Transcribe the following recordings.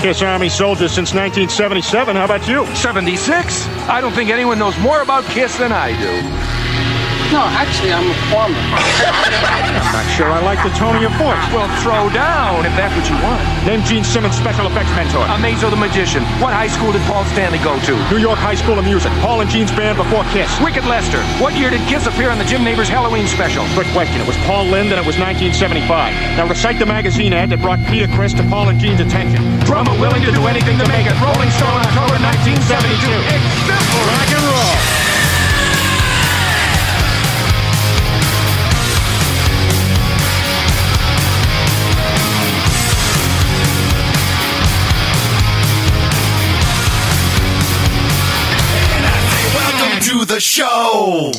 Kiss Army soldier since 1977. How about you? 76? I don't think anyone knows more about Kiss than I do. No, actually, I'm a farmer. Not sure I like the tone of your voice. Well, throw down if that's what you want. Name Gene Simmons' special effects mentor. Amazo the Magician. What high school did Paul Stanley go to? New York High School of Music. Paul and Gene's band before Kiss. Wicked Lester. What year did Kiss appear on the Jim Neighbors Halloween special? Quick question. It was Paul Lynde and it was 1975. Now recite the magazine ad that brought Peter Chris to Paul and Gene's attention. Drummer willing to do anything to make it. Rolling Stone, October 1972. It's simple. Rock and roll. Welcome to the show.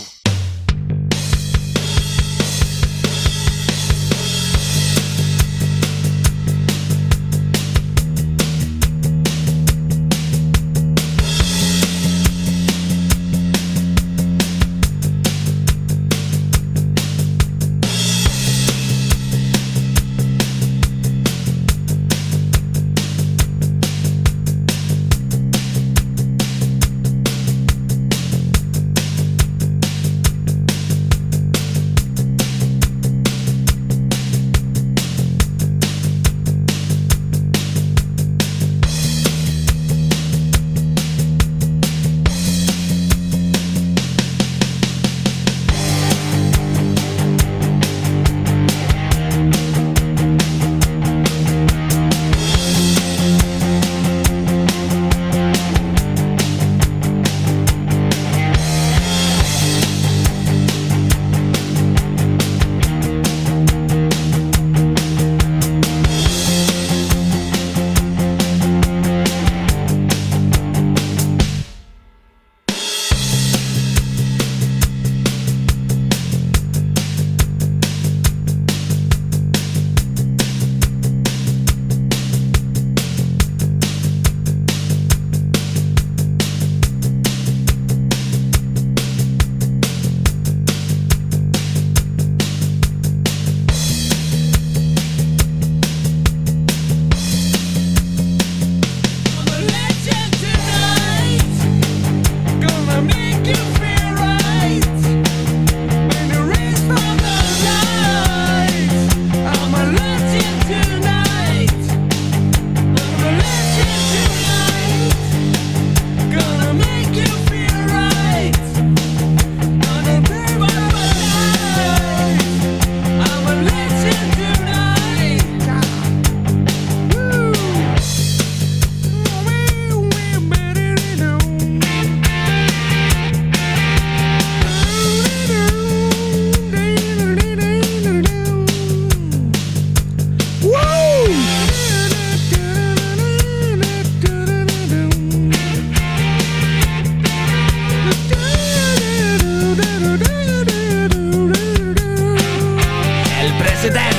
El presidente.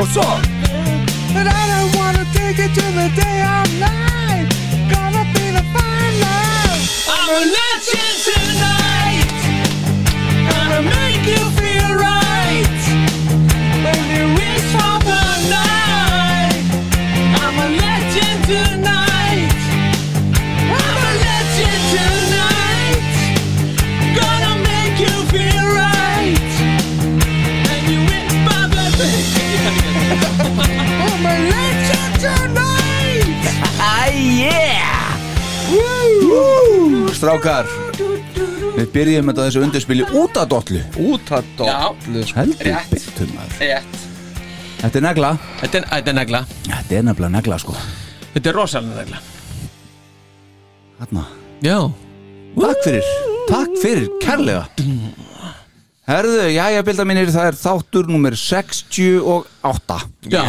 What's up? But I don't wanna take it to the day I'm nine. Gonna be the final. I'm a legend tonight. Gonna make you feel right. When you wish for the night. I'm a legend tonight. I'm a legend tonight. Gonna make you feel right. And you wish for the I'm a legend tonight. Ah, yeah. Strákar Við byrjum þetta á þessu undirspili út að dollu Út að dollu sko. Heldur Rétt. byttum maður Rétt. Þetta er negla Þetta er, þetta er negla Þetta er nefnilega negla sko Þetta er rosalega negla Þarna Já Takk fyrir Takk fyrir kærlega Herðu, jæja, bilda mínir, það er þáttur nummer 68 Já,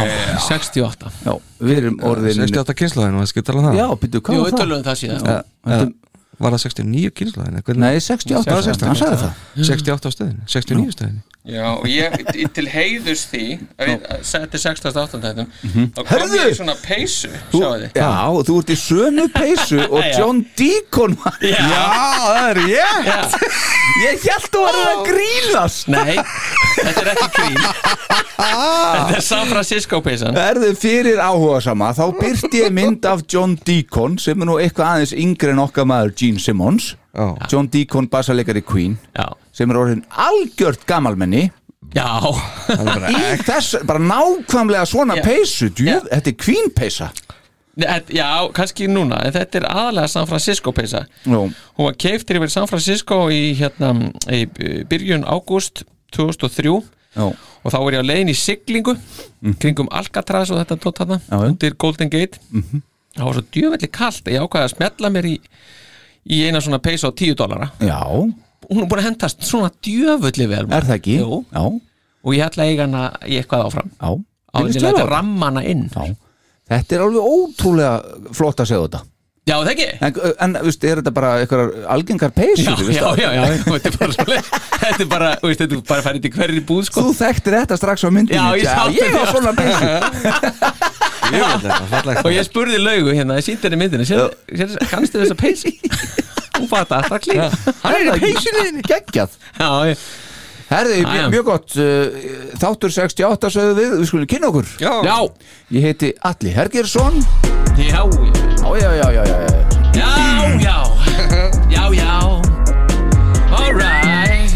68 Já, við erum orðin 68 kynslaðin og það skal tala um það Já, byrju, Jú, hvað var við það? tölum það síðan Já, þetta- Var það 69 kynslaðin? Nei, 68, það var 68 hann sagði það 68 á stöðinu, 69 stöðinu Já, Ég, í- til heiðus því að við setjum 68. þættum þá kom Mhm. Herðu! ég í svona peysu Þú- sjáðu þið Já, þú ert í sömu peysu og John Deacon maður. Já, það er ég já. Ég held þú var að grínast Nei, þetta er ekki grín Þetta er San Francisco peysan Verðu fyrir áhuga sama Þá byrti ég mynd af John Deacon sem er nú eitthvað aðeins yngri en okkar maður Gene Simmons Já. John Deacon bassaleikari Queen Já, sem er orðin algjört gamalmenni já í þess, bara nákvæmlega svona Já. peysu, djú, Já. þetta er Queen peysa Nei, þetta- Já, kannski núna en Þetta er aðalega San Francisco peysa Jú. Hún var keiftir yfir San Francisco í, hérna, í byrjun ágúst 2003 Já. og þá var ég á leiðin í siglingu kringum Alcatraz og þetta tótt hana Mhm. Já, Mhm. já. undir Golden Gate það var svo djöfelli kalt að ég ákvaði að smella mér í, í eina svona peysa á 10 dollara Já, hún er búin að hendast svona djöfelli vel maður. er það ekki? Jú. Já, og ég ætla að eiga hana í eitthvað áfram já áður en ég Virðist vera læta á það. rammana inn Já. Þetta er alveg ótrúlega flott að segja þetta já það ekki En, en veist, er þetta bara einhverjar algengar Já, peysur? þú veist, já, að- já, já, þetta er bara svoleiðis. Þetta er bara, þú veist, þetta er bara að fara í hverri búð sko. Þú þekktir þetta strax á myndinu Já, ég sá Ég þetta. var svona peysu og ég spurði laugu hérna, ég sýndi henni myndina sér, sér, kannstu þessa peysi? hún fatt að það klík hann er í peysunni Geggjað já, ég- Herði, mjög, já. mjög gott uh, Þáttur 68 sögðu við, við skulum kynna okkur Já. já, Ég heiti Alli Hergersson já, Já, já, já, já, já, já. já já, já, já all right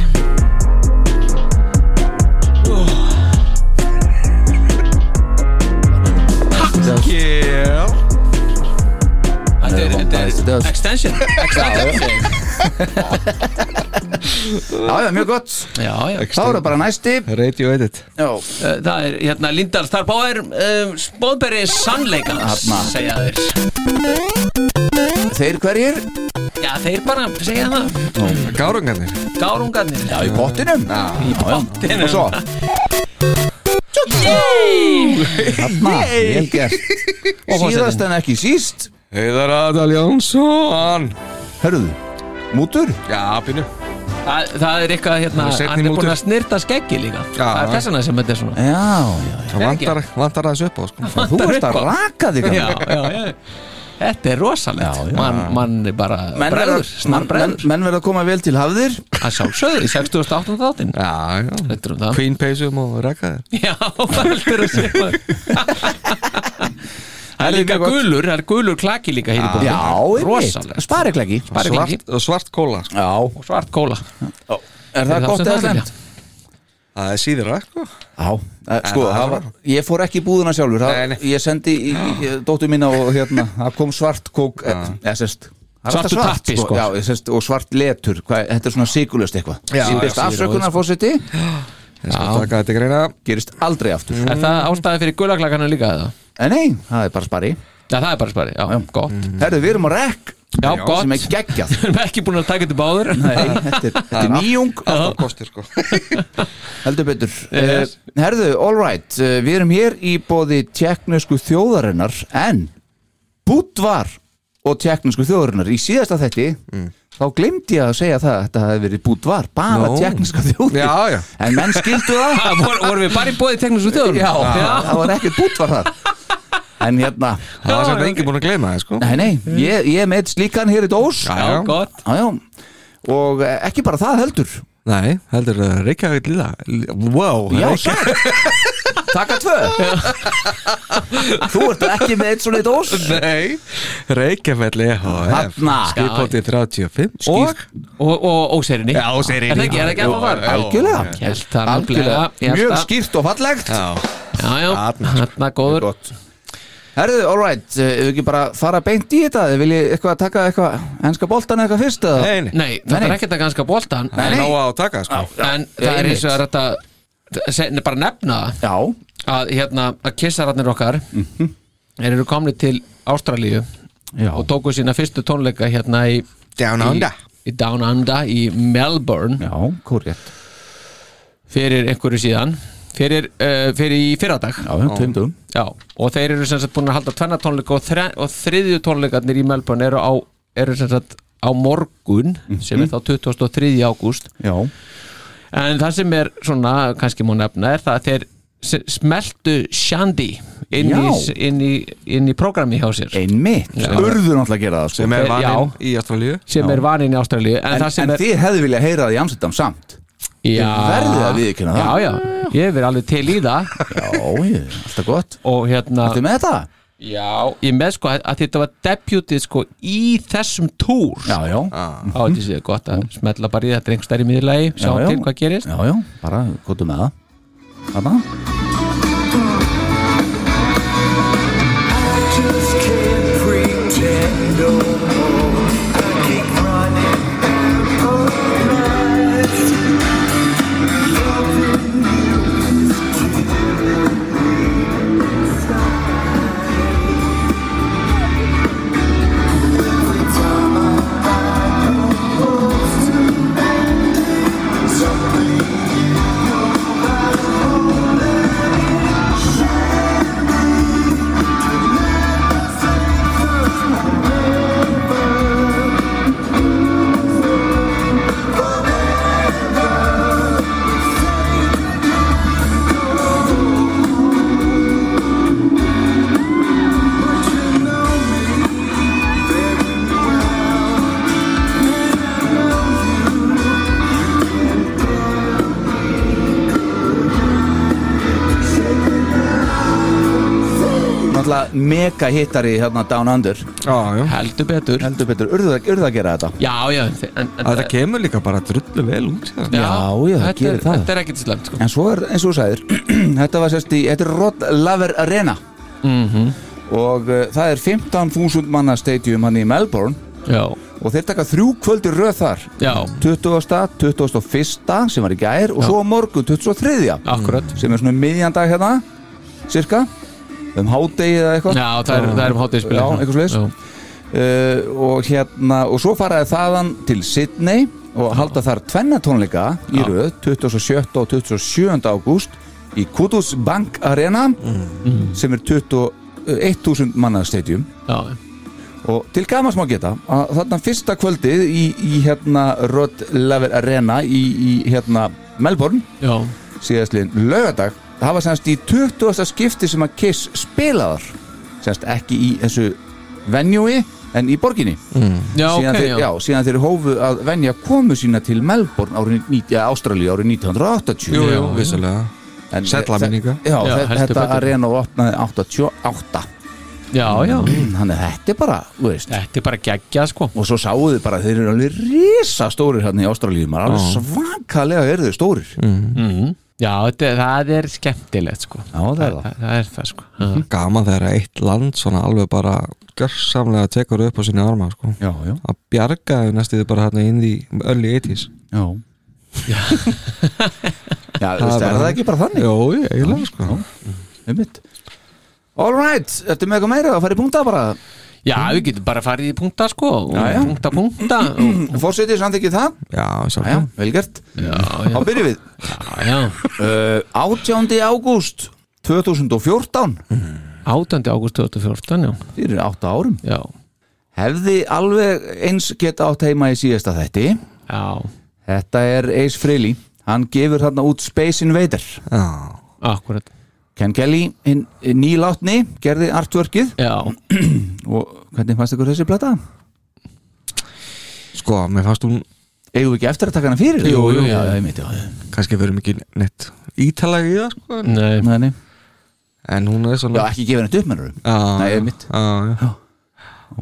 Yeah þetta er, þetta Þetta er er- extension extension Já, já, mjög gott já, já, Þá er það bara næsti Radio edit Já, Uh, það er, hérna, Lindar, þar báðir um, spóðberi sannleikans Þarna. segja þeir Þeir hverjir? Já, þeir bara segja það Gárungarnir Gárungarnir Já, í pottinum Já, já, já. pottinum. Og svo Þarna, vel gert Síðast en ekki síst Heiðar Adal Jónsson Hörðu, mútur Já, pínu það, það er eitthvað, hérna, Það er seinni hann er mútur. búin að snirta skeggi líka Já. Það er þessana sem þetta er svona Já, já, já Það vantar, vantar aðeins upp á sko. Þú ert að raka þig Já, já, já Þetta er Já, rosalegt, já. mann man er bara Menn verða bregður, snar menn, bregður menn verða að koma vel til hafðir að sjálfsögðu í 68. þáttin Já, já Þetta er um það Queen peysum og rekka þér Já, það heldur að segja maður. Það er Herðu, líka mjög gott. gulur, það er gulur klaki líka hér í bóðum Já, einmitt, rosalegt sparikleggi Spari- Spariklæki. Svart, og svart kóla sko. Já, Og svart kóla er það gott eða slemt? Það er síðra sko. Já, eh, sko, það það var- var, ég fór ekki í búðuna sjálfur það, Nei, nei. Ég sendi í, í, dóttu mína og hérna, það kom svart kók eh, eða sérst það er alltaf Svartur svart, tappi, sko. Já, ég sérst, og svart letur, hvað, þetta er svona sigulust eitthvað Já, Ég byrst já, afsökunar fósiti, Ég skal taka þetta í greina gerist aldrei aftur Er það ástæði fyrir gulaklakanum líka eða? En nei, það er bara spari Já, það er bara spari, já, gott Herðu, við erum á rekk Já, sem er gott, geggjað við erum ekki búin að taka þetta báður Nei, þetta er, þetta er nýjung Alltaf kostir sko Heldur betur Yes. Eh, Herðu, all right eh, Við erum hér í bóði tjekknesku þjóðarinnar En Búdvar og tjekknesku þjóðarinnar Í síðasta þetti Mm. Þá glemdi ég að segja það að Þetta hefði verið búdvar Bara Nú. no. tjekkneska þjóðir Já, já. En menn skildu það Ha, vor, Vorum við bara í bóði teknisk út þjóður? Já, það var ekkert búdvar þar En hérna Það var sem enginn búin að gleyma það sko. Nei, nei, ég, ég er með slíkan hér í dós Já, já, já. gott Já, já Og eh, ekki bara það heldur Nei, heldur uh, Reykjavík líða Wow Já, Reykjavík. takk Takka tvö Þú ert ekki með eitt svona eitt ós Nei Reykjavík E EHF Þarna. Skipóti 35 Skýrt. Og, og óserinni Já, óserinni. Er það ekki, er það ekki að fara? Algjörlega. Held það Algjörlega, nefnilega ég held mjög það. skýrt og fallegt Já Já, já, hérna góður Gott Herðu, all right, eh, ef við ekki bara fara beint í þetta Þið viljið eitthvað taka eitthvað enska boltan eða eitthvað fyrst eða? Nei, nei Nei, það Nei, er nei. ekkert að ganska bóltan Nei, Ná á að taka sko En það er einmitt. eins og er þetta se- bara nefna það Já, að hérna að kissararnir okkar þeir eru komni til Ástralíu Mhm. já og tóku sína fyrstu tónleika hérna í Down í- Under. í Down Under í Melbourne Já, korrekt fyrir einhverju síðan fyrir, uh, fyrir í fyrradag Já, já, tveim dugum Já, og þeir eru sem sagt búin að halda tvenna tónleika og, þre, og þriðju tónleikarnir í Melbourne eru á, eru sem sagt á morgun sem Mhm. er þá 23. ágúst Já, en það sem er svona kannski má nefna er það að þeir s- smeltu Shandy inn Já. í, inn, í, inn í programmi hjá sér einmitt, Já. urður náttúrulega að gera það sko. sem er Já. vaninn í Ástralíu sem er vaninn í Ástralíu en, en, það sem en er þið hefðu viljað heyra það í Amsterdam samt já, verðið að viðurkenna það. já, já, ég hef verið alveg til í það já, ég, alltaf gott og hérna Þetta með þetta? já, ég með sko að, að þetta var debutið sko í þessum túr Já, já, á þetta séð gott að smetla bara í þetta einhver stærri miðurlegi, sjá Já, já. til hvað gerist já, já, bara gotum með það Þarna Náttúrulega mega hittari hérna Down Under Já, já. heldur betur Heldur betur, urðu það- urðu það að gera þetta já, já, en, en, en, Þetta kemur líka bara drullu vel sko. út sér. Já, já, það þetta gerir er- það. þetta er ekkert slemt sko En svo er, eins og þú sæðir Þetta var sérst í, þetta er Rod Laver Arena Og uh, það er 15.000 manna stadium hann í Melbourne já, Og þeir taka þrjú kvöldi röð þar já, 20. 21. sem var í gær Og svo á morgun 23. akkurat Sem er svona um miðjan dag hérna Cirka Um hádegi eða eitthvað já, það er, það er um hátíðspil Já, eitthvað svoleiðis. uh, og hérna og svo faraði þaðan til Sydney og halda þar tvenna tónleika í Já. röð 27. og 27. ágúst í Kudus Bank Arena sem er 21.000 manna stadium já, og til gamans má geta að þarna fyrsta kvöldið í, í hérna Rod Laver Arena í, í hérna Melbourne já, síðastliðin lögadag það var semst í 20. skipti sem að Kiss spilaðar semst ekki í þessu venjúi en í borginni já, síðan, ok, þeir, já. já, síðan þeir hófu að venja komu sína til Melbourne árið, ja, Ástralíu árið Jú, 1980 Já, jú, já. vissulega En sælla þe- minninga. Já, Já, þe- heldur þetta betur. arena opnaði 88 já, já, Mm, Þannig að þetta er bara, þú veist þetta er bara geggja sko Og svo sáu þið bara, að þeir eru alveg risa stórir hérna í Ástralíu, maður alveg svakalega eru þeir stórir já, þetta, það er skemmtilegt sko Já, það er það það, það er það sko já, Gaman þegar eitt land svona alveg bara gjörsamlega tekur upp á sinni arma sko. Já, já, að bjarga þau næstu þau bara hérna inn í early 80s já Já, bara þú veist, er það þannig. ekki bara þannig? Jó, ég eiginlega sko Já. Einmitt All right, ertu með eitthvað meira að fara í punkta bara? já við getum bara farið í punkta sko og Mhm. Já, já. punkta, punkta og, Fórsetið samþykkið það? Já, Já, sjálfum vel gert já, Þá já, byrjum við já, já. uh, 18. ágúst 2014 8. ágúst 2014 já, fyrir 8 árum já, hefði alveg eins geta átt heima í síðasta þætti já þetta er Ace Frehley hann gefur þarna út Space Invader Já, akkurat, Ken Kelly, hinn nýlátni gerði artworkið já, og hvernig fannst ykkur þessi plata? sko, mér fannst hún eigum við ekki eftir að taka hana fyrir? Jú, jú, jú. já, ég myndi á kannski verið mikið neitt ítalega í það sko en- nei Nei, nei. en hún er já, svona ekki gefa henni upp mennur Já, Nei, já, einmitt. já, já.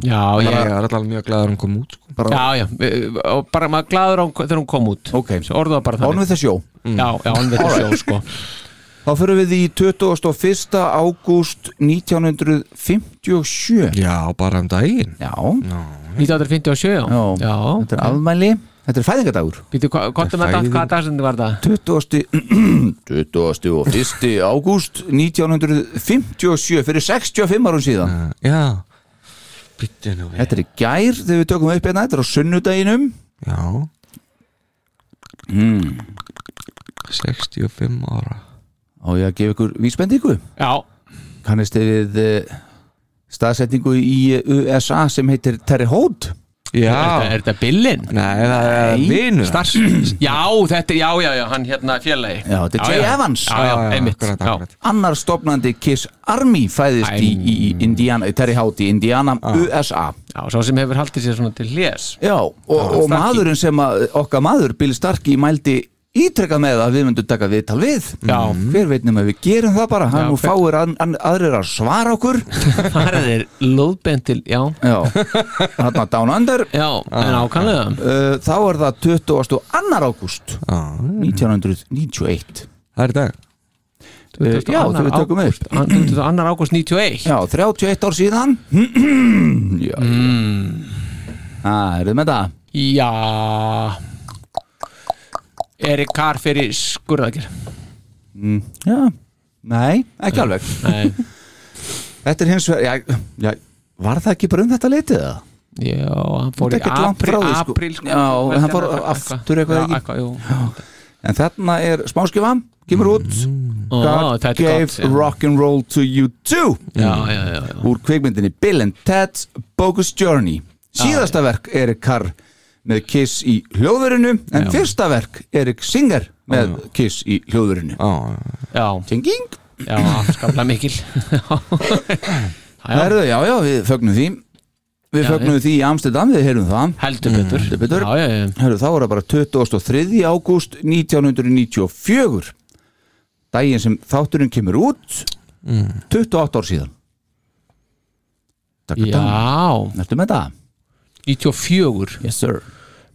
já, Ég já, er alltaf mjög glæður að hún kom út sko. bara já, já, eh, og bara maður glaður á, hún- þegar hún kom út Ok. Svo orðum það bara on þannig with the show já, já, on við sjó sko þá fyrir við í 21. ágúst 1957 Já, bara um daginn já, 1957 já, Já, já. þetta er afmæli Þetta er fæðingadagur býtu, hvað er með þetta, Fæðing. hvaða dagsendu var það 20. 20. og 1. ágúst 1957 fyrir 65 árum síðan Já Bittu nú við Þetta er í gær þegar við tökum upp hérna Þetta er á sunnudaginum Já 65 ára og ég að gefa ykkur vísbendingu já, kannist þið við eh, staðsetningu í eh, USA sem heitir Terre Haute Er, Já, er þetta Billin? nei, það er vinur Stars, já, þetta er, já, já, já, hann hérna félagi Já, þetta er Jay Evans. Já, já, einmitt akkurat, já. akkurat. annar stopnandi Kiss Army fæðist í, í í Indiana, í Terry Houty, Indiana, USA já, sá sem hefur haldið sér svona til hlés Ah. Já, Ah, og, og maðurinn sem að, okkar maður, Bill Starkey, mældi ítrekkað með að við myndum taka viðtal við Mm. Já. hver veitnum að við gerum það bara hann Já, nú hver- fáir an, an, aðrir að svara okkur Það er lóðbend til, já já, Ah. þarna down under Já, en ákvæmlega uh, þá er það 22. ágúst Já, 1991 Það er í dag uh, já, þegar við tökum upp Hann- 22. ágúst 91 já, 31 ár síðan já mm. að, eruðu með það? Já Erik Carr fyrir skurðakir já, Mm. nei, ekki alveg Nei, þetta er hins vegar, já, já var það ekki bara um þetta leitið það? já, hann fór í Þetta er ekkert langt apríl, frá því, sko. apríl Já, hann fór aftur eitthvað, Já, ekki? eitthvað, jú En þarna er smáskifa, kemur út Mm. Ó, God þetta er gave gott, já. rock'n'roll to you too Já, já, já, já úr kveikmyndinni Bill and Ted's Bogus Journey Ah, síðasta verk Erik Carr með Kiss í hljóðurinu en fyrsta verk Erik Singer Ah, með Kiss í hljóðurinu Já, Já, Tenging? já, afskaplega mikil Já, já, Herðu, já, já, við fögnum því Við Já, fögnum því í Amsterdam, við heyrum það heldur betur Mm, Heldur betur. Já, já, já Herru, þá er það bara 23. ágúst 1994 daginn sem þátturinn kemur út Mm. 28 ár síðan Takk að Já, Ertu með það? 94 Yes sir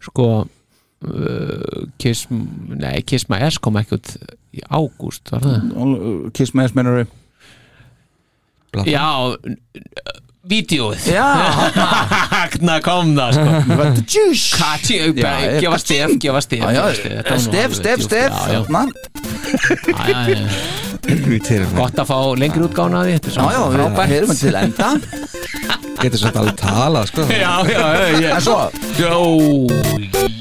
Sko uh, Kiss, nei, Kiss My Ass kom ekki út í ágúst, var Mm. það? Kiss my ass mennari Já, vídeoð Já, Þarna kom það, sko what the juice Kati, Já, ég- gefa stef, gefa stef Já, já, gefa stef. Þetta var nú stef, alveg stef, djúpt. stef Já, já, Þarna. já, já, já. Grítir Gott að fá lengri útgána því Þetta er Já, svona já, við frábært. heyrum þetta til enda Getur svolítið alveg talað, sko Já, já, já, já En svo, Jó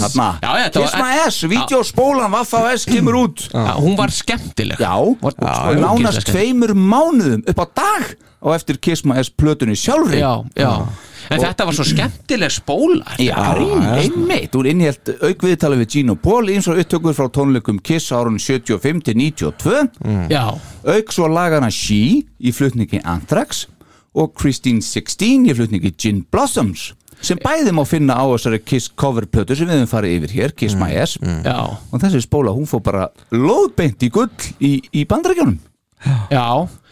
þarna Já, já, þetta Kiss var- my ass, vídeospólan Vaffa S kemur út Já, Ah, Hún var skemmtileg Já, Var- og já, nánast ógeðslega tveimur mánuðum upp á dag og eftir Kiss My Ass plötunni sjálfri Já, já Ah. En þetta var svo skemmtileg spóla Já, grín, einmitt, hún innhjælt aukviðtala við Gino Paul eins og upptökur frá tónleikum Kiss árun 75 til 92 Já, auk svo lagana She í flutningi Anthrax og Christine 16 í flutningi Gin Blossoms sem bæði má finna á þessari Kiss cover plötu sem við höfum farið yfir hér, Kiss My Ass já, og þessi spóla, hún fór bara lóðbeint í gull í, í bandarækjunum já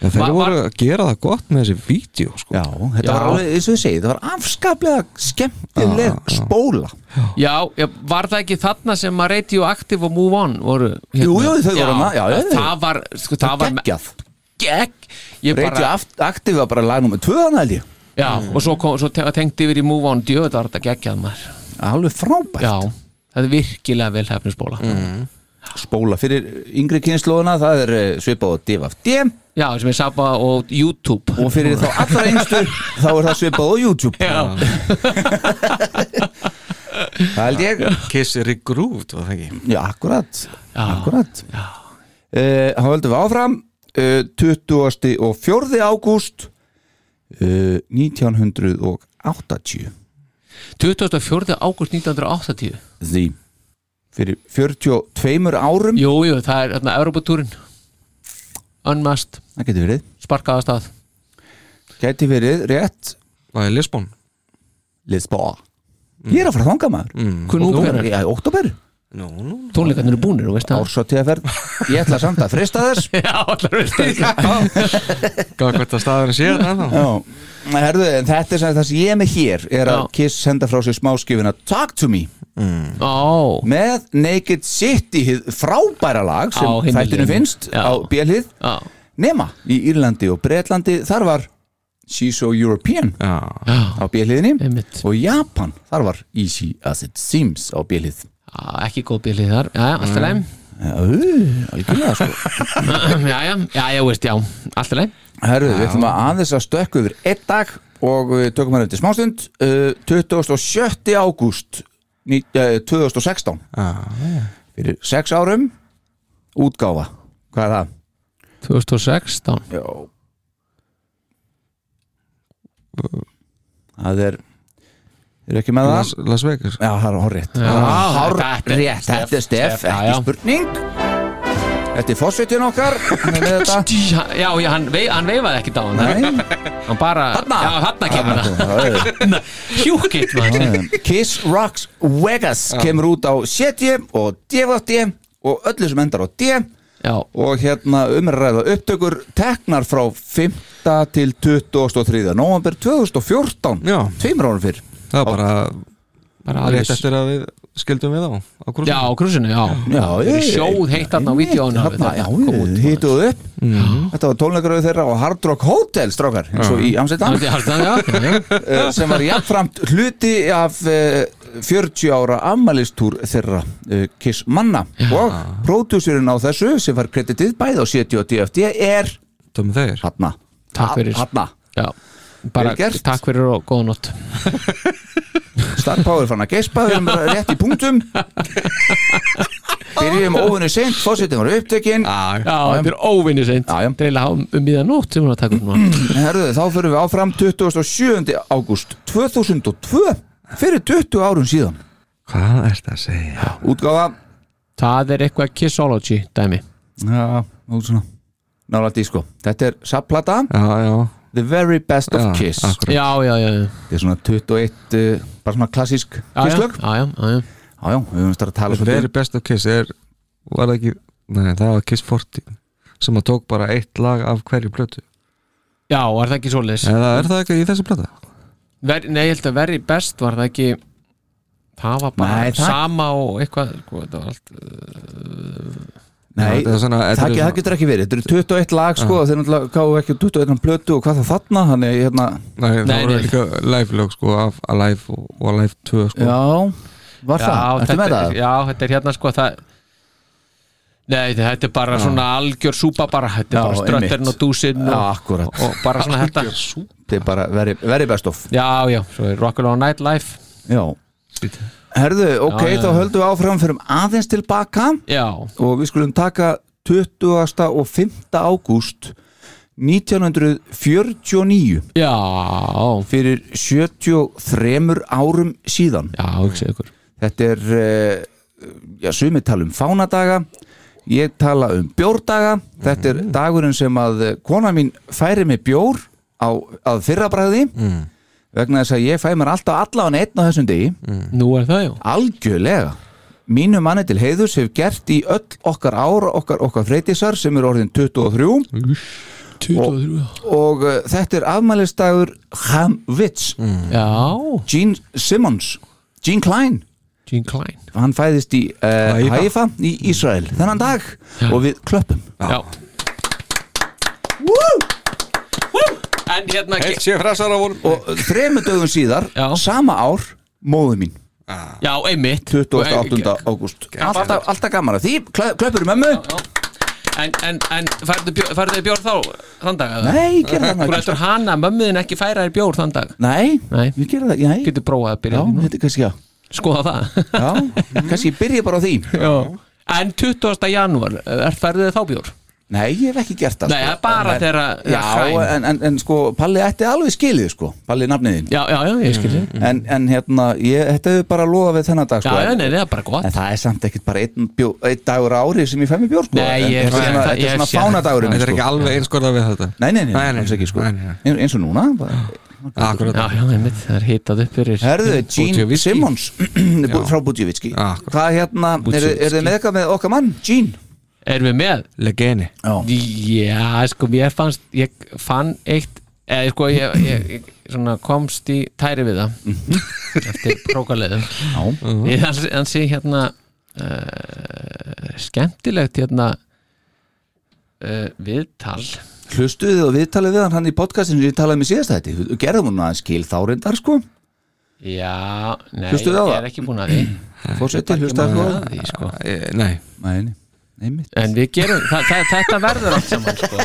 En þeir Var- var- voru að gera það gott með þessi vídeo, sko Já, Ah. þetta Já. var alveg, eins og ég segi, þetta var afskaplega skemmtileg spóla Já, já, var það ekki þarna sem að Radioactive og Move On voru hérna? Jú, jú, þau voru hana, já, já, já. Það var, sko, það var Geggjað gegg Ég bara, Radioaktiv var bara lag nummer 2 hann held ég já, og svo, kom, svo te- tengdi yfir í Move On Djöðu, það var þetta geggjað maður Alveg frábært Já, það er virkilega vel hefnir spóla Mm. Spóla fyrir yngri kynnslóðuna Það er eh, svipað á Divaf D Já, sem er Sapa og YouTube Og fyrir þá allra yngstu Þá er það svipað á YouTube Já, Það held ég Kiss Regrooved, var það ekki Já, akkurat Já. Akkurat Eh, Þá höldum við áfram uh, 20. og 4. ágúst uh, 1980 24. ágúst 1980 því fyrir 42 árum Jú, jú, það er hérna þarna Europatúrin Unmasked, það geti verið, sparkaða stað geti verið rétt Það er Lisbon Lisboa ég er að fara þanga maður mm. Hvernig útferðar? já, oktober, Nú, nú Tónleikarnir eru búnir, þú veist það ársvatíðaferð ég ætla samt að frista þess Já, allar veist það Gaf hvert að staðurinn sé það já, herðu, en þetta er sem það sem ég er með hér er að Já. Kiss senda frá sér smáskifina Talk to me Ó, með Naked City hið frábæra lag sem Á hinni þættinu hliðinni. finnst Já. á bjallið já nema í Írlandi og Bretlandi þar var She's so European Já, Já, á bjallíðinni einmitt og Japan, þar var Easy As It Seems á bjallið Já, ekki góð bílið þar Já, já, alltaf Mm. leim algjörlega sko Já, já, já, já, veist, já, alltaf leim Herðu, við ætlum að aðeins að stökku yfir einn dag og við tökum hann eftir smástund uh, 27. ágúst ní- eh, 2016 fyrir sex árum útgáfa, hvað er það? 2016 Já Það er eru ekki með það Las, Las Vegas Já, það er horrétt þetta er Horrétt, Stef, þetta er Steff, Stef, já, ekki já. spurning Þetta er fósvitin okkar hann er með þetta. Já, já, hann, vei, hann veifaði ekki á hann Nei, Hann bara, Þarna? já, hann kemur það það er Hjúkitt, maður Kiss Rocks Vegas kemur út á 70 og DVD og öllu sem endar á D Já, og hérna umræða upptökur teknar frá 5. til 23. november 2014 Já. tveimur árum fyrr Það var bara bara rétt aðeins eftir að við skildum við á, á krúsum. Já, á krusinu, já Já, Þeir eru sjóð heitt þarna á vídeóinu Þarna, hérna, já, við hittuðu upp Mm. Þetta var tónleikaröðu þeirra á Hard Rock Hotel strákar, eins og í Amsterdam Já, eh, sem var jafnframt hluti af eh, 40 ára afmælistúr þeirra eh, Kiss Manna og pródúsirinn á þessu sem var kreditið bæði á 70 og DFD er Tömmu þeir Hanna Takk fyrir. Hanna já Bara, Vel gert. takk fyrir og góða nótt Star Power fann að gespa, við erum bara rétt í punktum Byrjum óvinni seint, fórsetin var upptekinn Já, þetta er óvinni seint Já, já. Þetta er eiginlega há- um miðan nótt sem hún er að taka upp núna Herðu, þá fyrir við áfram 27. ágúst 2002 fyrir 20 árum síðan Hvað er þetta að segja? útgáfa Það er eitthvað Kissology dæmi já, út svona nála disco, sko. þetta er sapplata Já, já, The Very Best of já Kiss akkurat. Já, já, já já. þetta er svona 21 uh, bara svona klassísk Já, já, kisslög já, já, já, já. já, já, við höfum starf að tala um- The very best of Kiss er Var það ekki Nei, það var Kiss 40 sem að tók bara eitt lag af hverju plötu já, var það ekki svoleiðis Eða er það ekki í þessu plötu? Ver, Nei, ég held að veri best var það ekki Það var bara Nei, það- sama og eitthvað sko, þetta var allt, Nei, Já, þetta er svona- þetta það, er ge- það svona- getur ekki verið þetta eru 21 lag sko, þeir náttúrulega gáðu ekki 21 plötu og hvað það þarna þannig að hérna, Nei, það Nei, voru nei. líka live lög sko af Alive og, og Alive 2 sko já var það, ertu þetta, með er- það? Já, þetta er hérna sko það Nei, þetta er bara svona algjör súpa bara, þetta er Já, bara strötterinn einmitt. og dúsinn Já, og, akkurat, og bara svona þetta Já, þetta er bara very, very best of já, svo er Rockalóa Nightlife Já Herðu, ok, Já, já, þá já. höldum við áfram fyrir aðeins tilbaka Já, og við skulum taka 20. og 5. ágúst 1949 já fyrir 73 árum síðan Já, hugsaðu ykkur Þetta er, eh, já, sumi tala um fánadaga ég tala um bjórdaga þetta er dagurinn sem að eh, kona mín færi mig bjór á, að fyrrabræði vegna þess að ég fæ mér alltaf allan einn á þessum degi Nú er það, já algjörlega mínu manni til heiðus hef gert í öll okkar ára okkar, okkar freytisar sem er orðin 23 23 og uh, þetta er afmælistagur Ham Witz, Já, Gene Simmons Gene Klein, Gene Klein hann fæðist í uh, Haifa. Haifa í Ísrael þennan dag og við klöppum Mm. Já En hérna Eitt sé frasar á vonum og þremu dögum síðar, Já. sama ár móðu mín, Já, einmitt 28. ágúst alltaf, alltaf gaman að því, klö, klöppur mömmu En, en, en færðu bjór, færðu bjór þá þann dag? eða? nei, gerða Þú það ekki lætur hana, mömmuðin ekki færa þér bjór þann dag nei, Nei. við gerðum það, nei Getur Mm. prófað að já, byrja þetta er kannski að Skoða það Já, kannski ég byrja bara á því Já. En 20. janúar, er færðu þið þá bjór? Nei, ég hef ekki gert það Nei, sko. það er bara En- þeirra Já, en, en, en sko, Palli ætti alveg skilið sko Palli nafniðin já, já, já, ég skil þið en, en hérna, ég, þetta hefur bara loðað við þennan dag Mm. Já, sko já, en, nei, nei, það er bara gott en það er samt ekkit bara einn, bjó, einn dagur á ári sem ég fæ mér bjór sko Nei, En ég- Þetta ég- er svona, ég- þetta er svona ég- fánadagurinn Þetta er ekki sko. alveg einskorða við þetta Nei, nei, nei, Nei, nei, alls ekki sko nei, nei. Ein- Eins og núna bara- Akkurat Já, já, einmitt, það er hitað upp fyrir Mm. Herðu, Gene Budjevitski. Simmons bú- frá Budjevitski Já, Ah, akkurat. Hvað hérna, er, er þið með eitthvað með okkar mann? Gene Erum við með? Legeni Já, Já, sko, ég fannst ég fann eitt eða sko, ég, ég, ég svona komst í tæri við það Mhm. eftir prókaleðum já, ég hans, hans ég hérna uh, skemmtilegt hérna uh, viðtal hlustuðu þið og viðtalið við hann hann í podcastinu sem ég talaði með síðast þetta Við gerðum hún aðeins skil þá reyndar sko Já, nei, Hlustuðu á ég það? er ekki búin að því Fórseti, hlustaði þú á Búin það? að því, sko. Eh, Nei Nei, nei, nei mitt En við gerum, þa þa þetta verður allt saman sko.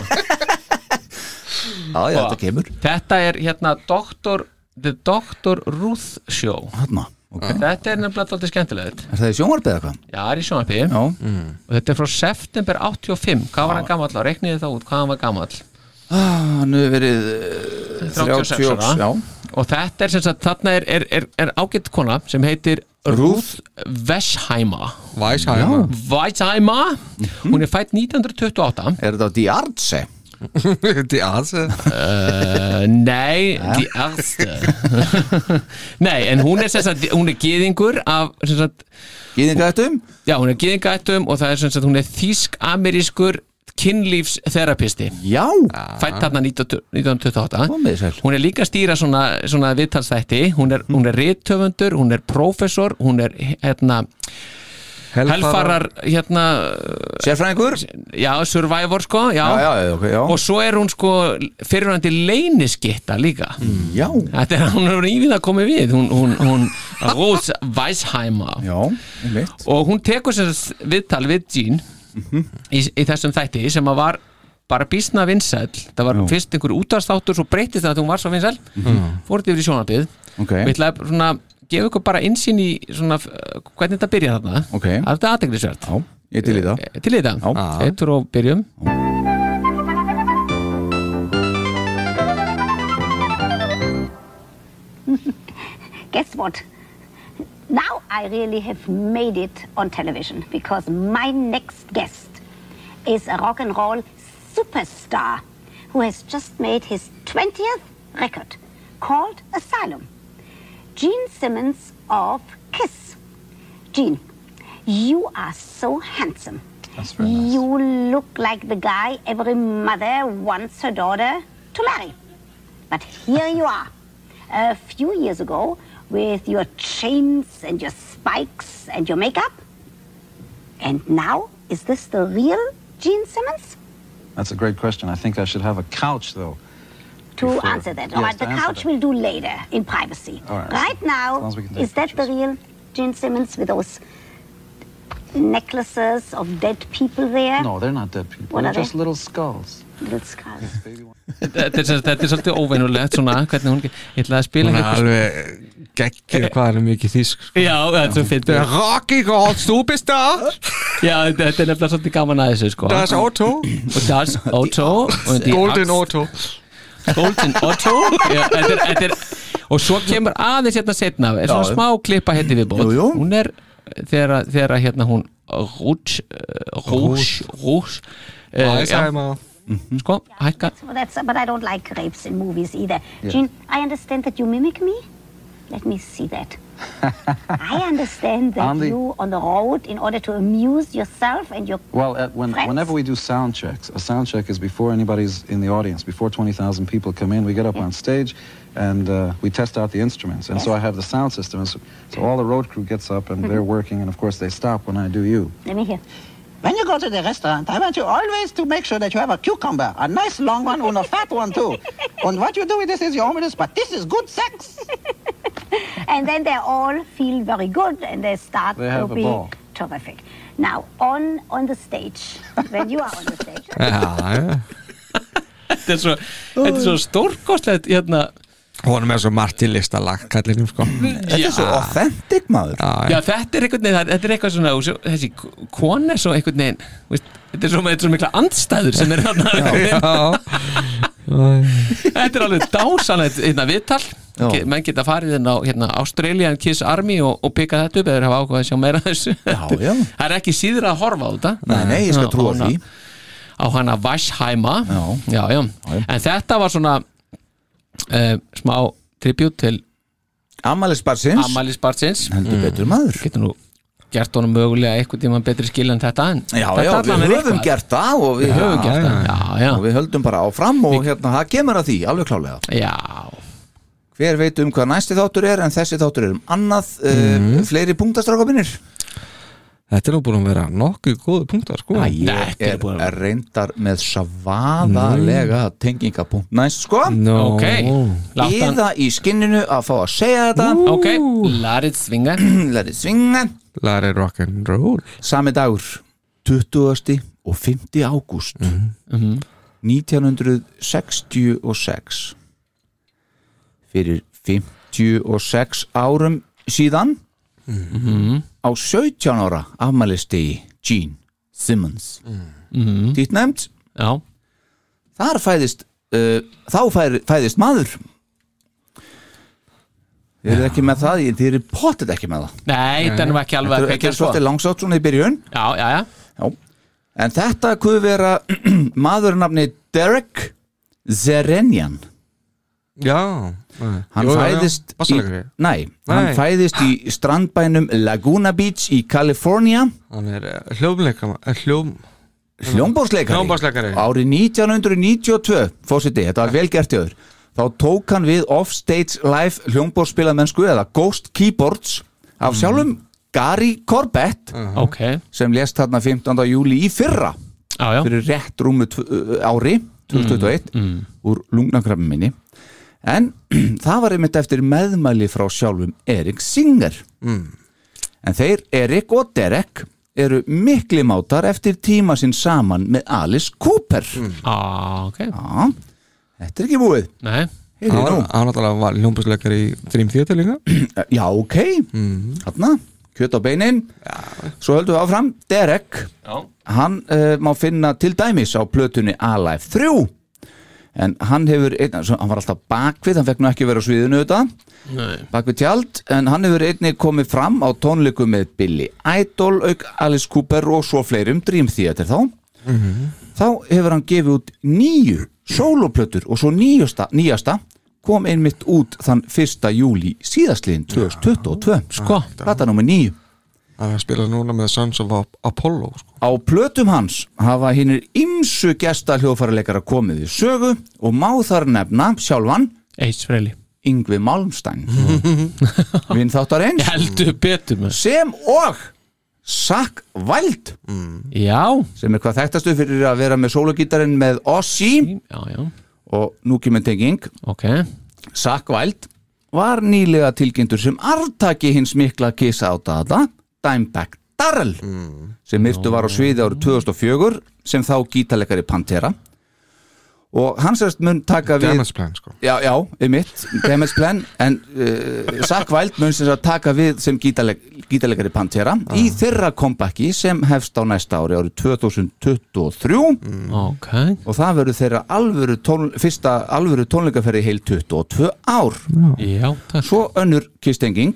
Já, já, þetta kemur Þetta er hérna Dr. The Dr. Ruth Show Hanna, ok Þetta er nefnilega alltaf skemmtilegt Er það í sjónvarpið eða hvað? Já, það er í sjónarpi Já, og þetta er frá september 85 hvað var hann gamall á, reikniði það út hvað hann var gamall Ah, hann hefur verið eh, 36 ára. 36, Já, og þetta er sem sagt, þarna er, er, er, er ágætt kona sem heitir Ruth Vesheima Væsa hérna Weizheimer hún er fætt 1928 Er þetta á Diartse? Þetta er aðs uh, nei, die erste nei, en hún er sem sagt, hún er gyðingur af, sem sagt, Gýðingaðtum? já, hún er gyðingættum og það er sem sagt, hún er þýsk-amerískur kynlífstherapisti Já, fætt þarna 19- 1928 komið þið Ah. sæl hún er líka að stýra svona, svona viðtalsþætti, hún er, hún er rithöfundur hún er prófessor, hún er hérna, helfarar hérna, Sérfræðingur? já, survivor sko, já, Já, já, ok, já og svo er hún sko fyrirvændi leyniskitta líka Já, Þetta er hún er ívið að koma við hún, hún, hún Rose Weisheimer já, einmitt og hún tekur sér viðtal við Jean Mhm. í, í þessum þætti sem að var bara bísna vinsæl það var fyrst einhver útastáttur svo breytist það að hún var svo vinsæl fór þetta yfir í sjónarbið Mhm. Ok. við ætlaði svona gefa ykkur bara innsýn í svona, uh, hvernig þetta byrja þarna Ok. að þetta er aðteglisvert Já, ég til í það til í þetta, eittur og byrjum Guess what? Now I really have made it on television because my next guest is a rock and roll superstar who has just made his 20th record called Asylum. Gene Simmons of Kiss. Gene, you are so handsome. That's very nice. You look like the guy every mother wants her daughter to marry. But here you are, a few years ago, with your chains and your spikes and your makeup. And now, is this the real Gene Simmons? That's a great question. I think I should have a couch, though. To Before- answer that, yes, all right, to the answer couch that. we'll do later in privacy. All right. now, Sounds we can take is that the pictures. real Gene Simmons with those necklaces of dead people there? No, they're not dead people. What they're are they? just little skulls. Little skulls. þetta er, sem sagt- þetta er svolítið óveinulegt svona, hvernig hún, ég ætlaði að spila Hún er eitthvað- alveg geggjur hvað hann er mikið þýsk sko. Já, þetta er fyrir Rocky Gold Superstar Já, þetta þetta er nefnilega svolítið gaman að þessu sko Das Auto Og Das Auto und die Axt- Golden Auto Golden Auto Já, þetta er, þetta er, Og svo kemur aðeins hérna setna er svona Já. smá klippa hérna við bótt Jú, jú. Hún er þegar, að- þegar að hérna hún eh, Rúch Rúch Rúch Eh, Weisheimer eh, Sko, hækka Well, that's, but I don't like rapes in movies either. Jean, I understand that you mimic me. Let me see that. I understand that On the- you on the road in order to amuse yourself and your. Well, at when, Friends. whenever we do sound checks, a sound check is before anybody's in the audience, before 20,000 people come in, we get up on stage and uh, we test out the instruments. And so I have the sound system. And so, so all the road crew gets up and they're working, and of course they stop when I do you. Let me hear. When you go to the restaurant, I want you always to make sure that you have a cucumber, a nice long one and a fat one too. And what you do with this is your omelette, but this is good sex. And then they all feel very good and they start They to have a be ball. terrific. Now on on the stage when you are on the stage. Já, já Þetta er svo, þetta er svo stórkostlegt hérna Honum er svo margt til listalag kallinum sko Þetta er svo authentic maður Já, þetta er einhvern veginn, það- þetta er eitthvað svona svo- þessi k- kona er svo einhvern veginn þú veist, þetta er svo, þetta er svo mikla andstæður sem er hérna Já Þetta er alveg dásanlegt hérna, viðtal Já. Ge- menn geta farið inn á hérna, Australian Kiss Army og, og pikað þetta upp eða þeir hafa ákveð að sjá meira af þessu Já, já. Það er ekki síður að horfa á þetta Nei, nei, ég skal Já, trúa á því hana- Á hana Vashheima Já. Já, já. já. En þetta var svona uh, smá tribut til Amalis Barsins Amalie Spartsins Heldur betur maður Getur nú gert honum mögulega eitthvað tíma betri skil en þetta en Já, þetta já, allan er við höfum eitthvað. gert það og við höfum Gert gert það. Já, já, og við höldum bara áfram og hérna, það kemur að því, alveg klálega já Hver veit um hvað næsti þáttur er en þessi þáttur er um annað uh, fleiri punktastrákabinir Þetta er nú búin að vera nokkuð góðu punktar sko Æ, Ég Þetta er er, búin að vera- reyndar með savaðalega tengingapunkt Næst sko, no. Ok, láta Mm. hann íða í skinninu að fá að segja þetta Ok, larið svinga Lærið svinga Larry Rock'n'Roll Sami dagur, 20. og 5. ágúst Mm-hmm. 1966 Fyrir 56 árum síðan Mm-hmm. á 17 ára afmælistegi Gene Simmons Mm-hmm. Týtt nefnd, Já, þar fæðist uh, þá færi, fæðist maður Þið eru ekki með það, ég- þið eru pottet ekki með það Nei, þetta er nú ekki alveg að Þetta er- kveikja Þetta er svo. svolítið langsátt svona í byrjun Já, já, já, En þetta kuð vera maður nafni Derek Zerenian Já Hann Jú, já, já. fæðist Bassaleikari. í, nei, Nei. hann fæðist í strandbænum Laguna Beach í Kalifornía Hann er hljómleika hljóm, Hljómbásleikari Hljómborðsleikari. Árið 1992, fórseti, þetta var vel gert í öður Þá tók hann við Offstage Live hljómbórspilamennsku eða Ghost Keyboards af sjálfum Gary Corbett ok sem lést þarna 15. júli í fyrra já, já. fyrir rétt rúmu tv- uh, ári 2021 úr lungnakrafin minni en það var einmitt eftir meðmæli frá sjálfum Erik Singer Mm. en þeir Erik og Derek eru mikli mátar eftir tíma sinn saman með Alice Cooper mm. ah, okay. ah, Þetta er ekki búið Nei Heyri, Hann var- hann náttúrulega var hljómbusleikar í Dream Theater líka Eh, Já, ok, mm. þarna kjöt á beinin Svo höldum við áfram, Derek Já. Hann uh, má finna til dæmis á plötunni Alive 3 En hann hefur, einn, svo, hann var alltaf bakvið, hann fekk nú ekki að vera á sviðinu auðvitað Nei. Bakvið tjald, en hann hefur einnig komið fram á tónleikum með Billy Idol, auk Alice Cooper og svo fleirum Dream Theater þá Þá hefur hann gefið út nýju sóloplötur og svo nýjasta, nýjasta kom einmitt út þann 1. júli síðastliðin 2022 Sko, plata nummer nýju Hann er að spila núna með Sons of Ap- Apollo sko. Á plötum hans hafa hinnir ymsu gesta hljóðfæraleikara komið í sögu og má þar nefna sjálfan Eits Freyli Yngvi Malmstein Vinn þáttar eins Heldur betur með Sem og Sack Wild Já Sem er hvað þekktastu fyrir að vera með sólugítarinn með Ossi Já, já Og nú kemur tenging Ok Sack Wild var nýlega tilkynntur sem arftaki hins mikla kisa á dada Dimebag Darrell sem myrtu var á sviði árið 2004 sem þá gítalekari Pantera og hans erst mun taka við Damage Plan sko. Já, já, einmitt, Damage Plan en uh, Sack Wild mun sem sagt taka við sem gítaleg, gítalegari Pantera í þeirra kompakki sem hefst á næsta ári árið 2023 Mm. Ok og það verður þeirra alvöru tón, fyrsta alvöru tónleikaferði í heil 22 ár Já, Svo önnur kistenging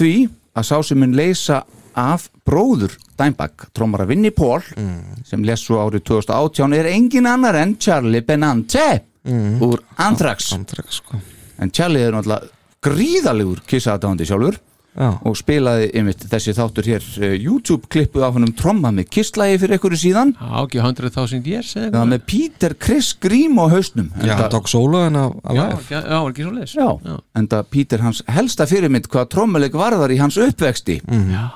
því að sá sem mun leysa af bróður Dæmbak trómara Vinnie Paul Mm. sem les svo árið 2018 er engin annar en Charlie Benante úr Anthrax Mm. Anthrax sko. en Charlie er náttúrulega gríðalegur kissaðdándi sjálfur Já. og spilaði einmitt þessi þáttur hér eh, YouTube klippu af honum tromma með kisslægi fyrir einhverju síðan Já, ekki 100.000 years eða það með Peter Chris Grím á hausnum Já, Enda- hann tók sólu en að að Já, live. já, já, var ekki svo leis Já, en það Pítur hans helsta fyrirmynd hvað trommuleik varðar í hans uppvexti Mm. já,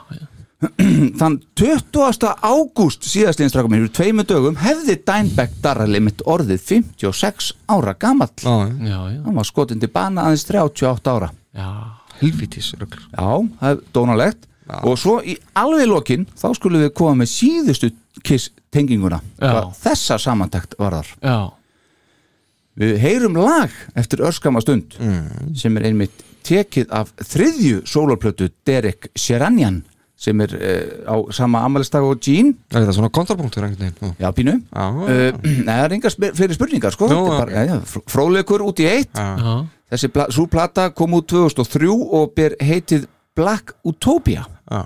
Þann 20. ágúst síðastlinnstrakum minn, fyrir tveimur dögum hefði Dænbeck Darrali mitt orðið 56 ára gamall Já, já. já, já, Hann var skotin til bana aðeins 38 ára já. Helvítis rugl Já, það er dónalegt Já. Og svo í alveg lokin þá skulum við koma með síðustu kiss tenginguna Já. hvað þessa samantakt varðar já. Við heyrum lag eftir örskama stund Mm. sem er einmitt tekið af þriðju sólarplötu Derek Sheranjan sem er uh, á sama amalistag og Jean Er þetta svona kontrapunktur einhvern veginn? Já, Pínu Já, já. Uh, Nei, það er engar spe- fleiri spurningar sko. Nú, Þetta er bara, ja, ja, fróðleikur út í eitt Já. já. þessi pla sú plata kom út 2003 og ber heitið Black Utopia Já.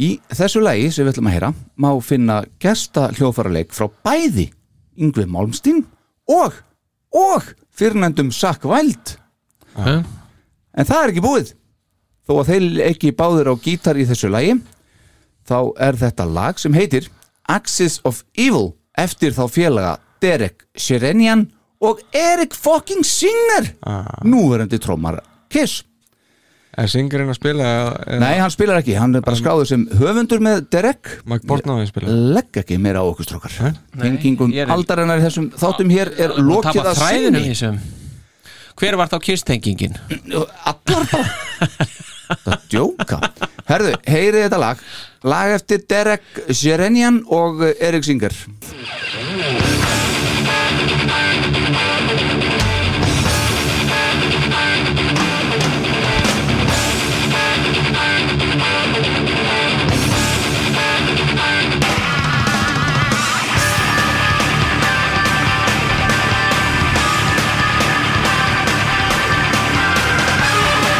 í þessu lagi sem við ætlum að heyra má finna gesta hljófaraleik frá bæði Yngvi Málmstín og, og fyrrnendum Sack Wild Okay. En það er ekki búið Þó að þeir ekki báðir á gítar í þessu lagi Þá er þetta lag sem heitir Axis of Evil Eftir þá félaga Derek Sherenian Og Erik fucking Singer Núverandi trómar Kiss Er singurinn að spila? eða- Nei, hann spilar ekki, hann er bara skráður sem höfundur með Derek Mike Portnoy að spila? Legg ekki meira á okkur strókar Tengingum ég er- aldarinnar í þessum þáttum hér er Nú lokið tapa að þræðinu í sinni þessum Hver var þá kistengingin? Allar bara Það djóka Herðu, heyrið þetta lag Lag eftir Derek Sherenian og Erik Singer Thank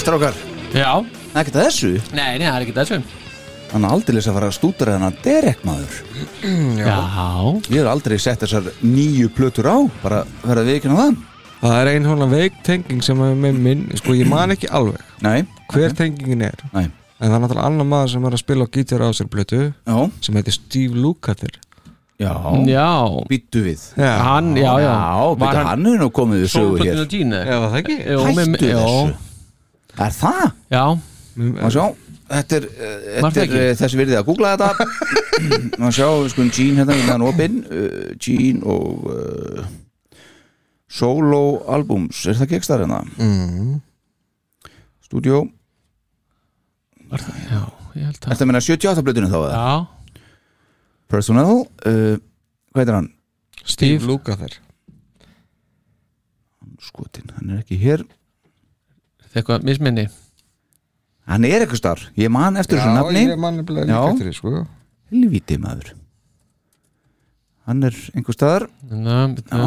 strákar Já Ekkert að þessu Nei, nei, það er ekki þessu Hann er aldrei að fara að stútera hennar Derek maður Já, Ég hef aldrei sett þessar nýju plötur á Bara verða vikin á það Það er ein svona veik tenging sem er með minn Sko ég man ekki alveg Nei. Hver tengingin er Nei. En það er náttúrulega annar maður sem er að spila á gítar á sér blötu Já. Sem heitir Steve Lukather Já, já. Býttu við Já. Hann, já, já. Já, býttu Var hann, hann- hann er nú komið við sögu hér Sólböndin og Gene. Já, var það ekki? Jú, með- Hættu já. þessu Er það? Já Má sjá, þetta er, eh, Var þetta það er ekki? eh, þessi virðið að googla þetta Má sjá, við skulum Jean hérna hérna hann opinn uh, Jean og uh, Solo Albums, er það ekki ekki starf hérna? Mm. Studio Já, ég held Ertu að meina 78 blöðinu þá? eða? Já Personnel, uh, hvað heitir hann? Steve Lukather Skotin, hann er ekki hér Það er eitthvað misminni Hann er eitthvað starf, ég man eftir þessu nafni ég man nefnilega líka Já. eftir því sko Helvíti maður Hann er einhver staðar Ná, Já,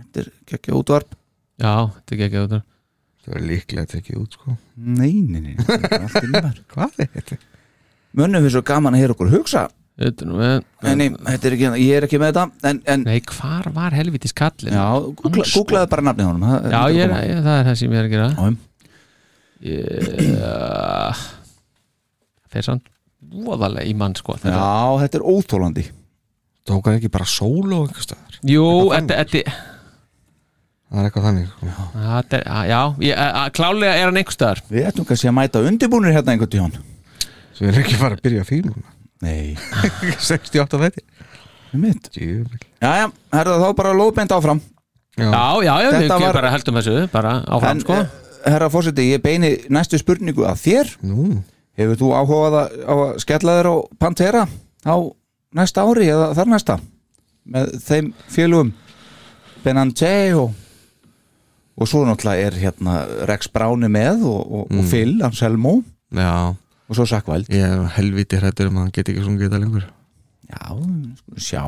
þetta er gekkja útvarp Já, þetta er ekki ekki útvarp Það er líklega tekið út sko Nei, nei, nei, þetta er allt inni maður Hvað er þetta? Mönnum við svo gaman að heyra okkur hugsa Þetta er nú með En nei, þetta er ekki, hérna, ég er ekki með þetta en, en, Nei, hvar var helvitis kallin? Já, googla, googlaðu bara nafnið honum það- Já, þetta ég, er- komið. ég, það er það sem ég er að gera Já Ég Þeir sann Voðalega í mann sko þetta. Já, þetta er óþólandi Tók hann ekki bara sólo einhvers staðar? Jú, þetta þetta- Það er eitthvað þannig sko. þetta er að- Já, ég- að- að- klálega er hann einhvers staðar Við ættum kannski að mæta undirbúnir hérna einhvern tíðan Svo við erum ekki fara að byrja að fíla núna Nei 68 þætti Mitt Djöfull. Jæja, herða þá bara lóðbeint áfram Já, já, já, við Þetta var... var- bara heldum þessu Bara áfram En, sko eh, herra fórseti, ég beini næstu spurningu að þér Nú Hefur þú áhugað að- á að skella þér á Pantera á næsta ári eða þar næsta með þeim félugum Benante og og svo náttúrulega er hérna Rex Bráni með og, og, og Phil Anselmo Já, og svo Sackvæld ég er helviti hrættur um að hann geti ekki sungið þetta lengur Já, skulum sjá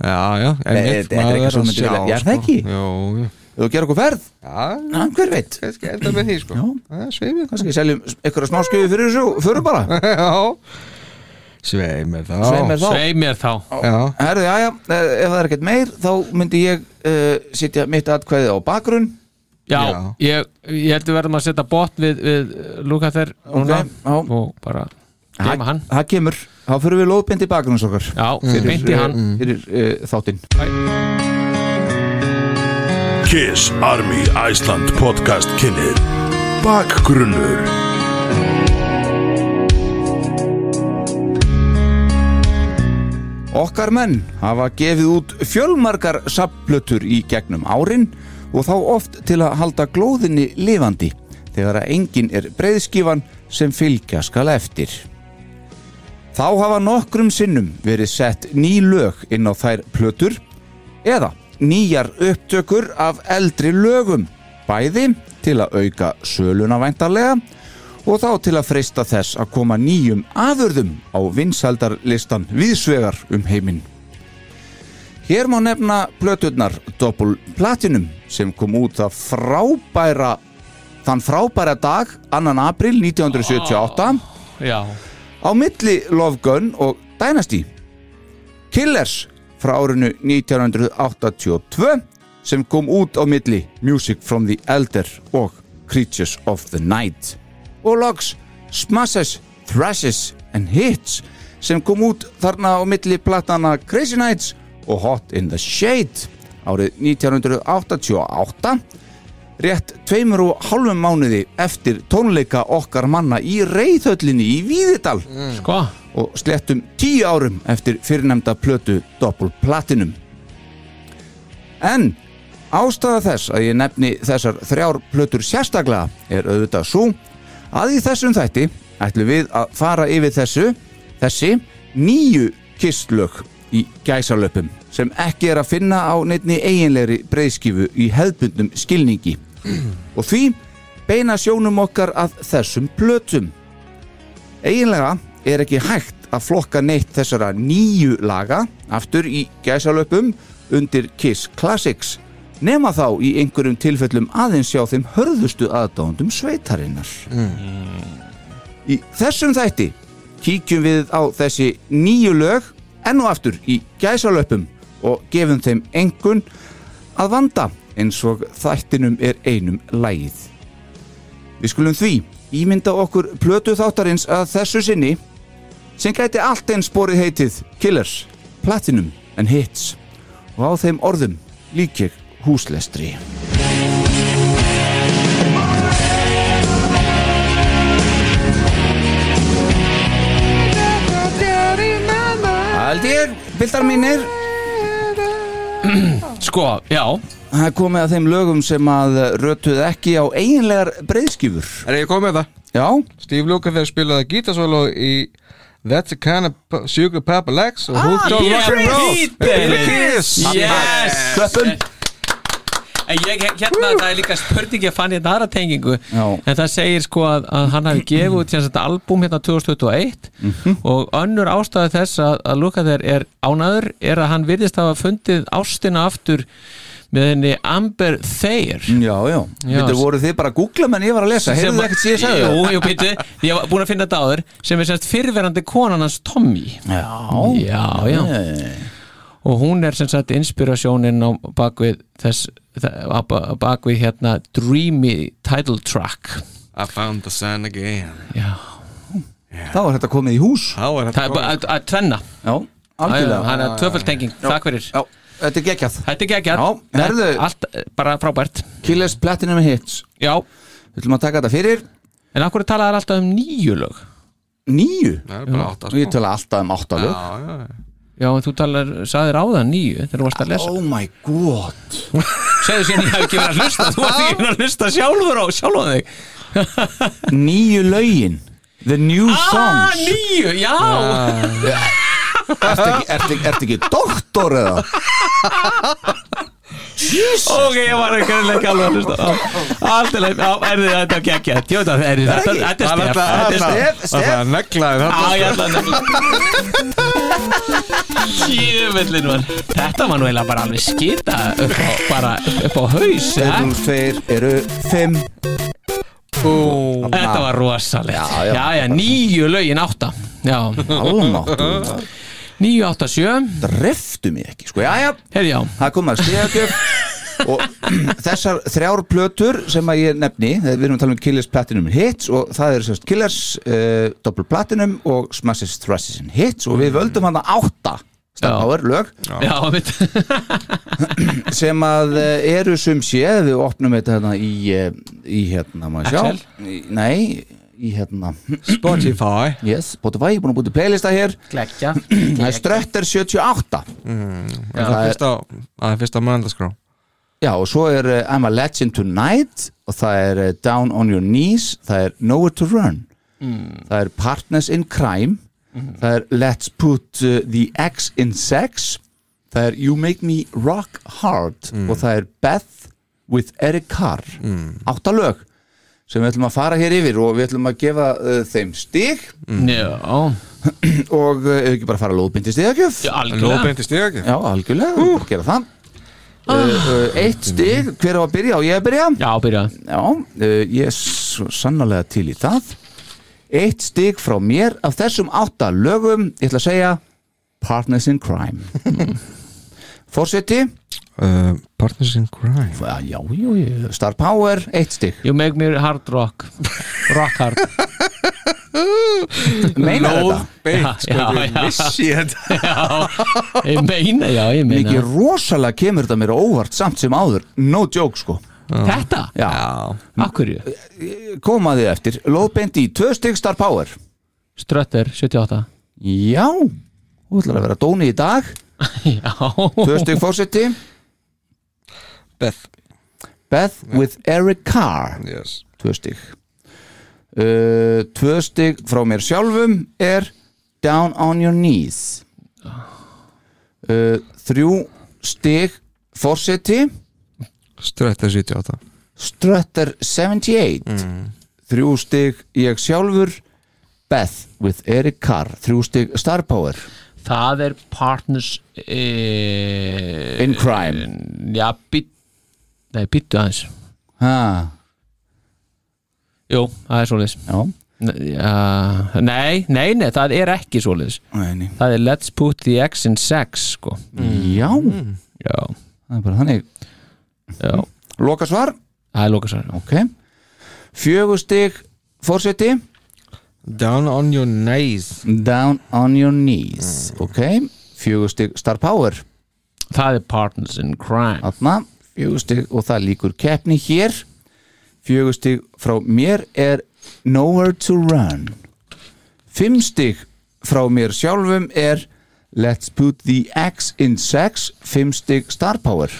Já, já, Nei, þetta er ekki svo myndið Já, er það ekki? Jó, já Ef þú gerir okkur ferð, sko. Já, na, hver veit kannski enda með því sko Já. Það er sveimir kannski seljum einhverja smá skjöfu fyrir þessu fyrir bara, Já Sveimir þá sveim er þá Svei mér þá Já, Herðu, já, já, eh, ef það er ekkert meir þá myndi ég uh, sitja mitt atkvæði á bakgrunn Já, Já. Ég, ég held við verðum að setja botn við, við Luka þær núna já. og bara gema hann Það kemur, þá fyrir við lóðbind í bakgrunns okkar Já, beint í hann eh, Fyrir uh, þáttinn Kiss Army Iceland podcast kynir Bakgrunnur Okkar menn hafa gefið út fjölmargar sapplötur í gegnum árin og þá oft til að halda glóðinni lifandi þegar að enginn er breiðskifan sem fylgja skal eftir. Þá hafa nokkrum sinnum verið sett ný lög inn á þær plötur eða nýjar upptökur af eldri lögum, bæði til að auka söluna væntarlega og þá til að freista þess að koma nýjum afurðum á vinsaldarlistan viðsvegar um heiminn. Hér má nefna plöturnar Doppel Platinum sem kom út það frábæra þann frábæra dag 2. april 1978 Já, á milli Love Gun og Dynasty Killers frá árinu 1982 sem kom út á milli Music from the Elder og Creatures of the Night og loks Smashes, Thrashes and Hits sem kom út þarna á milli platana Crazy Nights og Hot in the Shade árið 1988 rétt tveimur og hálfum mánuði eftir tónleika okkar manna í reyðhöllinni í Víðidal sko og slettum tíu árum eftir fyrirnemda plötu Doppel Platinum. En ástæða þess að ég nefni þessar þrjár plötur sérstaklega er auðvitað svo að í þessum þætti ætlum við að fara yfir þessu, þessi nýju kistlög í gæsalöpum sem ekki er að finna á neittni eiginlegri breyðskifu í hefðbundum skilningi og því beina sjónum okkar að þessum plötum eiginlega er ekki hægt að flokka neitt þessara nýju laga aftur í gæsalöpum undir Kiss Classics nema þá í einhverjum tilfellum aðeins hjá þeim hörðustu aðdándum sveitarinnar Í þessum þætti kíkjum við á þessi nýju lög enn og aftur í gæsalöpum og gefum þeim engun að vanda eins og þættinum er einum lægið Við skulum því ímynda okkur plötu þáttarins að þessu sinni sem gæti allt eins borið heitið Killers, Platinum and Hits og á þeim orðum lík ég húslestri Haldir, bildar mínir Sko, já Það er komið að þeim lögum sem að rötuð ekki á eiginlegar breyðskifur Er ég komið með það? Já Steve Lukather spilaði gítarsólu í That's the kind of p- sugar Papa likes og Ah, Hooked on Peter rock and roll Criss. Peter Criss. Yes Klöppum En ég, hérna, það er líka spurning ég fann hérna aðra tengingu en það segir sko að, að hann hafi gefið út sem sagt albúm hérna 2021 og önnur ástæði þess að, að Luka þeir er ánaður er að hann virðist hafa fundið ástina aftur með henni Amber Thayer Já, já, Þetta voru þið bara að googla menn ég var að lesa, heyrðu ekkert sem ég sagði Jú, jú, býtu, ég var búin að finna þetta áður sem er semst fyrverandi konan hans Tommy Já, já, já. og hún er sem sagt inspirasjónin á bakvið þess þa- á ba- á bakvið hérna Dreamy title track I found the sun again Já Þá er þetta komið í hús Þá er Það er bara að- að tvenna Já, algjörlega. Það er tvöföld tenging, Já. takk fyrir Já, þetta er geggjað Þetta er geggjað Já, herðu. Allt eh, bara frábært Killers Platinum Hits Já Við ætlum að taka þetta fyrir En akkur talaðar alltaf um nýju lög Nýju? Það er bara átta, sko. Ég tala alltaf um átta lög já, já Já, en þú talar, sagðir áðan nýju þegar þú varst að lesa Oh my god Segðu sér að ég hef ekki verið að hlusta Þú varst ekki verið að hlusta sjálfur á sjálfan þig Nýju lögin The new Ah, songs nýju, já Ertu ekki, ertu, ertu ekki doktor eða? Ok, ég var ekki alveg alveg að hlusta Allt er leið, já, er þið þetta er geggjað Tjóta, er þið þetta, þetta er stef Þetta er stef, Það er neglaði Já, ég ætla að Jöfellin var Þetta var nú eiginlega bara alveg skita upp á, bara upp á haus eh? Þeir tveir eru fimm Ó, Þetta var rosalegt Já, já. Já, já, nýju lögin átta Já Almáttugur. Nýju átta sjö Dreftu mig ekki, sko, já, já Herri, já Það kom að stíðagjöf og þessar þrjár plötur sem að ég nefni, við erum að tala um Killers Platinum Hits og það eru sérst Killers uh, Double Platinum og Smashes Thrashes and Hits og við völdum hann að átta stafáður lög Já, mitt sem að eh, eru sum sé við opnum þetta hérna í, eh, í hérna, maður sjá Excel? Í- Nei, í hérna Spotify Yes, Spotify, ég er búin að búið til playlista hér Klekkja Það er Strötter 78 Já, Það er fyrst á Það er fyrst á mannandaskrá Já, og svo er uh, I'm a Legend Tonight og það er uh, Down on Your Knees það er Nowhere to Run það er Partners in Crime það er Let's Put uh, the X in Sex það er You Make Me Rock Hard og það er Beth with Eric Carr átta lög sem við ætlum að fara hér yfir og við ætlum að gefa uh, þeim stig Já og uh, ef ekki bara fara lóðbindi stigagjöf Já, algjörlega. Lóðbeint í stigagjöf Já, algjörlega, uh. gera það uh, uh, Eitt stig, hver á að byrja og ég að byrja Já, byrja Já, uh, ég er svo sannarlega til í það Eitt stig frá mér af þessum átta lögum ég ætla að segja Partners in Crime Forseti uh, Partners in Crime Já, já, já, Star Power, eitt stig You make me hard rock Rock hard Meinar þetta? Lóðbeint, sko, Já, ég já. vissi þetta Já, ég meina, já, ég meina Mikið rosalega kemur þetta mér á óvart samt sem áður No joke, sko Þetta? Já, Akkurju? Komaði eftir, lóðbeint í tvö stig Star Power Strötter 78 Já, þú ætlar að vera dóni í dag Já Tvö stig fórseti Beth Beth with Eric Carr yes. Tvö stig uh, Tvö stig frá mér sjálfum er Down on your knees uh, Þrjú stig fórseti Strötta 78 Strutter 78 Þrjú stig ég sjálfur Beth with Eric Carr Þrjú stig Star Power Það er partners e... eh. In crime Já, bit Nei, býttu aðeins Ha. Jú, það er svoleiðis Já Nei, nei, nei, það er ekki svoleiðis Nei, nei. Það er let's put the X in sex sko. Já Já Það er bara þannig Já Loka svar? Það er loka svar Ok Fjögustig fórseti Down on your knees Down on your knees Ok Fjögustig star power Það er partners in crime Atna Fjögustig og það líkur keppni hér Fjögustig frá mér er Nowhere to run Fimmstig frá mér sjálfum er Let's put the X in sex Fimmstig star power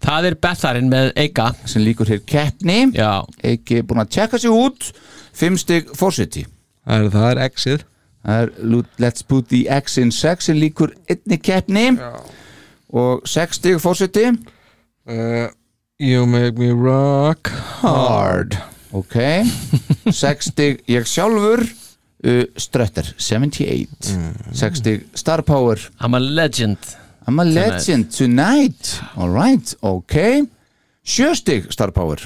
Það er betharinn með Eika sem líkur hér keppni Já. Eiki er búin að tjekka sig út Fimm stig fórseti Það er, það er X-ið Það er lu- Let's put the X in sex sem líkur einni keppni Já. og sex stig fórseti uh, You make me rock hard Ok Sex stig ég sjálfur uh, Strötter 78 Sex stig star power I'm a legend I'm a Tonight. legend tonight All right, ok Sjö stig star power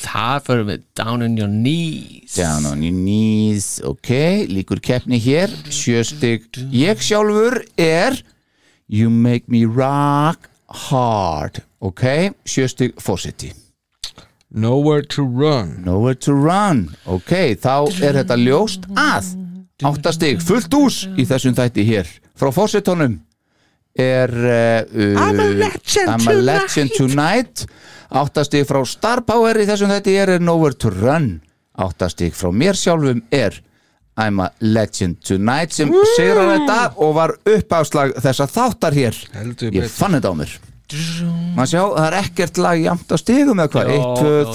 Það fyrir við down on your knees Down on your knees Ok, líkur keppni hér Sjöstig Ég sjálfur er You make me rock hard Ok, sjöstig fórseti Nowhere to run Nowhere to run Ok, þá er þetta ljóst að Áttastig, fullt ús í þessum þætti hér Frá fórsetunum er uh, I'm a legend, I'm a legend tonight áttastig frá Star Power í þessum þetta er Nowhere to Run áttastig frá mér sjálfum er I'm a legend tonight sem Woo! sigrar þetta og var uppáslag þessa þáttar hér Heldur ég betur. fann þetta á mér maður sjá, það er ekkert lag jæmt á stigum eða hvað, Já, 1,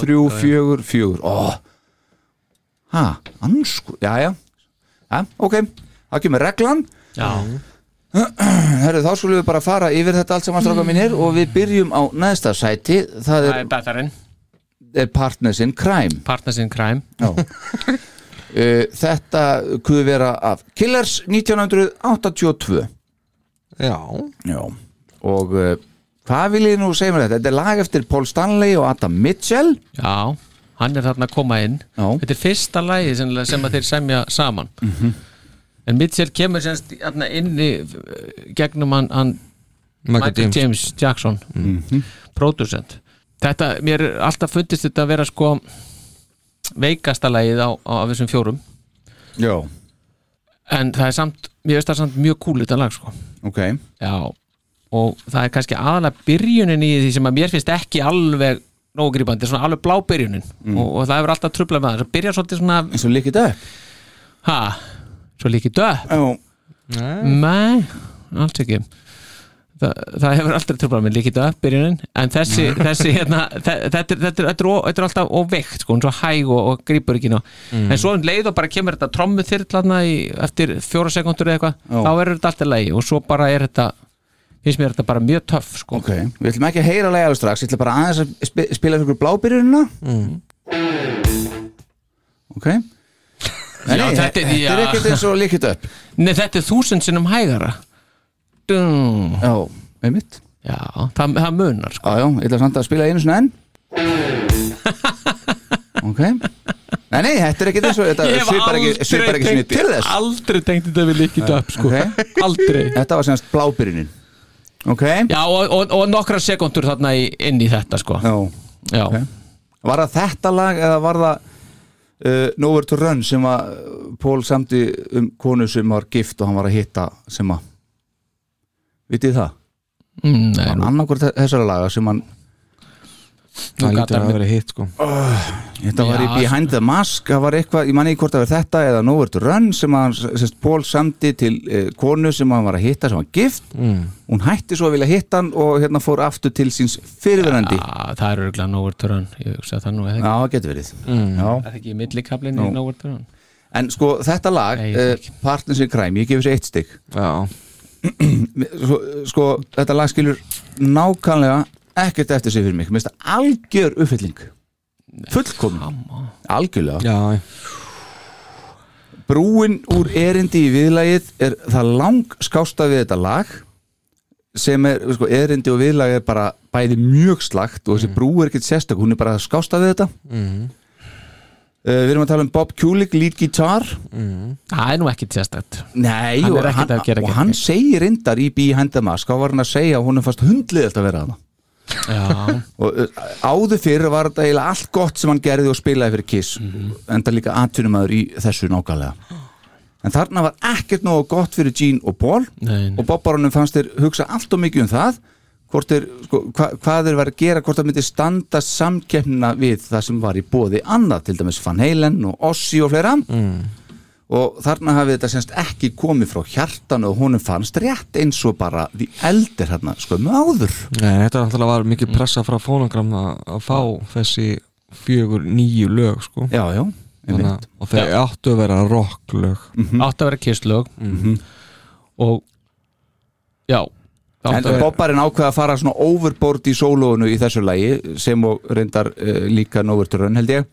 já, 2, 3, já, já. 4 4, ó ha, ansku, já já ok, það kemur reglan Já Herru, þá skulum við bara fara yfir þetta allt saman stráka mínir og við byrjum á næsta sæti það Það er, er betharinn er Partners in Crime Partners in Crime Já Uh, Þetta kuði vera af Killers 1982 Já Já Og uh, hvað vil ég nú segja mér um þetta? Þetta er lag eftir Paul Stanley og Adam Mitchell Já, hann er þarna að koma inn Já. Þetta er fyrsta lagi sem, sem að þeir semja saman Mhm. En Mitchell kemur semst þarna inn í, eh, gegnum hann, hann Michael James. James Jackson Mhm. Producent Þetta, mér er alltaf fundist þetta að vera sko veikasta lagið á, á, af þessum fjórum Já En það er samt, mér veist það samt mjög cool þetta lag sko Ok Já, og það er kannski aðalega byrjunin í því sem að mér finnst ekki alveg nógu grípandi, svona alveg blá byrjunin og, og það hefur alltaf trubla með það, það byrjar svolítið svona Mm. eins og líkið döpp ha, svo líkið döpp nei, alls ekki Þa, það hefur alltaf trubla með líkið döpp byrjunin, en þessi, þessi hérna, þe- þetta, er- þetta, er- þetta, er ó- þetta er alltaf óveikt, sko, hún er svo hæg og, og grípur ekki ná Mm. en svo um leið og bara kemur þetta trommu þyrtlaðna eftir fjóra sekundur eða Já. eitthvað þá er þetta alltaf leið og svo bara er þetta finnst mér þetta bara mjög töff sko. Ok, við ætlum ekki að heyra lagi alveg strax Ég ætla bara aðeins að spi- spila fyrir blábyrjunina mm. Ok Já, Nei, nei, Mm. þetta er- þetta er já. ekkert eins og líkið upp Nei, þetta er þúsund sinnum hægara Dung. Já, einmitt Já, það, það munar sko Já, já, ég ætla samt að spila einu svona enn Ok Nei, nei, þetta er ekkert eins og Þetta Ég hef svipar ekki, aldrei svipar ekki sinni tengt- til þess Aldrei tengt þetta við líkið upp sko. Aldrei Þetta var semst blábyrjunin Ok Já, og, og, og nokkra sekundur þarna í, inn í þetta sko. Já, já. Var það þetta lag eða var það uh, Nowhere to Run sem að uh, Pól samti um konu sem var gift og hann var að hitta sem að Vitið það? Mm, nei Var annarkvort þessara laga sem hann Það lítur að vera hitt sko Þetta var í Já, Behind the Mask, það var eitthvað, ég manni ekki hvort að vera þetta eða Nowhere to Run sem hann, semst, Pól samdi til eh, konu sem hann var að hitta sem var gift, mm. hún hætti svo að vilja hitta hann og hérna fór aftur til síns fyrirverandi. Já, það er örgulega Nowhere to Run Ég hugsa það nú eða Já, ekki það getur verið. Mm. Já. Er það ekki í millikaflinn í Nú. Nowhere to Run En sko, þetta lag, uh, Partners in Crime, ég gefur sér eitt stygg. sko, sko, þetta lag skilur nákvæmlega ekkert eftir sig fyrir mig, mér finnst það algjör uppfylling. Fullkomin. Algjörlega. Já, Brúin úr erindi í viðlagið er það lang skásta við þetta lag sem er, sko, erindi og viðlag er bara bæði mjög slagt og þessi Mm. brú er ekkert sérstök, hún er bara skástað við þetta Mhm. uh, Við erum að tala um Bob Kulik, lead guitar Það er nú ekkert sérstætt Nei, Hann og er ekkert hann, að gera og gegn hann segir reyndar í Behind the Mask, þá var hann að segja að hún er fast hundliðilt að vera þarna Já. og uh, áður fyrir var þetta eiginlega allt gott sem hann gerði og spilaði fyrir Kiss enda líka atvinnumæður í þessu nákvæmlega en þarna var ekkert nógu gott fyrir Gene og Paul Nei, og bobbarunum fannst þeir hugsa allt og mikið um það hvort þeir, sko, hva, hvað þeir var að gera hvort það myndi standa samkeppnina við það sem var í bóði annað til dæmis Van Halen og Ossi og fleira og þarna hafið þetta semst ekki komið frá hjartan og honum fannst rétt eins og bara því eldir hérna skömmu áður Nei, þetta náttúrulega var mikið pressa frá fónogram að að fá þessi fjögur nýju lög sko. Já, já Þannig, að- Og þeir áttu að vera rocklög Mhm. Átt að vera kisslög Og Já En áttu að vera- Bobbarinn ákveða að fara svona overboard í sólóinu í þessu lagi sem og reyndar uh, líka Nowhere to Run held ég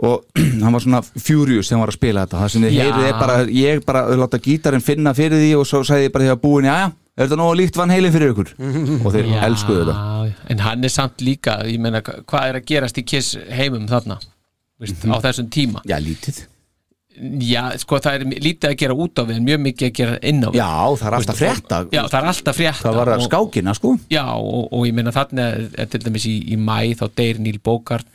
og hann var svona furious þegar hann var að spila þetta það sem þið Já. heyrið er bara, ég bara láta gítarinn finna fyrir því og svo sagði ég bara þegar búin, já, er þetta nógu líkt vann heilin fyrir ykkur og þeir Já, elskuðu þetta En hann er samt líka, ég meina hva- hvað er að gerast í Kiss heimum þarna Vist, Mhm. á þessum tíma Já, lítið Já, sko það er lítið að gera út á við en mjög mikið að gera inn á við Já, það er alltaf frétta Já, það er alltaf frétta Það var að og- skákina sko Já, og, og ég meina þarna er til dæmis í, í mæ þá deyr Neil Bogart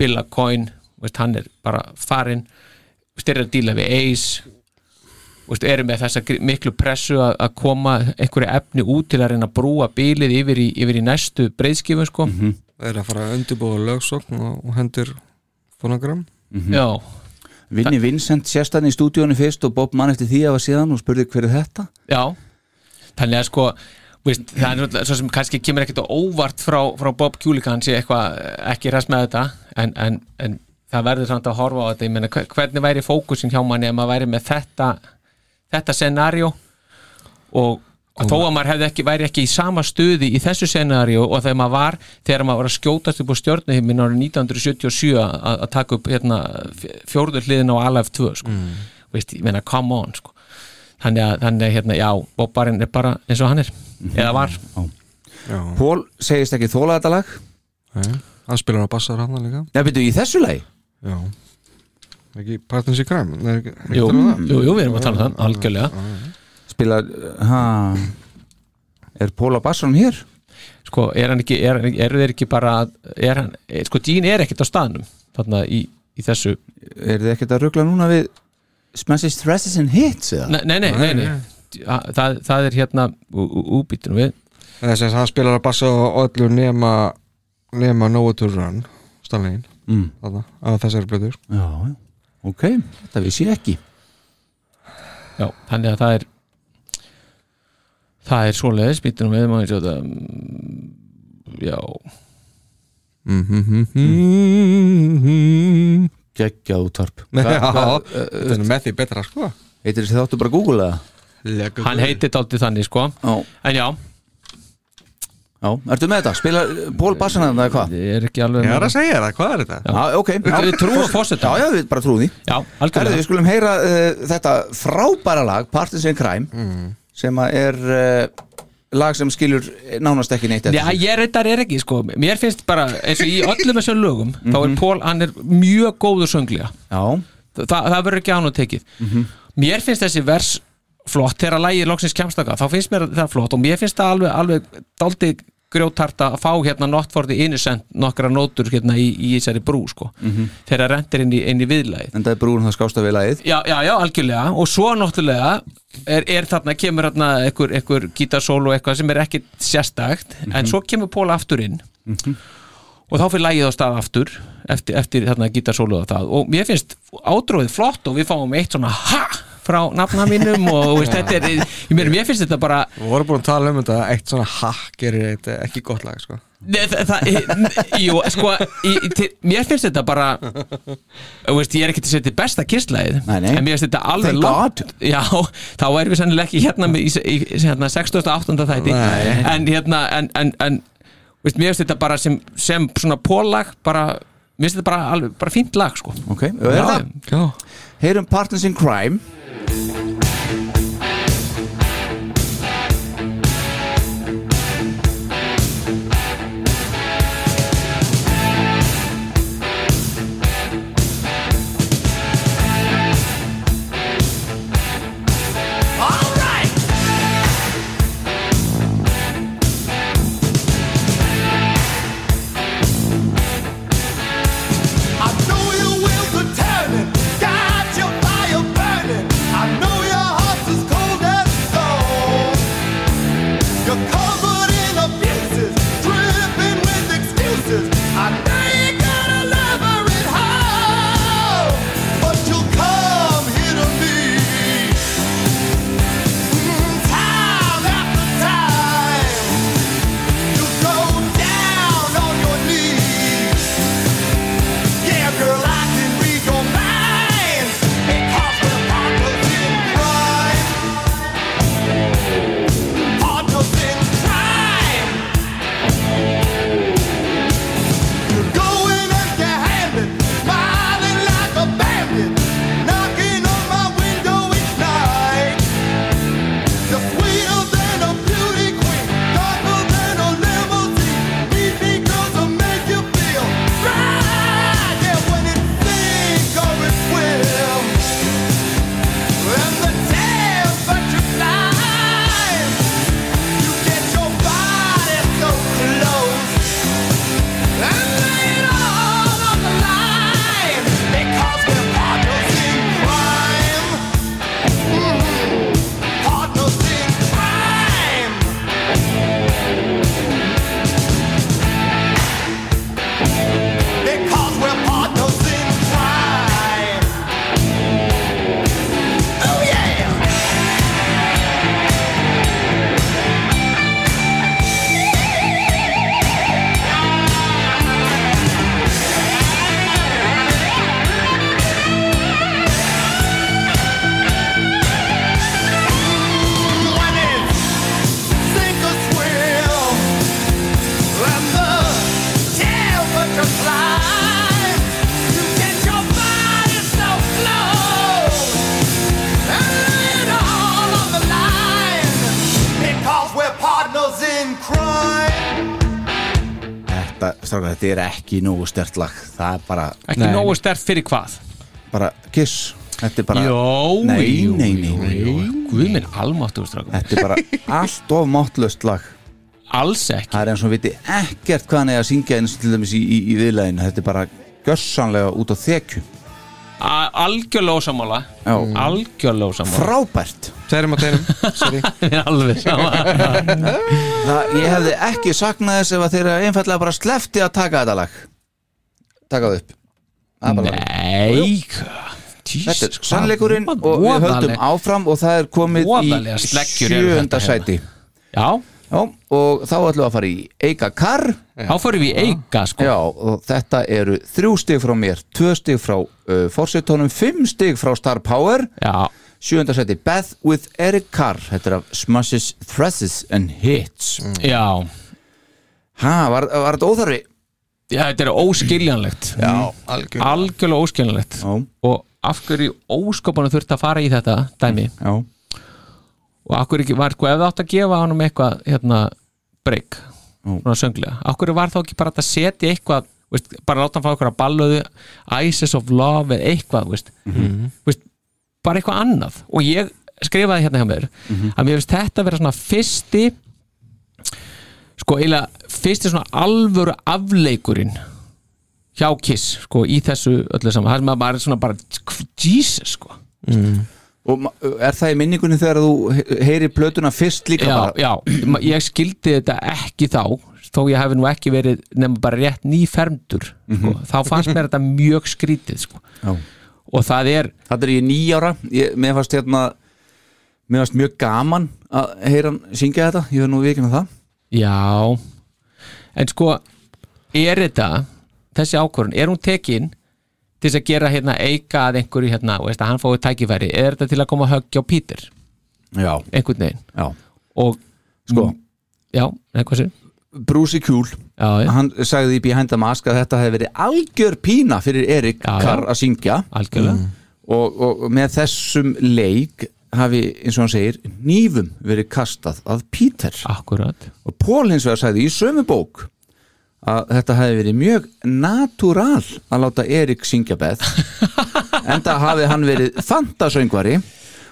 Billa Coyne, veist, hann er bara farinn veist, er að díla við Ace veist, eru með þessa gr- miklu pressu að, að koma einhverju efni út til að reyna að brúa bílið yfir í, yfir í næstu breiðskifun sko Það er að fara að undirbúa lögsokn og og hendur fonogram Já Vinni Vincent sérstann í stúdíónu fyrst og Bob mann eftir því að var síðan og spurði hver er þetta Já, þannig að sko veist, það er náttúrulega svo sem kannski kemur ekkert á óvart frá, frá Bob Kulik hann sé eitthvað eh, ekki ræst með þetta en, en, en það verður samt að horfa á þetta ég meina hver- hvernig væri fókusin hjá manni ef maður væri með þetta þetta scenario og þó að maður hefði ekki, væri ekki í sama stuði í þessu scenario og þegar maður var þegar maður var að skjótast upp á stjórnuhimmin árið 1977 að- að að taka upp hérna, fjórður hliðin á Alive 2 sko. veist, ég meina come on sko. þannig að, þannig að hérna, já, Bobbarinn er bara eins og hann er, eða var Pól segist ekki þóla þetta lag Hann spilar á bassar hann líka Nei, byrju, í þessu lagi? Já Ekki Partners in Crime Nei, ekki, ekki Jú, tala um það? jú, jú, við erum að tala um það, algjörlega. Spila, eh, ha Er Póla Basson hér? sko, er hann ekki, er, eru þeir ekki bara er hann, er, sko, Dín er ekkert á staðnum þarna í, í þessu Er þið ekkert að ruggla núna við Smashes, Stresses and Hits eða? nei, nei, nei, nei, nei. Þa- Það, það er hérna úbýtunum við Það er sem sagt, hann spilar á bassa og öllu nema nema Noah to Run Stanleyin Mm. Þarna, af þessari sko. blötu Já, já, ok, þetta vissi ég ekki Já, þannig að það er það er svoleiðis býtunum við maður sjá þetta mm, já Gekkja útvarp Já, Hvað- þetta er nú með því betra sko Heitir þessi þáttu bara að googla það? hann heitir dálítið þannig sko Já. en já, Já, ertu með þetta? Spila eh, Pól Basson að það hérna, eða hvað? Ég er ekki alveg Ég er að segja það, hvað er þetta? Já, ok Við- við trúum forseta. Já, já, við bara trúum því Já, Herðu, við skulum heyra uh, þetta frábæra lag Partins in Crime sem að er uh, lag sem skilur nánast ekki neitt eftir Já, ég reyndar er ekki sko Mér finnst bara, eins og í öllum þessum lögum þá er Pól, hann er mjög góður sönglega Já Þa, Það verður ekki án og tekið Mér finnst þessi vers flott þegar að lægið loksins kemstaka þá finnst mér það flott og mér finnst það alveg, alveg daldi grjótarta að fá hérna Notfordi Innocent nokkra nótur hérna í, í þessari brú sko Mhm. þegar rendir inn í, inn í viðlagið En það er brún það skásta við lagið Já, já, já, algjörlega og svo náttúrulega er, er þarna, kemur þarna einhver, einhver gítarsól og eitthvað sem er ekki sérstakt en svo kemur Pól aftur inn og þá fyrir lægið á stað aftur eftir, eftir þarna gítarsólu og það og mér finnst átrófið flott og við fáum eitt svona ha frá nafna mínum og, og veist, þetta er, ég meira, mér finnst þetta bara Við vorum búin að tala um þetta eitt svona hakk er þetta ekki gott lag sko Nei, það, það, jú, sko í, í- til, mér finnst þetta bara þú veist, ég er ekki til að setja besta kistlæðið Nei, nei. en mér finnst þetta alveg Thank langt já, þá erum við sennilega ekki hérna með, í, í, í hérna, 68. þætti Nei. en hérna en, en, en veist, mér finnst þetta bara sem, sem svona pólag bara, mér finnst þetta bara, alveg, bara fínt lag sko. Ok, og er það? Já Heyrum Partners in Crime Mm-hmm. strákar, þetta er ekki nógu stert lag það er bara Ekki Nei. nógu stert fyrir hvað? bara kiss þetta er bara Jó, nei, jú, nei, nei, nei, Guð minn almáttu Þetta er bara allt of máttlöst lag Alls ekki Það er eins og viti ekkert hvað hann er að syngja eins og til dæmis í, í, í viðlæðinu Þetta er bara gössanlega út á þekju A- Algjörlega ósamála Já. Algjörlega ósamála Frábært Tærum og tærum Alveg sama Það, Ég hefði ekki saknað þess ef að þeirra einfallega bara slefti að taka þetta lag Taka það upp Það er bara lag. Nei Þetta er sannleikurinn og við höldum áfram og það er komið Voðalega í sleggjur eru þetta sjöunda hérna. sæti Já. og þá ætlum við að fara í Eika Kar Þá fyrir við í Eika sko Já, og þetta eru þrjú stig frá mér, tvö stig frá uh, Forsetónum, fimm stig frá Star Power Já Sjöunda sæti Beth with Eric Carr Þetta er af Smashes, Thrashes and Hits Mm. Já Ha, var, var þetta óþarfi? Já, þetta er óskiljanlegt Já, algjörlega Algjörlega óskiljanlegt Já. Og af hverju óskopunum þurfti að fara í þetta dæmi Já Og af hverju ekki var sko Ef það átt að gefa honum eitthvað hérna Break Svona sönglega Af hverju var þá ekki bara hægt að setja eitthvað veist, Bara láta hann fá eitthvað ballöðu Ices of Love eða eitthvað veist, veist, Bara eitthvað annað Og ég skrifaði hérna hjá mér Að mér finnst þetta vera svona fyrsti sko eiginlega fyrst er svona alvöru afleikurinn hjá Kiss sko í þessu öllu saman það sem að maður er svona bara Jesus sko Mm. Og ma- er það í minningunni þegar þú he- heyrir plötuna fyrst líka já, bara? já, Ma- ég skildi þetta ekki þá þó ég hef nú ekki verið nema bara rétt nýfermdur sko. Mhm. þá fannst mér þetta mjög skrítið sko. Já. og það er Þetta er ég nýjára, ég, mér fannst hérna mér fannst mjög gaman að heyra hann syngja þetta, ég verð nú vikið með það Já En sko, er þetta þessi ákvörðun, er hún tekin til þess að gera hérna eika að einhverju hérna, og veist að hann fóið tækifæri er þetta til að koma að höggja á Pítur Já einhvern veginn Já og Sko Já, eitthvað sér Brúsi Kjúl, já, hann sagði í Behind the Mask að þetta hefði verið algjör pína fyrir Erik já. Carr að syngja Algjörlega. Mm. og, og með þessum leik hafi, eins og hann segir, nýfum verið kastað að Peter Akkurat. og Pól hins vegar sagði í sömu bók að þetta hefði verið mjög natúral að láta Erik syngja beð enda hafi hann verið fantasöngvari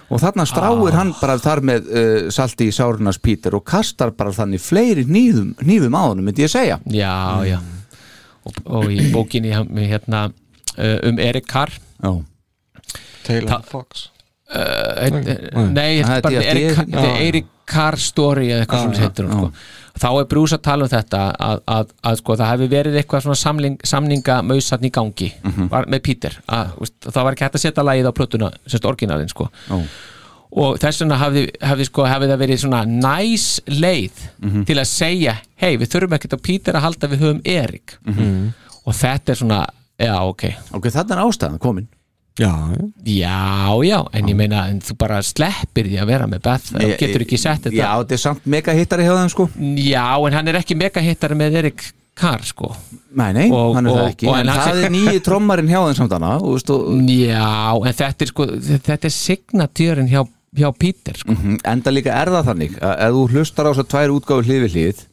og þarna stráir Ah. hann bara þar með uh, salti í sárunars Pítur og kastar bara þannig fleiri nýðum, nýðum á hann myndi ég segja Já, já og, og í bókinni hann- með hérna uh, um Erik Carr Já Taylor Fox uh, eh, Nei, Það er þetta er bara DFD, Erik- já. þetta er Erik Carr story eða eitthvað Já, svona heitir hún sko. þá er Bruce að tala um þetta að, að, að sko, það hefði verið eitthvað svona samling, samninga í gangi var, með Peter að, þú veist, það var ekki hægt að setja lagið á plötuna semst orginalinn sko Já. og þess vegna hafði, hafði, sko, hafði það verið svona nice leið til að segja hei við þurfum ekkert á Peter að halda við höfum Erik og þetta er svona já ok ok, þetta er ástæðan komin já, já, já en ég meina en þú bara sleppir því að vera með Beth Nei, þú getur ekki sett þetta Já, þetta er samt mega hittari hjá þeim sko Já, en hann er ekki megahittari með Erik Carr sko Nei, nei, Og- hann er og- það ekki og en En hann- það er nýji trommarinn hjá þeim samt hana og, veist, og, Já, en þetta er sko þetta er signatúrin hjá, hjá Peter sko. Mhm, Enda líka er það þannig að ef þú hlustar á þess að tvær útgáfi hlið við hlið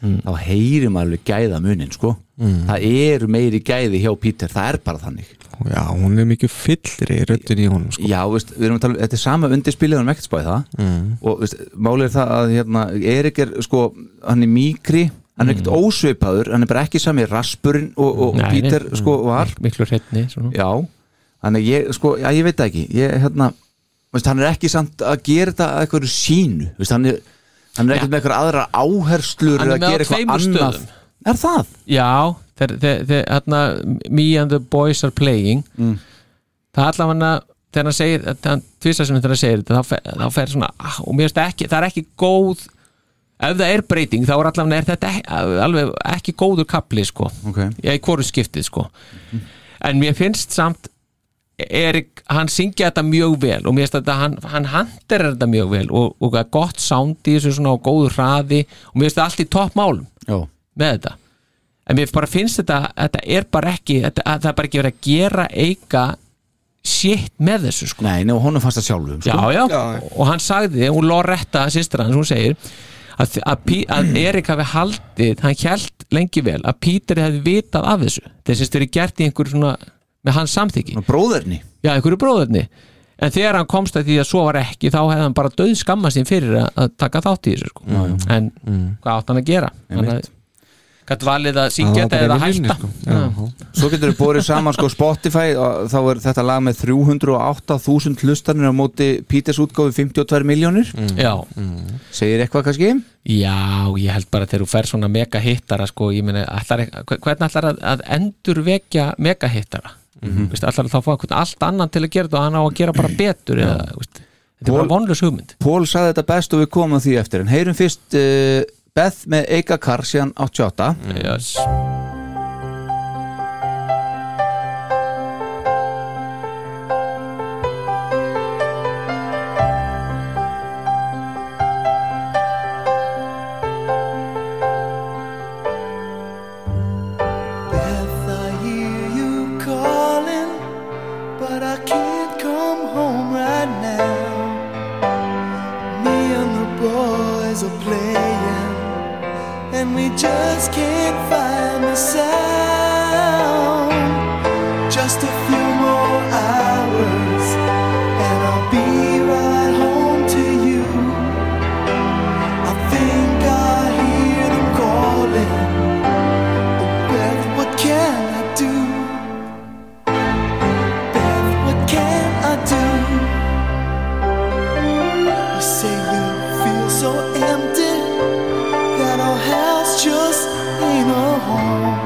Mm. þá heyrir maður alveg gæða munin sko. það er meiri gæði hjá Peter það er bara þannig já, hún er mikið fyllri röddin í honum sko. Já, veist, við erum að tala um, þetta er sama undirspilið við erum ekkert spáði það mm. og veist, málið er það að hérna, Erik er sko, hann er mýkri hann er ekkert ósveipaður, hann er bara ekki sami raspurinn og, Mm. og Nei, nei. Peter sko var miklu hreitni Já, þannig að ég, sko, já, ég veit það ekki ég, hérna, veist, hann er ekki samt að gera þetta að eitthvað sínu veist, hann, er, hann er ekkert með eitthvað aðra áherslur Hann er eða með á gera eitthvað tveimur annað. stöðum. Er það? Já, þeir, þeir, þeir, þarna Me and the Boys are playing það er allavega þegar hann segir, tvisar sem þegar hann segir þetta, þá fer, þá fer svona, ah, og mér finnst ekki það er ekki góð ef það er breyting, þá er allavega er þetta ekki, alveg ekki góður kapli sko okay. Já, í hvoru skiptið sko en mér finnst samt Erik, hann syngja þetta mjög vel og mér finnst þetta, hann, hann handir þetta mjög vel og, og það er gott sound í þessu svona og góður hraði og mér finnst þetta allt í toppmálum Já. með þetta en mér bara finnst þetta, þetta er bara ekki þetta, að það er bara ekki verið að gera eika shit með þessu sko Nei, og honum fannst það sjálfum sko. já, já. og hann sagði, hún Loretta sýstra hans, hún segir að, að, Pí- að Erik hafi haldið, hann hjælt lengi vel að Píteri hefði vitað af þessu þessi styrir gert í einhverju svona með hans samþyggi bróðurni já, einhverju bróðurni en þegar hann komst að því að svo var ekki þá hefði hann bara döð skamma sín fyrir að- að taka þátt í þessu sko. en hvað átt hann að gera hann að gætt valið að syngja þetta eða hætta sko. Já. Svo getur við borið saman sko Spotify og þá er þetta lag með 308.000 hlustanir á móti Peters útgáfi 52 miljónir Já Segir eitthvað kannski? Já, ég held bara þegar þú fer svona mega hittara sko, ég meni, allar, hvernig ætlar að, að endur vekja mega hittara mm -hmm. allar að þá fá einhvern allt annan til að gera þetta og hann á að gera bara betur eða, veist, þetta er bara vonlös hugmynd Pól saði þetta best og við komum að því eftir en heyrum fyrst uh, Beth með Eika Kar síðan 88 yes. Beth, I hear you calling, but I can't come home right now. Me and the boys are playing, and we just can't find the sound. Just a few more hours, and I'll be right home to you. I think I hear them calling. Beth, what can I do? Beth, what can I do? You say you feel so empty that our house just ain't a home.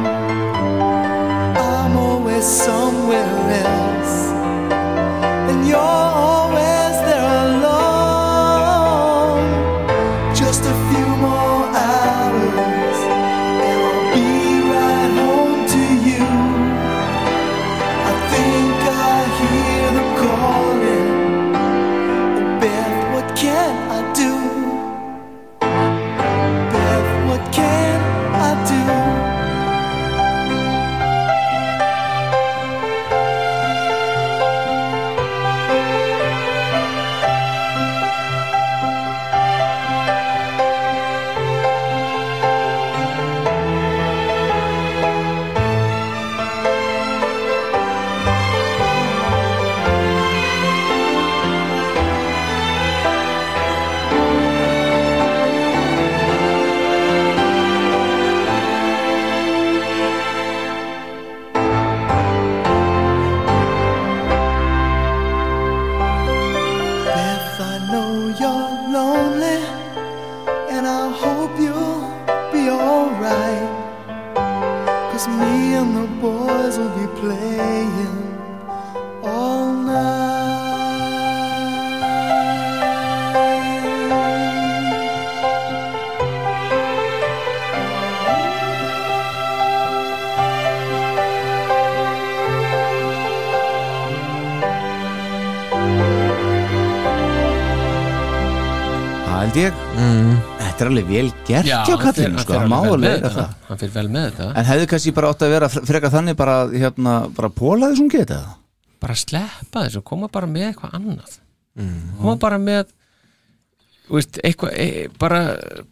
I'm always somewhere else, and you're always there alone. Just a few more hours be right home to you. I think I hear them calling. Oh, Beth, what can I do? Beth, what can I do? Beth, I know you're lonely, and I hope you'll be alright. Cause me and the boys will be playing all night. Það held ég Þetta er alveg vel gert Mm. Já, hjá hann fer- kallinu hann sko, fer það má alveg vel að með leika þetta. það hann fyrir vel með þetta En hefði kannski bara átt að vera fre- frekar þannig bara, hérna, bara pólaði svona geta það bara sleppa þessu, koma bara með eitthvað annað koma bara með þú veist, eitthvað e, bara,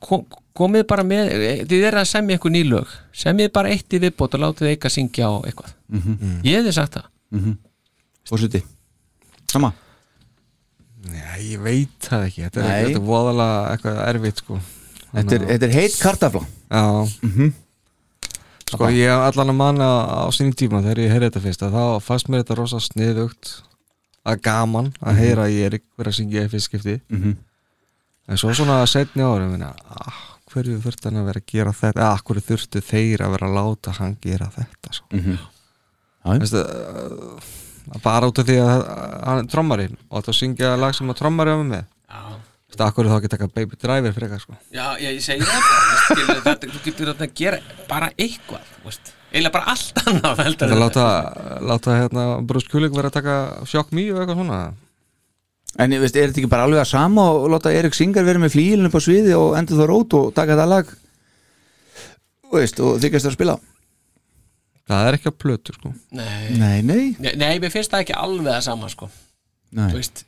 kom, komið bara með e, þið er að semja eitthvað nýlög semjið bara eitt í viðbót og látið eitthvað syngja á eitthvað Mhm. ég hefði sagt það Fórseti Sama Já, ég veit það ekki Þetta er, Nei. þetta er voðalega eitthvað erfitt sko. Þetta er- þetta er heit kartafla. Já Mhm. Sko ég hef allan að manna á sínum tíma þegar ég heyrði þetta fyrst að þá fannst mér þetta rosa sniðugt að gaman að heyra að ég er ykkur að syngja í fyrst skipti Mhm. en svo svona setni árum minna, ah, hverju þurfti hann að vera að gera þetta eða ah, hverju þurftu þeir að vera að láta hann gera þetta sko. Mhm. Veistu, uh, bara út af því að að hann er trommari og þetta að syngja lag sem að trommari var með Þetta akkur þá ekki taka Baby Driver frekar sko. já, já, ég segi það bara, skilur, þetta, þú getur þetta að gera bara eitthvað þú veist. eiginlega bara allt annað heldur Þetta en- láta, láta hérna, Bruce Kulik vera að taka Shock Me og eitthvað svona En ég veist, er þetta ekki bara alveg að sama og láta Erik Singer vera með flílinn upp á sviði og endur það rót og taka þetta lag og veist, og þykast það að spila Það er ekki að plötu sko Nei. Nei, nei Nei, nei, mér finnst það ekki alveg það sama sko. Nei. Þú veist,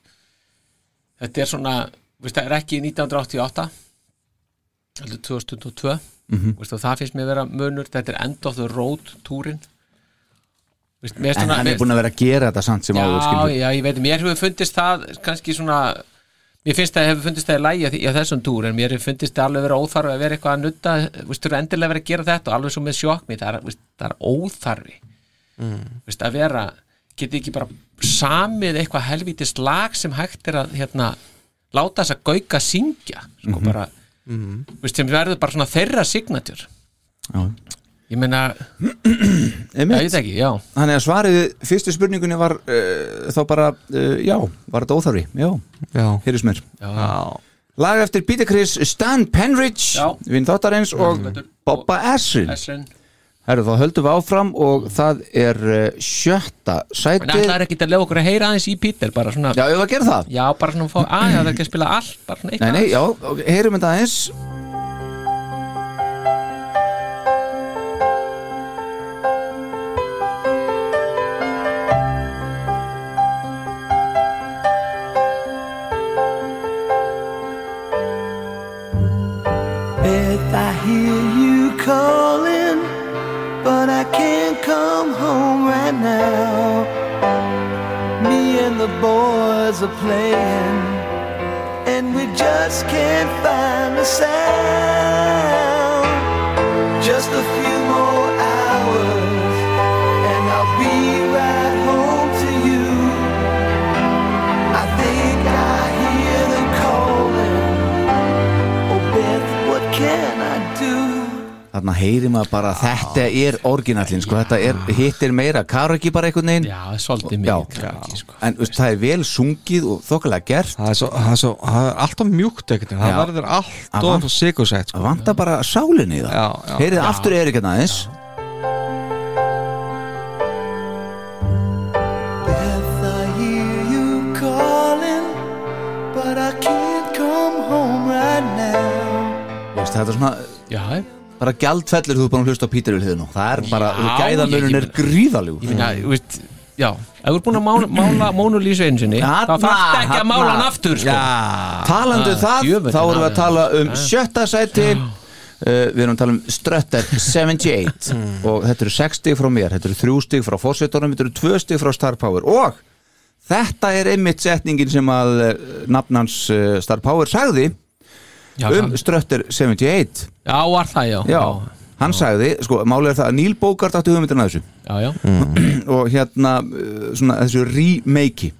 Þetta er svona þú veist, Það er ekki 1988 heldur 2022 Mhm. mm og það finnst mér vera munur þetta er end of the road túrin Vist, mér finnst En svona- hann mér- er búin að vera að gera þetta samt sem áður já, skilur já, ég veit, mér hefur fundist það kannski svona mér finnst það hefur fundist það í lægi á þessum túr en mér hefur fundist það alveg vera óþarfi að vera eitthvað að nutta, þú eru endilega verið að gera þetta og alveg svo með sjokkmi, það er, veist, það er óþarfi Mm. veist, að vera geti ekki bara samið eitthvað helvítist lag sem hægt er að hérna, láta þess að gauka syngja sko Mhm. bara veist, sem verður bara svona þeirra signatur Já. ég meina Einmitt. Já, ég veit ekki, já Þannig að svarið fyrstu spurningunni var uh, þá bara, uh, já, var þetta óþarfi Já, já. heyrðis mér já. Lag eftir Peter Chris, Stan Penridge Já. Vinn Þáttarins og Heldur. Bobba Essin Essin. Herru, þá höldum við áfram og það er uh, sjötta En það sætið er ekki að lefa okkur að heyra aðeins í Peter bara svona Já, ef að gera það Já, bara svona fá, að það er ekki að spila allt bara svona Nei, eitthvað nei, já, ok, heyrum þetta aðeins If I hear you calling, but I can't come home right now. Me and the boys are playing, and we just can't find the sound. Just a few more hours, and I'll be right home to you. I think I hear them calling. Oh, Beth, what can I do? Þarna heyrim að bara þetta er orginallin sko, þetta er, hittir meira karaki bara einhvern veginn Já, svolítið mikið karaki sko En veist, það er vel sungið og þokkalega gert Það er, svo, það er, svo, það er alltaf mjúkt ekkert Það Já. verður alltaf sigursætt sko. Það vantar bara sálinni í það Já, já. Heyrið Já. aftur Erik hérna aðeins Beth, I hear you calling, but I can't come home right now. veist, Þetta er svona já. bara gjaldfellur þú er búin að hlusta á Pítur við hliðinu Það er bara, Já, gæðanurinn ég- er gríðaljú Ég meina, þú veist, já Ef þú er búin að mála, mála Mónulísu einu sinni þá þarfst ekki að mála hann aftur sko Talandu Ah, um það, djöfullinn þá erum við aðeins. að tala um Ah. sjötta sæti uh, Við erum að tala um Strötter 78 Hmm. Og þetta eru 6 stig frá mér Þetta eru 3 stig frá fórsetunum Þetta eru 2 stig frá Star Power Og þetta er einmitt setningin sem að uh, nafnans uh, Star Power sagði Já, um Strötter 78 Já, var það, já Já, hann sagði, sko, málið er það að Neil Bogart átti hugmyndina að þessu Já, já og hérna uh, svona þessu remake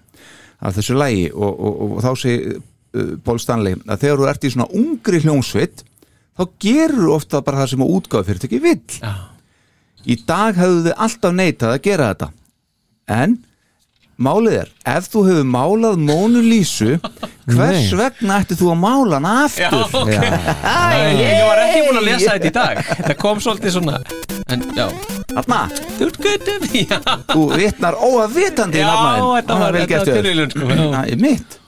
af þessu lægi og, og, og, þá segir uh, Paul Stanley að þegar þú ert í svona ungri hljómsveit þá gerur ofta bara það sem að útgáðu fyrir ekki vill Já. í dag hefðu þið alltaf neitað að gera þetta en málið er ef þú hefur málað Mónu Lísu hvers Nei. vegna ætti þú að mála hana Já, aftur ok Æ, Ég var ekki búin að lesa þetta í dag Þetta kom svolítið svona En, já Þarna Þú ert guttum Já Þú vitnar óafvitandi í Ah, Já, nafnaðinn þetta var- þetta var tilviljun, sko. Já. Það er mitt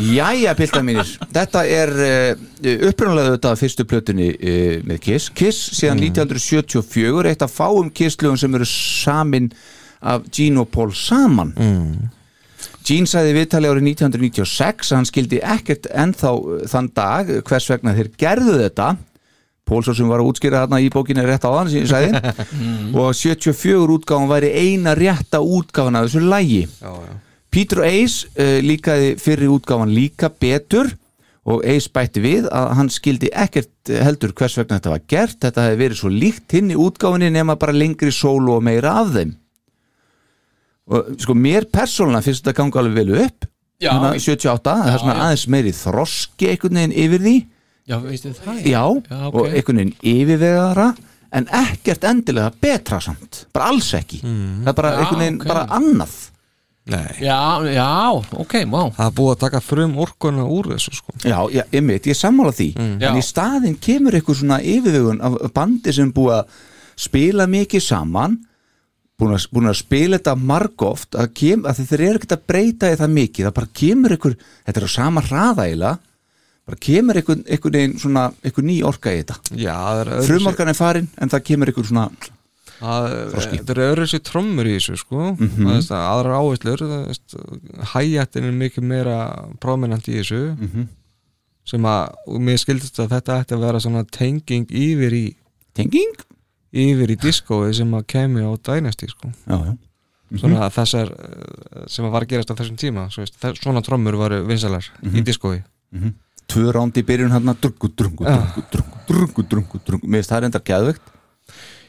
Jæja, pilda mínir Þetta er uh, upprunalega þetta fyrstu plötunni uh, með Kiss Kiss Mm. síðan 1974 eitt af fáum Kisslögum sem eru samin af Gene og Paul saman mm. Gene sagði í viðtali árið 1996 að hann skildi ekkert ennþá eh, þann dag hvers vegna þeir gerðu þetta Pólsson sem var að útskýra þarna í bókinni rétt áðan sem ég sagði og 74 útgáfan væri eina rétta útgáfan af þessu lægi Peter og Ace uh, líkaði fyrri útgáfan líka betur og Ace bætti við að hann skildi ekkert eh, heldur hvers vegna þetta var gert þetta hefði verið svo líkt hinn í útgáfinni nema bara lengri sólu og meira af þeim og sko mér persónulega finnst þetta ganga alveg vel upp Já. Þannig að 78, það er svona aðeins meiri þroski einhvern veginn yfir því Já, veistu það já, ok. og einhvern veginn yfirvegaðara en ekkert endilega betra samt bara alls ekki það er Mm. bara Já, einhvern veginn ok. bara annað Nei. Já, já, ok, má Það er búið að taka frum orkuna úr þessu sko. já, já, einmitt, ég sammála því Mm. Já. en í staðinn kemur eitthvað svona yfirvegun af af bandi sem er búið að spila mikið saman búin að, búin að spila þetta margóft að, kem, að þeir eru ekkert að breyta í það mikið það bara kemur einhver, þetta er á sama hraðæla bara kemur einhvern, einhvern veginn svona einhver ný orka í þetta Já, það er öðruvísi- frumorkan er farin en það kemur einhver svona Það það eru öðru sér trommur í þessu sko. mm Mhm. -hmm. aðrar áherslur hæjættin er mikið meira prominent í þessu sem að, og mér skildist að þetta ætti að vera svona tenging yfir í tenging? yfir í diskóið sem að kemi á Dynasty sko já, já. svona Mhm. þessar eh, sem að var að gerast á þessum tíma svo veist, þess, svona trommur varu vinsalar í Mhm. diskói Mhm. Tvö rándi í byrjun hann drungu, drungu, drungu, drungu, drungu, drungu, drungu Mér finnst það reyndar geðvegt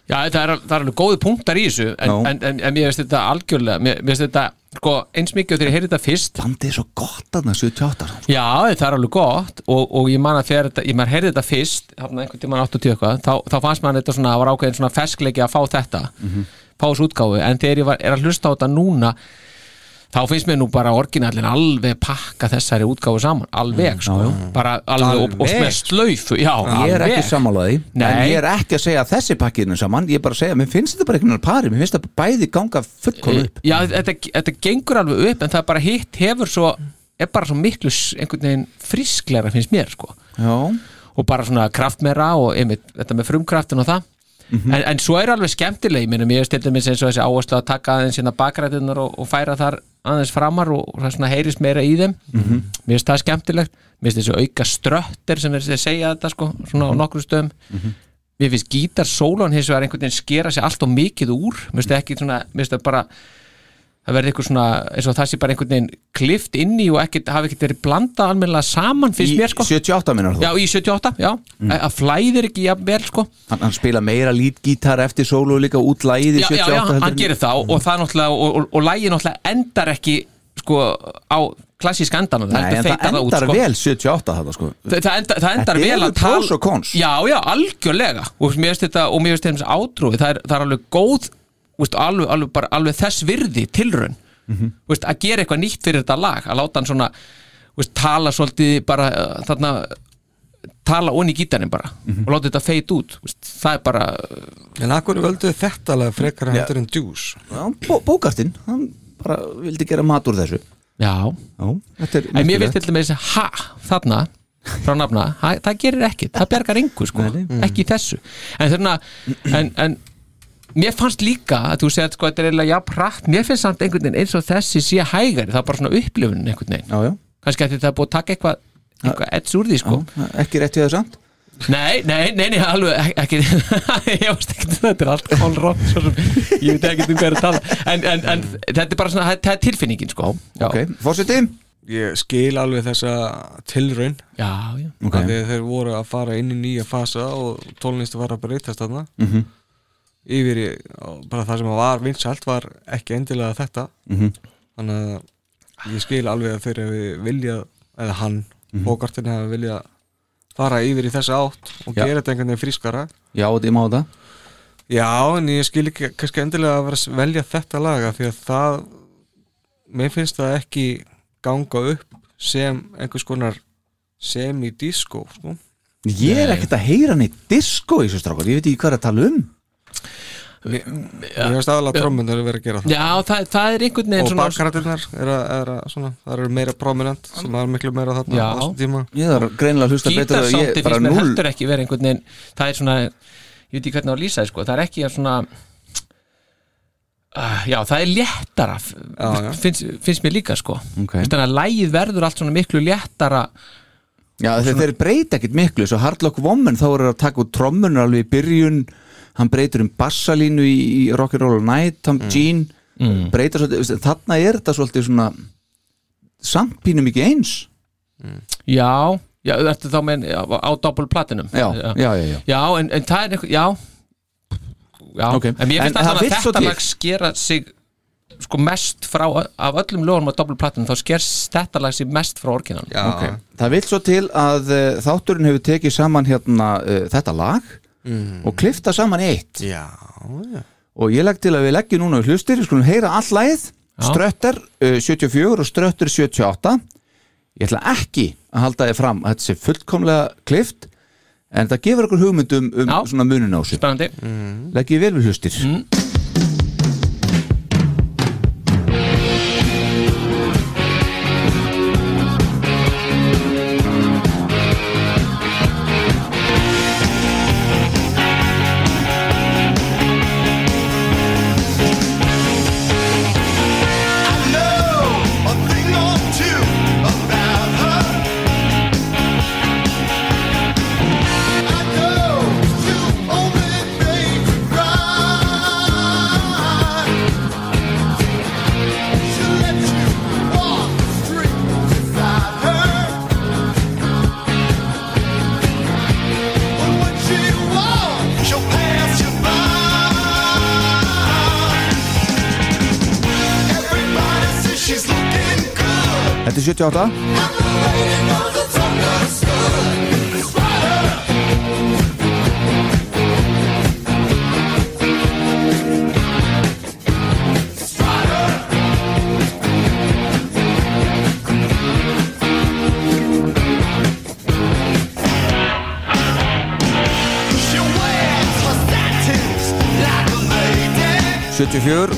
Já, það er, það er alveg góði punktar í þessu en, Já. en, en, en mér finnst þetta algjörlega mér, mér finnst þetta, sko, eins mikið og þegar ég heyrði þetta fyrst sko. Bandið er svo gott aðna, 78 ára Já, það er alveg gott og, og ég man að þegar þetta, ég maður heyrði þetta fyrst þarna einhvern tímann 80 eitthvað, þá, þá fannst maður þetta svona, það var ákveðin svona ferskleiki að fá þetta fá þessu útgáfu, en þegar ég var, er að hlusta á þetta núna þá finnst mér nú bara orginallin alveg pakka þessari útgáfu saman, alveg sko, bara alveg, og, og Alveg, með slaufu já, Ég er alveg. ekki sammálaði En Nei. ég er ekki að segja að þessi pakkiðinu saman Ég er bara að segja, mér finnst þetta bara einhvern veginn pari Mér finnst þetta bæði ganga fullkomlega upp Já, þetta, þetta gengur alveg upp en það er bara hitt hefur svo er bara svo miklu s- einhvern veginn frískleira finnst mér sko Já. og bara svona kraftmera og einmitt, þetta með frumkraftin og það Mhm. en, en svo er alveg skemmtileg, ég minna mér stildi mér eins og þessi áherslu að taka aðeins hérna bakrætunar og, og færa þar aðeins framar og, og það svona heyrist meira í þeim Mhm. mér finnst það skemmtilegt, mér finnst þessi auka ströttir sem er að segja þetta sko svona á Mhm. nokkru stöðum mér finnst gítarsólan hins vegar einhvern veginn skera sér allt og mikið úr mér finnst það ekki svona, mér finnst það bara það verði eitthvað svona, eins og það sé bara einhvern veginn klift inn í og ekkit, hafi ekkert verið blandað almennilega saman, finnst Í mér sko 78 minnar þú Já, í 78, já, mm. að flæðir ekki jafn vel sko hann, hann spila meira lítgítar eftir sólu líka út lægið í já, 78 já, já, heldur hann en- gerir það og, og það náttúrulega, og, og, og lægi náttúrulega endar ekki sko á klassísk endan á Nei, en heldur það feitar endar út, sko. vel 78 þetta sko Þa- það, enda, það endar Þetta vel eru að tala pros og cons. já, já, algjörlega og mér finnst þetta, og mér finnst þetta átrúið það er, það er alveg góð veist, alveg, alveg, bara, alveg þess virði tilraun Mhm. veist, að gera eitthvað nýtt fyrir þetta lag að láta hann svona veist, tala svolítið bara uh, þarna tala onni í gítarinn bara Mhm. og láta þetta feit út veist, það er bara uh, en akkur völdu þetta lag frekar Já. heldur en djús bó, Bókastinn, hann bara vildi gera mat úr þessu Já, þetta er en mér finnst til dæmis ha, þarna, frá nafna ha, það gerir ekkit, það bjargar engu sko ekki í þessu en, þarna, en, en mér fannst líka að þú segir sko, þetta er eiginlega jafn rætt mér finnst samt einhvern veginn eins og þessi sé hægari það er bara svona upplifun einhvern veginn já, já. kannski að þetta er búið að taka eitthvað eitthvað ets úr því sko ekki rétt við það samt Nei, nei, nei, nei, alveg e-, ekki, ég veist ekki þetta er allt kólrótt svo sem ég veit ekki um hvað er að tala en, en, en þetta er bara svona, þetta er tilfinningin sko Já. Ok, fórseti ég skil alveg þessa tilraun já, já. Ok. þegar þeir voru að fara inn í nýja fasa og tónlistu var að breytast þarna Mhm. yfir í á- bara það sem var vinsalt var ekki endilega þetta Mhm. þannig að ég skil alveg að þeir hefði viljað eða hann, mm Mhm. hafi viljað fara yfir í þessa átt og Já. gera þetta einhvern veginn frískara Já, þetta er máta Já, en ég skil ekki kannski endilega að vera að velja þetta laga því að það mér finnst það ekki ganga upp sem einhvers konar sem í disco sko. Ég er ekkert að heyra neitt disco í þessu strákar, ég veit ekki hvað er að tala um Mér mér finnst aðalega trommunar að vera að gera það Já, það, það er einhvern veginn og svona- bakkarættirnar er að, er að svona, það eru meira prominent sem er miklu meira þarna Já. á þessum tíma Ég þarf greinilega að hlusta betur og ég Gítarsátti bara finnst mér núll- heldur ekki vera einhvern veginn Það er svona, ég veit ekki hvernig á að lýsa því sko Það er ekki að svona uh, Já, það er léttara f- já. finnst, finnst mér líka sko Ok. Þannig að lægið verður allt svona miklu léttara Já, þeir, þeir breyta ekkert miklu Svo Hardlock Woman þá eru að taka út trommunar alveg í byrjun Hann breytir um bassalínu í, í Rock'n'Roll All Night, Tom Jean mm. Breytar svolítið, veist, þarna er þetta svolítið svona Samt pínum ekki eins Já, já, ertu þá með já, á doppel platinum Já, já, já, já. en, en það er einhvern, já Já, Ok. en mér finnst En það alltaf að vill svo þetta til. lag skera sig sko mest frá, af öllum lögunum á doppel platinum, þá sker þetta lag sig mest frá orginal Já, Ok. Það vil svo til að uh, þátturinn hefur tekið saman hérna uh, þetta lag og klifta saman í eitt Mm. Já, já. og ég legg til að við leggjum núna í hlustir við skulum heyra all lagið ströttar uh, 74 og ströttar 78 ég ætla ekki að halda þið fram að þetta sé fullkomlega klift en það gefur okkur hugmyndum um svona munin á sig Spennandi Mm. Leggjum vel við hlustir I know a thing or two about her. 1978 74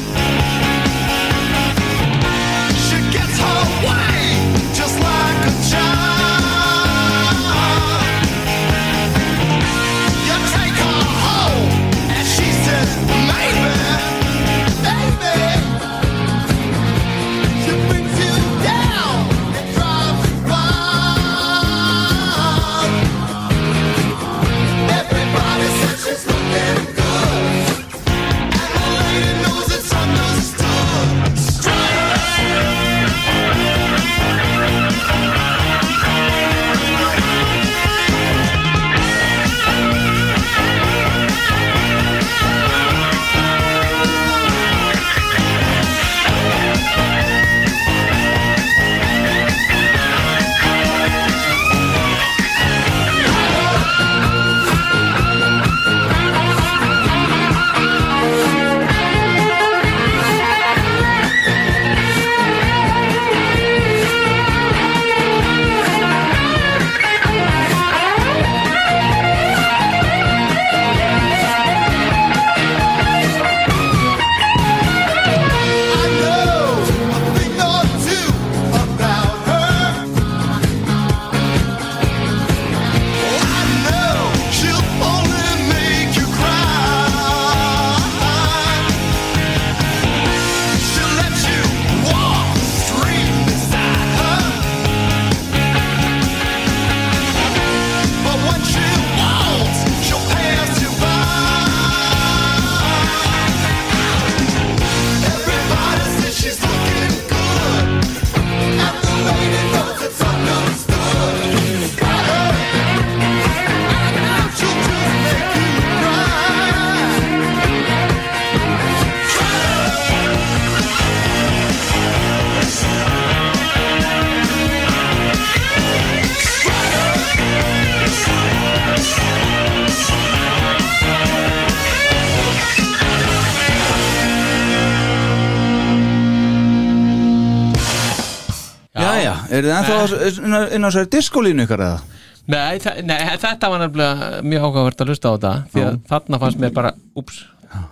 Jæja, eru þið Eh. ennþá inn á- inn á sér diskolínu ykkar eða? Nei, þa- nei, þetta var nefnilega mjög áhugavert að hlusta á þetta því að þarna fannst mér bara, úps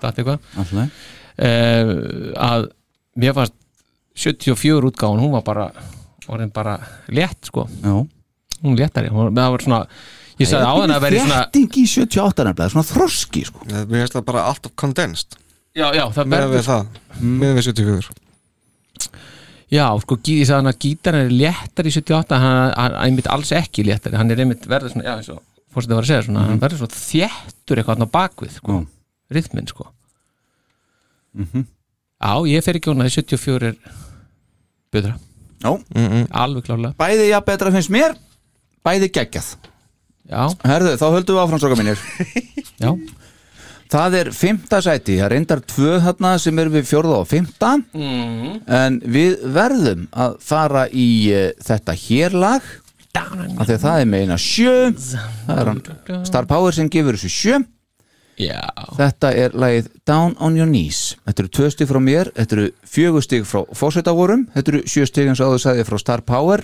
datt eitthvað Alltaf uh, að mér fannst 74 útgáfan, hún var bara orðin bara létt sko Já. hún léttari, hún, það var svona ég sagði á henni að vera í svona Þétting í 78 nefnilega, svona þroski sko Mér finnst það bara alltaf condensed já, já, það Meðan verður- við það, meðan við 74 Já, sko, gí- ég sagði hann að gítarinn er léttar í 78, hann hann er einmitt alls ekki léttari, hann er einmitt verður svona, já, eins og fórsetið var að segja svona, hann verður svona þéttur eitthvað hann á bakvið, sko, mm. rithminn, sko. Já, ég fer ekki hún að 74 er betra. Já. Alveg klálega. Bæði já betra finnst mér, bæði geggjað Já Herðu, þá höldum við áfram stróka mínir Já Það er fymta sæti, það er reyndar tvö þarna sem eru við fjórða og fymta Mhm. En við verðum að fara í uh, þetta hér lag af því að það er með eina sjö Það er hann Star Power sem gefur þessu sjö Já Þetta er lagið Down on Your Knees Þetta eru tvö stig frá mér, þetta eru fjögur stig frá fósveitavorum, þetta eru sjö stig eins og áður sagði frá Star Power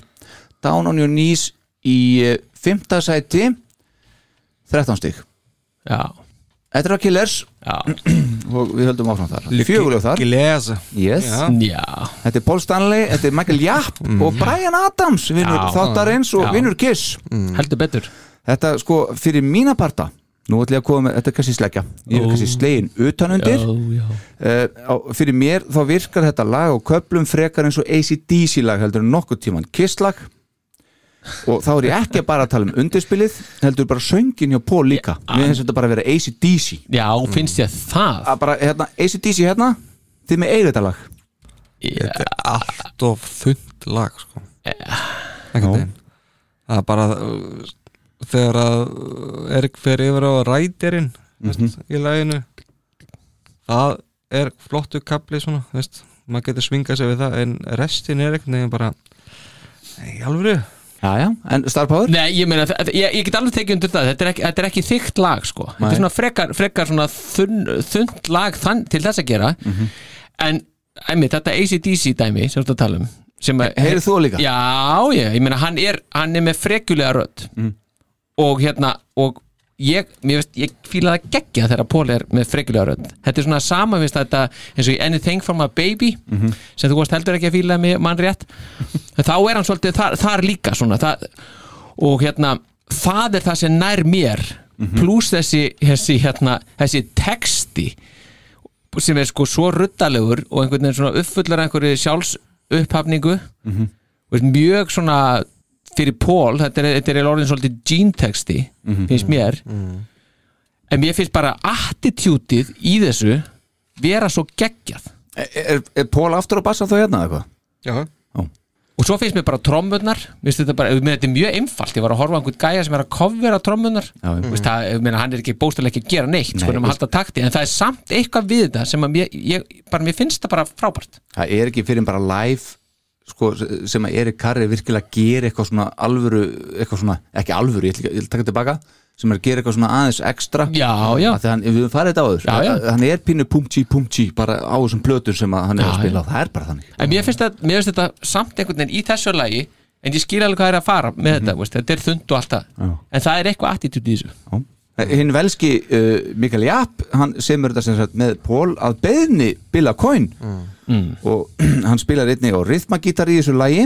Down on Your Knees í eh, fimmta sæti 13 stig Já Þetta eru að Killers Já. og við höldum áfram þar Lucky Fjögurljóð þar Killers yes. Já. Já. Mhm. Þetta er Paul Stanley, þetta er Michael Japp og Brian Adams, vinnur Já. þáttarins og Já. vinnur Kiss Heldur betur Þetta sko, fyrir mína parta Nú ætlum ég að koma með, þetta er kannski sleggja Ég er Ó. kannski slegin utanundir Já, já. Eh, Fyrir mér þá virkar þetta lag og köplum frekar eins og ACDC lag heldur en nokkuð tíman Kiss lag og þá er ég ekki bara að tala um undirspilið heldur bara söngin hjá Paul líka Mér finnst þetta bara að vera ACDC Já, finnst ég það að bara, hérna, ACDC hérna þið með eigið þetta lag Þetta er allt of þund lag sko. Ekkert einn Það er bara uh, þegar að uh, Erik fer yfir á rædirinn veist, í laginu það er flottu kapli svona, veist, maður getur svingað sér við það en restin er ekkert neginn bara Í alvöru? Já, já, en Star Power? Nei, ég meina, þa- ég, ég get alveg tekið undir það Þetta er ekki, þetta er ekki þykkt lag, sko Þetta Nei. er svona frekar, frekar svona þunn, þunnt lag þann, til þess að gera En, æmi, þetta ACDC dæmi sem þú ert að tala um sem að- Heyrið þú líka? Já, ég, ég meina, hann er, hann er með frekulega rödd Og hérna, og ég, mér veist, ég fíla það geggja þegar Paul er með frekulega rödd Þetta er svona sama, veist, þetta, eins og í Anything for my baby Mhm. sem þú varst heldur ekki að fíla með mann rétt En þá er hann svolítið þar, þar líka svona það, og hérna það er það sem nær mér pluss þessi, þessi, hérna, þessi texti sem er sko svo ruddalegur og einhvern veginn svona uppfullar einhverju sjálfsupphafningu Mhm. og er mjög svona fyrir Pól, þetta er, þetta er orðin svolítið gene-texti, Mhm. finnst mér en mér finnst bara attitútið í þessu vera svo geggjað Er, er Pól aftur á bassa þá hérna eitthvað? Já og svo finnst mér bara trommurnar mér finnst þetta bara, mér þetta er mjög einfalt ég var að horfa á einhvern gæja sem er að kofvera trommurnar Já, já. Þú veist, það, ég meina, hann er ekki bóstalega ekki að gera neitt Nei, sko, nema að veist- halda takti, en það er samt eitthvað við þetta sem að mér, ég, bara, mér finnst það bara frábært Það er ekki fyrir en bara live sko, sem að Erik Karri virkilega gerir eitthvað svona alvöru eitthvað svona, ekki alvöru, ég ætla ekki- ég ætla að taka tilbaka sem er að gera eitthvað svona aðeins ekstra já, já. að hann, við höfum farið þetta á þessu Já, já. Að- hann er pínu pumchi pumchi bara á þessum plötur sem að hann er Já, að spila já. á, það er bara þannig en mér finnst, það, mér finnst þetta samt einhvern veginn í þessu lagi en ég skil alveg hvað er að fara með þetta veist, þetta er þund og allt það en það er eitthvað attitúti í þessu Eh, hinn velski uh, Mikael Japp hann semur þetta sem sagt með Pól að beðni Billa Coyne og hann spilar einnig á rithmagítar í þessu lagi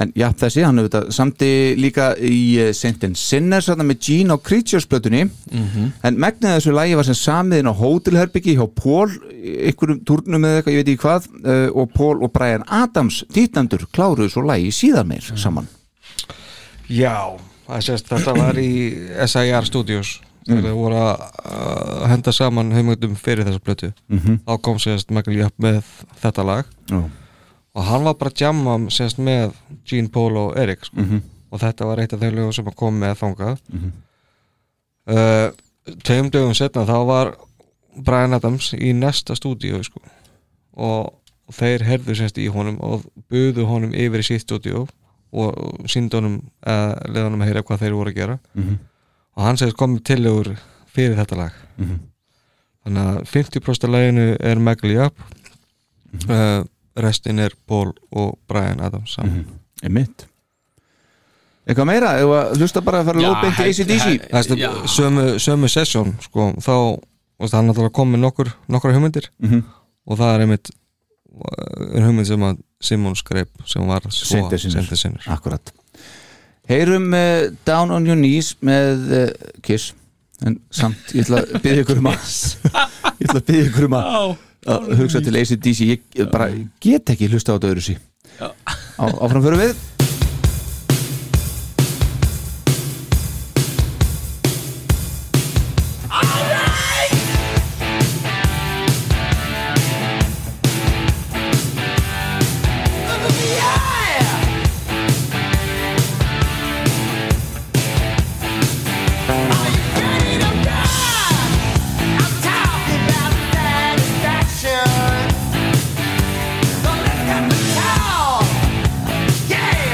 en Japp þessi, hann hefur þetta samti líka í eh, Saint and Sinners þarna með Gene á Creatures plötunni en megnið af þessu lagi var sem samiðin á hótelherbyggi hjá Pól einhverjum turnum eða eitthvað, ég veit ekki hvað eh, og Pól og Brian Adams þýttandur kláruðu svo lagi síðar meir saman Já, það sést, þetta var í SIR Studios þegar Mm. þeir voru að uh, henda saman heimugdum fyrir þessa plötu Mhm. þá kom sést Michael Japp með þetta lag Já. og hann var bara að jamma sést með Gene Paul og Erik sko. Mhm. og þetta var eitt af þeim lögum sem að kom með þangað uh, tveim dögum setna þá var Brian Adams í næsta stúdíu sko. og þeir herðu sérst í honum og buðu honum yfir í sitt stúdíu og síndi honum uh, leða honum að heyra hvað þeir voru að gera Mhm. og hann segist komið tillögur fyrir þetta lag Mhm. þannig að 50% af laginu er Megli Up Mhm. uh, restin er Paul og Brian Adams saman Mhm. Einmitt Eitthvað meira, ef að hlusta bara að fara Já, lóðbeint í hæ- ACDC hæ- Næstu, sömu, sömu sessjón sko, þá og það er náttúrulega komið nokkur nokkra hugmyndir Mhm. og það er einmitt uh, er hugmynd sem að Simon skreip sem var sko, svo Seint er sinnur. sinnur Akkurat Heyrum uh, Down on your knees með uh, Kiss en samt, ég ætla að byggja ykkur um að ég ætla að byggja ykkur um að, að hugsa til ACDC ég, ég bara get ekki hlusta á þetta öðru sí á, áfram förum við Yeah!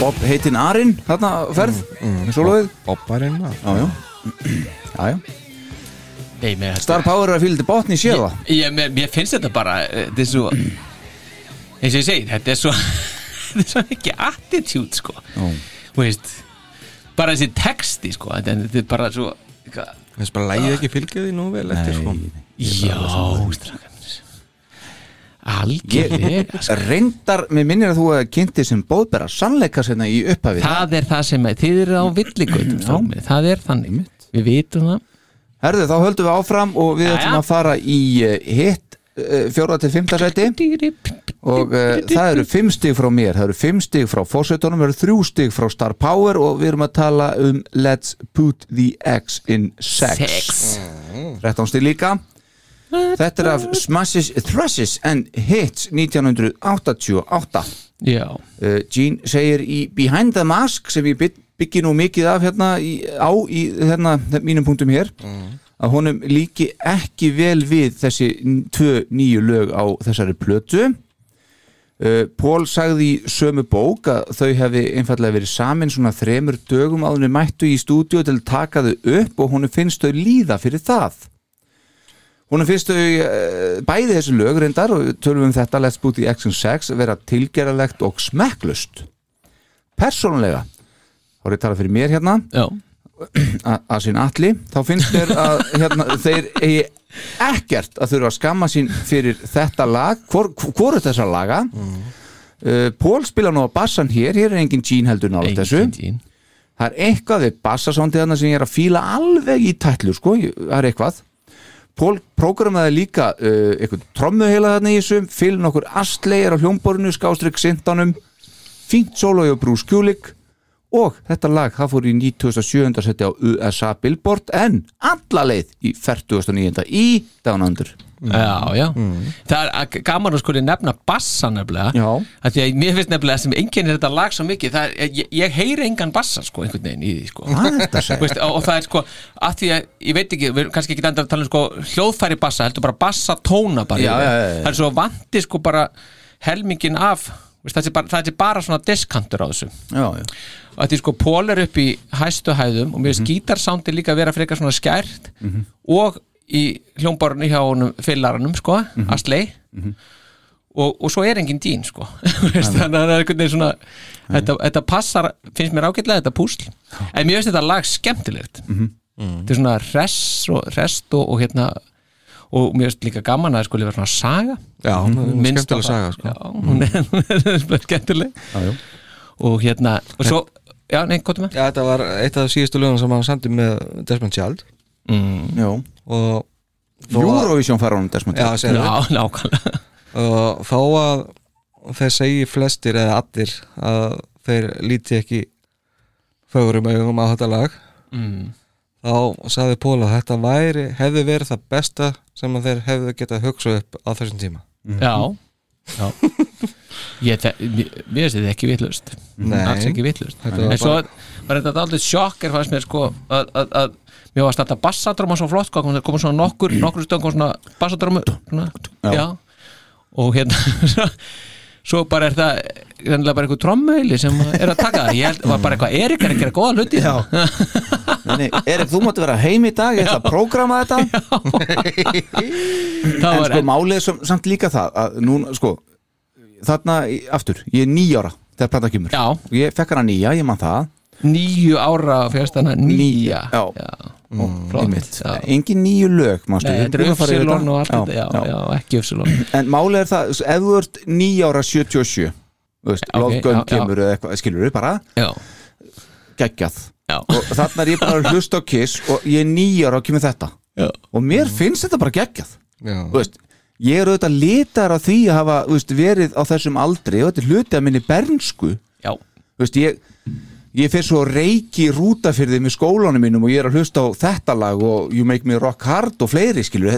Bob heitinn Arinn þarna ferð mm, mm, Bobbarinn já, já, já. Nei, með þetta Star Power er að fylgja til botni í sjöða ég, mér, mér finnst þetta bara eh, þetta er svo eins og ég segir, þetta er svo þetta er svo ekki attitude sko Þú veist, bara þessi texti sko, þetta er- þetta er bara svo eitthvað- Þess bara lægið ekki fylgja því nú vel eftir sko já, Ég- Reyndar, mér minnir að þú að kynnti sem bóðbera sannleika sérna í upphafið það er það sem er, þið eru á villigötum það er þannig, við vitum það Herðu, þá höldum við áfram og við Jæja. ætlum að fara í eh, hitt eh, fjórða til fimmta sæti og uh, eh, það eru fimm stig frá mér það eru fimm stig frá fósveitunum það eru þrjú stig frá Star Power og við erum að tala um Let's Put the X in Sex, Sex. Mm. 13 stig líka þetta er af Smashes, Thrashes and Hits 1988 Já uh, Gene segir í Behind the Mask sem ég bygg- byggi nú mikið af hérna í, á í hérna, mínum punktum hér að honum líki ekki vel við þessi n- tvö nýju lög á þessari plötu uh, Pól sagði í sömu bók að þau hefði einfallega verið samin svona þremur dögum áðunni mættu í stúdíu til að taka þau upp og honum finnst þau líða fyrir það Hún finnst þau eh, bæði þessi lög reyndar og tölum um þetta Let's Booty Action 6 vera tilgeralegt og smekklust. Persónulega, þá er ég að tala fyrir mér hérna, a- að sín alli, þá finnst mér að hérna, þeir eigi ekkert að þurfa að skamma sín fyrir þetta lag, hvor, hvoru þessar laga. Uh, Pól spila nú á bassan hér, hér er engin Gene heldur nála þessu. Það er eitthvað við bassasóndið þarna sem ég er að fíla alveg í tætlu, sko, ég- það er eitthvað. Pól prógramaði líka uh, eitthvað trommuheila þarna í þessu Phil nokkur astleir á hljómborinu skástrík sindanum fínt solo hjá Bruce Kulik og þetta lag það fór í 97. seti á USA Billboard en alla leið í 49. í Down Under Já, já Mm. Það er að- gaman að skuli nefna bassa nefnilega Já. að Því að mér finnst nefnilega sem enginn er þetta lag svo mikið það er, ég, ég heyri engan bassa sko einhvern veginn í því sko Hvað er þetta að segja? Veist, og, og það er sko að því að ég veit ekki, við erum kannski ekki enda að tala um sko hljóðfæri bassa, heldur bara bassa tóna bara Já, yfir. já, já, já. Það er svo vandi sko bara helmingin af veist, það, er bara, það er bara svona diskantur á þessu Já, já og því sko Pól er upp í hæstu hæðum og mér finnst gítarsándi líka að vera frekar svona skært og í hljómborunni hjá honum fyllaranum sko, mm -hmm. og, og svo er engin dín sko Veist, þannig að það er einhvern veginn svona þetta, þetta passar, finnst mér ágætlega þetta púsl en mér finnst þetta lag skemmtilegt Mm. þetta er svona rest og, rest og, og hérna og mér finnst líka gaman að það skuli vera svona saga Já, hún er Minnst skemmtileg á það. saga, sko. já, hún er, hún er skemmtileg já, já. og hérna og svo, já, nei, hvað er með? Já, þetta var eitt af síðustu lögum sem hann samdi með Desmond Child Mm. Já Og þó að- Eurovision fara honum Desmond Já, Child. segðu Já, nákvæmlega Og Þó að þeir segi flestir eða allir að þeir líti ekki fögurum augum á þetta lag Mm. þá sagði Póla að þetta væri, hefði verið það besta sem að þeir hefðu getað hugsað upp á þessum tíma Já, já. Ég, þe- mér mér finnst þetta ekki vitlust Nei. alls ekki vitlust Þetta var en svo bara- var þetta aldrei sjokk er fannst mér sko að, að, að mér varst alltaf bassadróma svo flott sko, komum svona nokkur, nokkur stöðum kom svona bassadróma svona, já. og hérna svo, svo bara er það reynilega bara einhver trommeili sem er að taka það ég held, var bara eitthvað, Erik er að gera góða hluti já, Nei, nei, Erik, þú máttu vera heim í dag, ég ætla að prógrama þetta Það En var sko en- málið er sam- samt líka það að núna, sko, þarna í- aftur, ég er nýjára þegar plata kemur Já. og ég fekk hana nýja, ég man það níu ára fjárstana, nýja Mm, já, Og flott, já. engin nýju lög manstu, Nei, við þetta erum er búin að fara yfir Upsilon og allt þetta, já, já, já, ekki Upsilon en málið er það, ef þú ert nýjára 77 þú veist, ok, lofgönn já, já. kemur eða eitthvað, skilur við bara já. geggjað já. og þarna er ég bara að hlusta á kiss og ég er nýjára og kemur þetta já. og Mm. mér finnst þetta bara geggjað Já. Þú veist, ég er auðvitað litar af því að hafa þú veist, verið á þessum aldri og þetta er hluti af minni bernsku Já. Þú veist, ég ég fyrir svo reiki rúta fyrir með skólanum mínum og ég er að hlusta á þetta lag og You Make Me Rock Hard og fleiri skilur,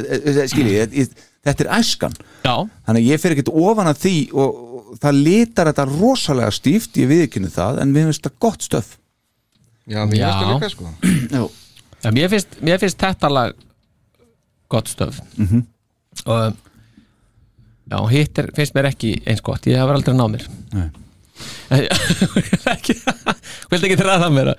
skilur ég, þetta er æskan Já. þannig að ég fyrir ekkert ofan að því og, og það litar þetta rosalega stíft ég viðkynni það en við finnst þetta gott stöf Já, mér Já. finnst það líka sko Já. Já, mér, finnst, mér finnst þetta lag gott stöf Mhm. og já, hitt er, finnst mér ekki eins gott ég hef aldrei náð mér Nei. Vildi ekki ræða það meira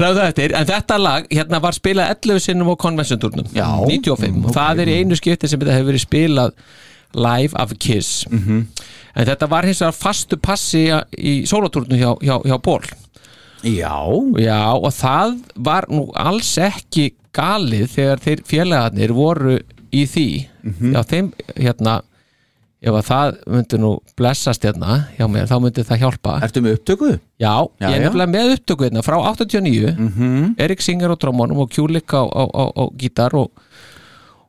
Ræða það eftir, en þetta lag hérna var spilað 11 sinnum á konvensjondurnum 95, Mm, og það er í einu skipti sem þetta hefur verið spilað live af Kiss Mhm. en þetta var hins vegar fastu passi í sólatúrnum hjá, hjá, hjá Ból Já Já, og það var nú alls ekki galið þegar þeir félagarnir voru í því Mhm. Já, þeim, hérna ef að það myndi nú blessast hérna hjá mér, þá myndi það hjálpa Ertu með upptöku? Já, ég Já, já. Mhm. er nefnilega með upptöku hérna frá 89 Erik Singer á trómunum og Kjúlik á, á, á, á gítar og,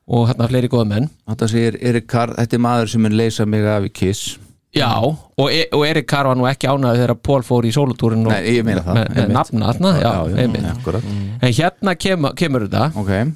og hérna fleiri góða menn Þetta segir Erik Karr, þetta er maður sem mun leysa mig af í Kiss Já, og, e og Erik Karr var nú ekki ánæður þegar Pól fór í sólutúrin og Nei, ég meina það, með, með einmitt. nafna þarna, já, einmitt. akkurat. En hérna kemur, kemur þetta okay.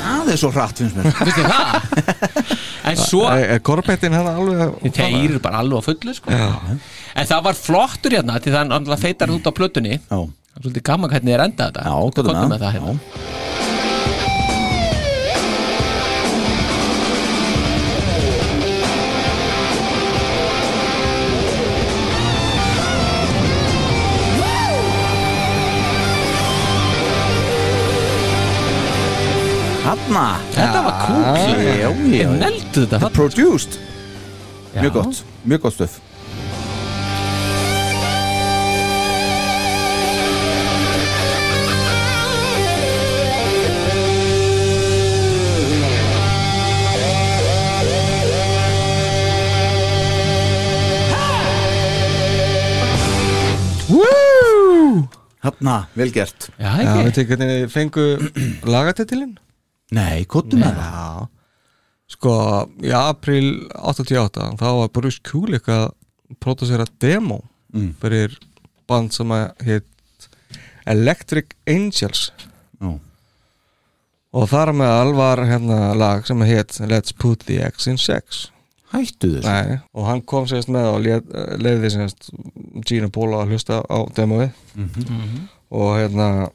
Það er svo hratt finnst mér Vistu það? En svo Er korbettin hann alveg Þeir eru bara alveg á fullu sko. En það var flottur hérna Til það er náttúrulega feitar út á plötunni Já. Það er svolítið gaman hvernig þeir enda þetta Já, komdu með með það hérna Hanna Þetta var kúl Já, já, já Þeir neldu þetta The Produced Mjög gott, mjög gott stöf Woo! Hanna, vel gert Já, Já, veitu hvernig þið fengu lagatitilinn? Nei, kottu með það Sko, í april 88 þá var Bruce Kulik að pródúsera demo Mm. fyrir band sem að hitt Electric Angels Já. og þar með alvar hérna lag sem að hitt Let's Put the X in Sex Hættu þessu Nei, og hann kom sérst með og lét- leiði sérst Gina Póla að hlusta á demoið Mhm. Mhm. og hérna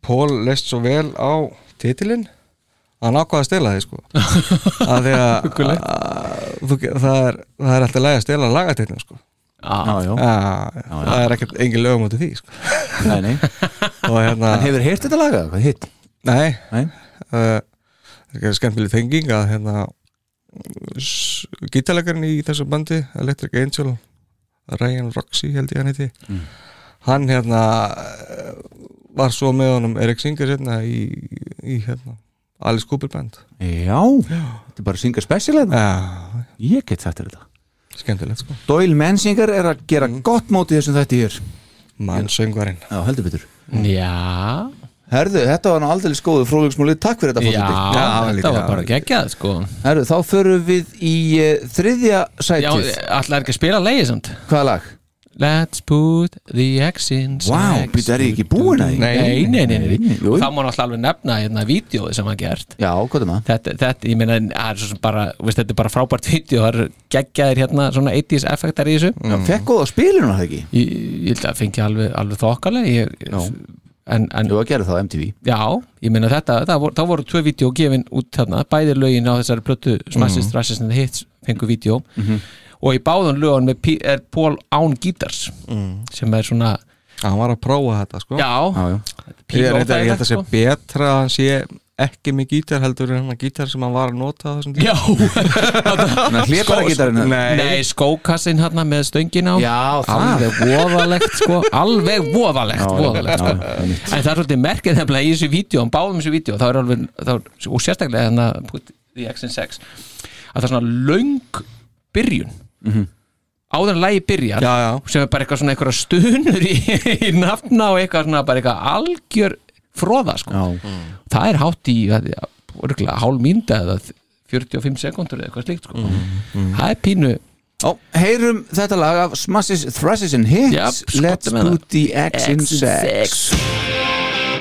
Pól leist svo vel á titilinn að hann ákvaði að stela því sko að því að að- þú ge- það er, það er alltaf læg að stela lagatilinn sko Já, já. Já, já. Það er ekkert engin lögum út í því sko. Nei, nei Og hérna En hefur heyrt þetta lagað? Hvað hitt? Nei, Nei. Uh, Það er skemmtileg tenging að hérna gítarleikarinn í þessu bandi Electric Angel Ryan Roxy held ég hann heiti hann hérna eh, var svo með honum Erik Singer hérna í, í hérna Alice Cooper band Já, þetta er bara að syngja special hérna Eh, Ég get þetta þetta Skemmtilegt sko Doyle Mensinger er að gera gott móti þessum þetta hér Mannsöngvarinn Mm. Já, heldur betur Já Herðu, þetta var nú aldrei skóðu fróðleiksmúli Takk fyrir þetta forseti. þetta var bara geggjað sko Herru, þá förum við í uh, þriðja Já, eh, sætið allar ekki að spila leiði samt Hvaða lag? Let's put the X in Vá, sex. býttu, er ég ekki búin að því? Nei, nei, nei, nei, nei. Jú. Og það má náttúrulega alveg nefna hérna vídeoði sem hann gert Já, hvað er maður? Þetta, þetta, ég meina, það er svo sem bara veist, þetta er bara frábært vídeo, það eru geggjaðir hérna svona 80s effektar í þessu Já, fekk góða spilinu það ekki? Ég, ég held að fengi alveg, alveg þokkalega ég, en, en, Jú, að gera það á MTV Já, ég meina þetta, það voru, þá voru tvö vídeo gefin út þarna, bæði lögin á þessari plötu Smashist, Mhm. mm. Rasist and the Hits fengu vídeo og í báðan lögun með, P- er Paul Án Gítars sem er svona hann var að prófa þetta sko Mm. Já, sko. Ég er reyndar- ég held að sé betra að hann sé ekki með gítar heldur en hann gítar sem hann var að nota á þessum tíma. Hann Nei, Nei, Nei skókassin hann með stöngin á Já, það. Alveg voðalegt sko Alveg voðalegt, Já, já, voðalegt sko. En það er svolítið merkið nefnilega í þessu vídeo Báðum þessu vídeo þá er alveg, þá, er- Og sérstaklega þannig að put the X in 6 Að það er svona löng byrjun áður en lægi byrjar já, já. sem er bara eitthvað svona eitthvað stunur í, í nafna og eitthvað svona bara eitthvað algjör fróða sko. það er hátt í örgulega hálf mínda eða 45 sekundur eða eitthvað slíkt sko. það er pínu Ó, heyrum þetta lag af Smashes, Thrashes and Hits Let's með put það. the X in X in sex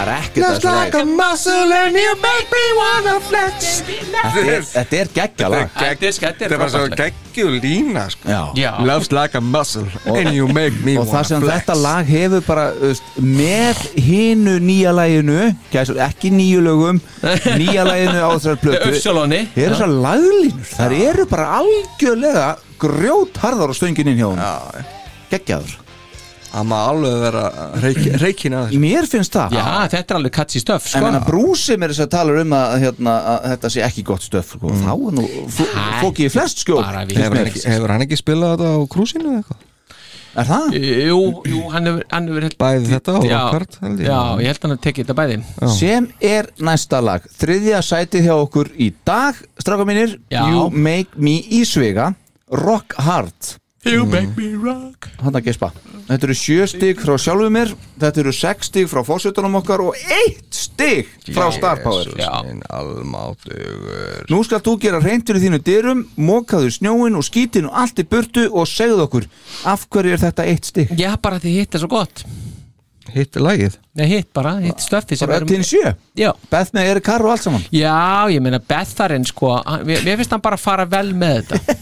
Það er ekkert að Looks þessu lagi like a muscle and you make me wanna flex Þetta er- Þetta er geggja lag Þetta er skætt Þetta er bara svo geggjul lína sko. Já. Love's like a muscle and you make me og það wanna sem flex þetta lag hefur bara öst, með hinu nýja laginu gæs, ekki nýju lögum nýja laginu á þessar plötu Uppsölunni. það eru þessar laglínur það eru bara algjörlega grjótharðar á stöngin inn hjá hún geggjaður Það má alveg vera reik, reikin að þessu mér finnst það Já, þetta er alveg katsi stöf En sko. meina brúsi mér þess að tala um að, hérna, að þetta sé ekki gott stöf sko. þá er nú Æ, fókið í flest skjól bara við- hefur, hann ekki- hefur hann ekki spilað þetta á krúsinu eða eitthvað? Er það? Jú, jú, hann hefur, hann hefur held, Bæði þetta og Rockard, held ég. Já, ég held hann að tekið þetta bæði sem er næsta lag þriðja sætið hjá okkur í dag stráka mínir, Já. You Make Me Ísvega Rock Hard You make me rock hann að gespa þetta eru sjö stig frá sjálfu mér þetta eru sex stig frá fósutunum okkar og eitt stig frá Star Power minn almáttugur nú skal þú gera reyndur í þínu dyrum mokaðu snjóin og skítin og allt í burtu og segðu okkur af hverju er þetta eitt stig Já, bara því hitt er svo gott Hitt er lagið Nei, hitt bara, um- hitt stöfti sem bara erum- til þín sjö Já. Beth með Erik Karr og allt saman Já, ég meina Betharinn sko hann- Mér mér finnst hann bara fara vel með þetta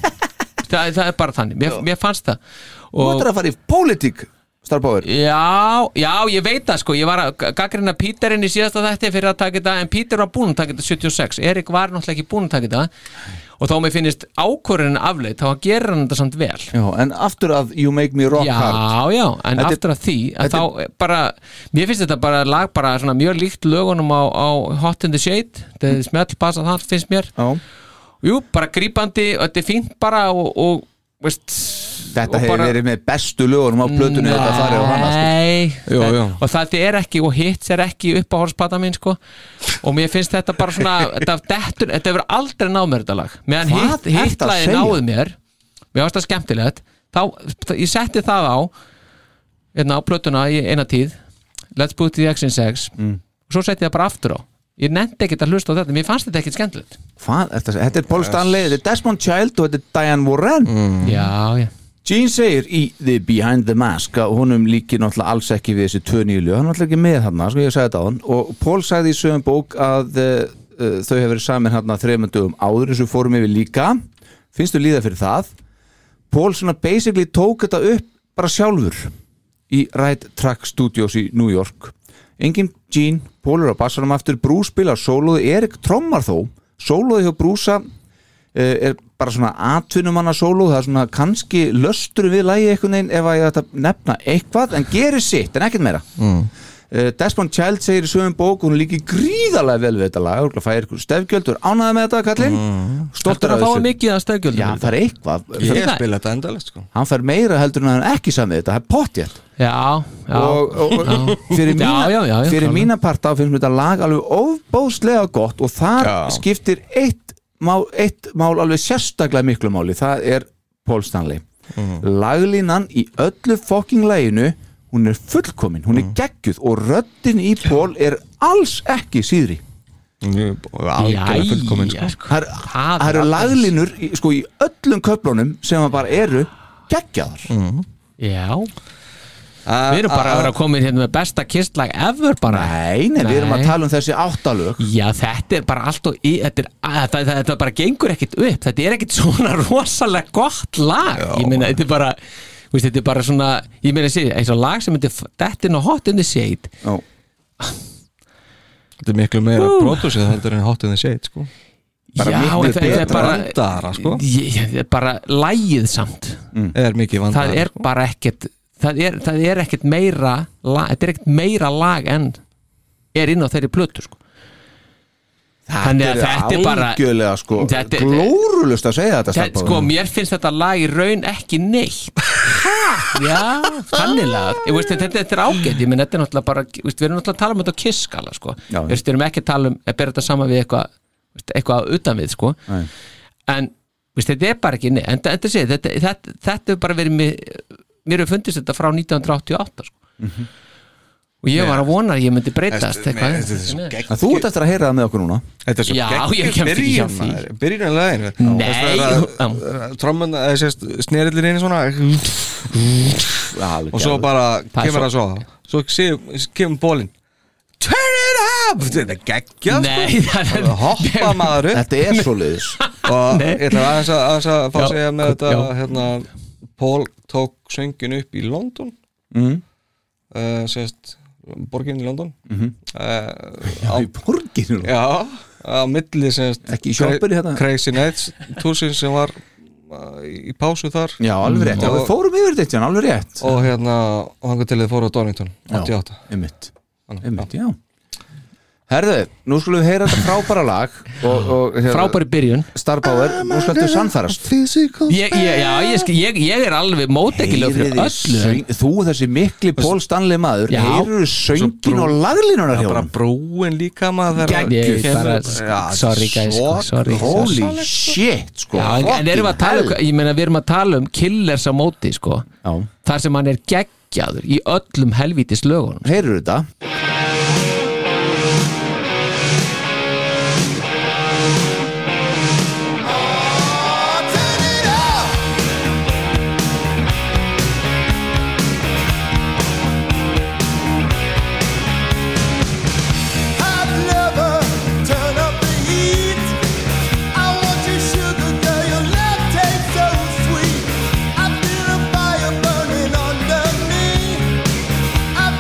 Það, það er bara þannig, mér, mér fannst það Þú ættir að fara í pólitík Starbauer Já, já, ég veit það sko Ég var að gaggrina Píterinn í síðasta þætti fyrir að taka þetta En Píter var búinn að taka þetta 76 Erik var náttúrulega ekki búinn að taka þetta Og þá mér finnist ákvörðin afleitt Þá gerir hann þetta samt vel Já, en aftur að You Make Me Rock Já, Hard já, en Þetta er- aftur að því að þá eh, bara, mér finnst þetta bara lag bara svona mjög líkt lögunum á, á Hot in the Shade, þetta er smell passa það finnst mér já. Jú, bara grípandi, og þetta er fínt bara og, og veist Þetta hefur verið með bestu lögunum á plötunni Þetta farið á hana sko. Nei, Jú, þetta- jú. og það er ekki og hitt er ekki upp á hórspata mín sko. og mér finnst þetta bara svona þetta, dettur, þetta hefur aldrei náð mér þetta lag meðan Hvað hitt, ertu hitt að lagi segja? náði mér mér varst það skemmtilegt þá, þá, ég setti það á hérna á plötuna í eina tíð Let's Put the Action 6 Mm. og svo setti ég það bara aftur á ég nefndi ekkert að hlusta á þetta, mér fannst þetta ekkert skemmtilegt Hvað, er þetta, þetta er Paul Stanley, þetta er Desmond Child og þetta er Diane Warren mm. Já, já Gene segir í The Behind the Mask að honum líkir náttúrulega alls ekki við þessi tvö nýlu, hann er náttúrulega ekki með hann sko ég sagði þetta á hann og Paul sagði í sögum bók að uh, uh, þau hefur verið saman hann að þreymöndum áður eins og við fórum yfir líka finnst þú líða fyrir það Paul svona basically tók þetta upp bara sjálfur í Right Track Studios í New York engin Gene, Paul er á bassanum aftur Bruce spilar sólóði, Erik trommar þó sólóði hjá Brúsa eh, er bara svona atvinnumanna sóló það er svona kannski löstur við lægi einhvern veginn ef að ég ætta að nefna eitthvað en gerir sitt en ekkert meira mm. Desmond Child segir í sögum bók hún líki gríðarlega vel við þetta lag og fæði eitthvað stefgjöldur ánæða með þetta kallinn stoltur Þetta af er að fá þessu mikið að stöðgjöldum Já, hann fær eitthvað Ég spila þetta endalist sko. Hann fær meira heldur en að hann ekki samið þetta, það er pottjætt Já, já, og, og, já. fyrir, Já, mína, já, já, já, fyrir klárlega. mína parta finnst mér þetta lag alveg ofbóðslega gott og þar skiptir eitt mál, eitt mál alveg sérstaklega miklu máli það er Paul Stanley Mhm. laglínan í öllu fokking laginu hún er fullkomin, hún er geggjuð og röddin í Paul er alls ekki síðri algjörlega Jæja, fullkomin, sko. sko. það Það það eru er laglínur í, sko, í öllum köflunum sem að bara eru geggjaðar Já Við erum bara að vera komin hérna með besta kistlag ever bara Nei, nei, við erum að tala um þessi áttalög Já, þetta er bara allt og í, þetta, er, að, þetta, þetta, þetta bara gengur ekkit upp Þetta er ekkit svona rosalega gott lag Ég meina, þetta er bara þú veist, Þetta er bara svona, ég meina sér eins og lag sem þetta þetta er nú hot in the shade Já Þetta er miklu meira Ú. pródúsið heldur en Hot in the Shade sko. Já, en það er bara vandara, sko. Ég- ég- þetta er bara lægið samt er mikið sko. vandara Það er bara ekkert það er, það er ekkert meira lag, þetta er ekkert meira lag en er inn á þeirri plötu sko. Þannig að þetta er bara algjörlega sko Þetta- glórulust að segja þetta Þetta, stelpa. sko, mér finnst þetta lag í raun ekki neitt Já, þannig lag Ég veist, þetta, þetta er ágætt, ég menn þetta er náttúrulega bara ég veist, Við erum náttúrulega að tala um þetta á kisskala sko. Já. Ég veist, Við erum ekki að tala um að bera þetta saman við eitthvað veist, eitthvað utan við sko. Nei. en veist, þetta er bara ekki neitt en þetta, þetta, þetta, þetta, þetta er bara verið mér, mér hefur fundist þetta frá 1988 sko. Mhm. og ég var að vona að ég myndi breytast eitthvað. En þú ert eftir að heyra það með okkur núna Þetta er svo Já, ég geggjum kemst ekki hjá byrjun því. maður. Byrjun að læginu Nei. Trommun, eða sést, snerillin inn í svona Og svo bara Það er kemur það svo- svo Svo sé- kemur bólin Turn it up! Þetta er geggjum Nei, það er- Hoppa maður upp Þetta er svo leiðis Og Nei. ég ætla aðeins að, aðeins að fá að Já, segja með já. þetta hérna, Paul tók söngin upp í London mm. uh, sést, borgin í London Mhm. uh, Já, í borginu Já, á milli sést, Ekki í sjoppunni hérna? Crazy Nights túsin sem var uh, í pásu þar Mm. Já, alveg rétt, já, við og, fórum yfir þetta, Jón, alveg rétt og hérna, og hann til þið fóru á Donington Já, 88 einmitt, einmitt, já Herðu, nú skulum við heyra þetta frábæra lag og, og, hérna, Frábæri byrjun Starbauer, nú skulum við sannfærast ég, ég, já, ég, sk- ég, ég er alveg mótekilega Heyrið fyrir þið öllu söng- Þú þessi mikli Pól Stanley maður Já. Heyrðu söngin brú- og laglínunar Það hjá er bara honum brúin líka maður þegar- Ég er bara- Já, sorry, guys, sko, svo- sorry. Holy shit, sko Já, en, en erum við að tala um, ég meina við erum að tala um killers á móti sko, Já. þar sem hann er geggjaður í öllum helvítis lögunum Heyrðu þetta I've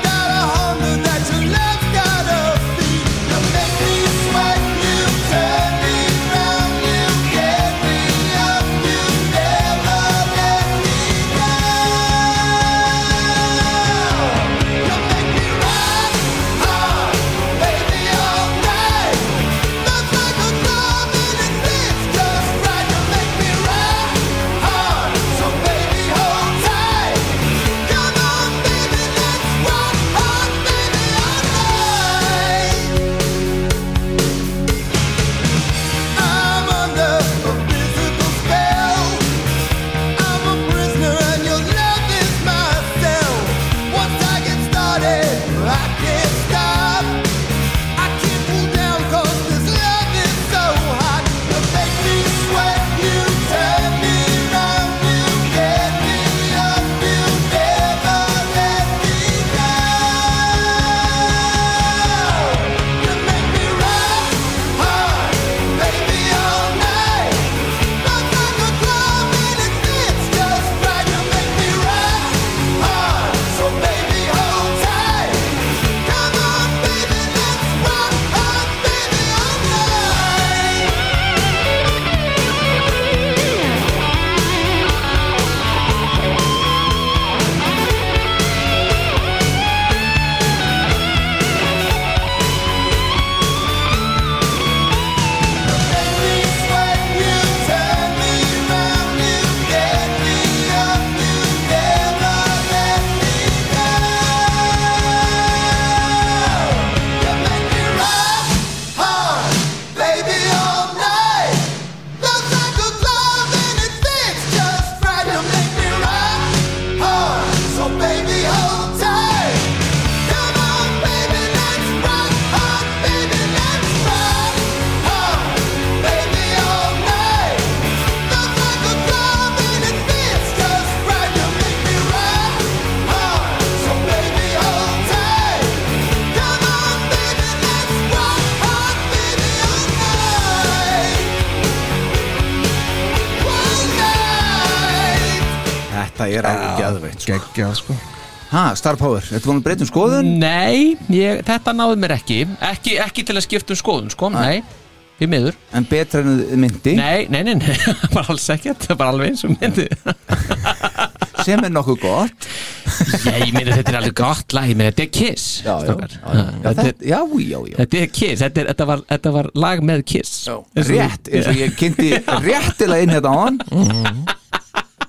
það er alveg geðveitt sko. Geggjað sko Ha, Star Power, ertu búin að breyta um skoðun? Nei, ég, þetta náði mér ekki Ekki, ekki til að skipta um skoðun, sko, nei Við miður En betra en þið myndi? Nei, nei, nei, nei, bara alls ekkert Það er bara alveg eins og myndi Sem er nokkuð gott Já, ég myndi þetta er alveg gott lag Ég myndi þetta er Kiss Já, já, já, þetta, já, já, já Þetta er Kiss, þetta, er, þetta, var, þetta var lag með Kiss já, Rétt, eins og ég kynnti réttilega inn hérna á hann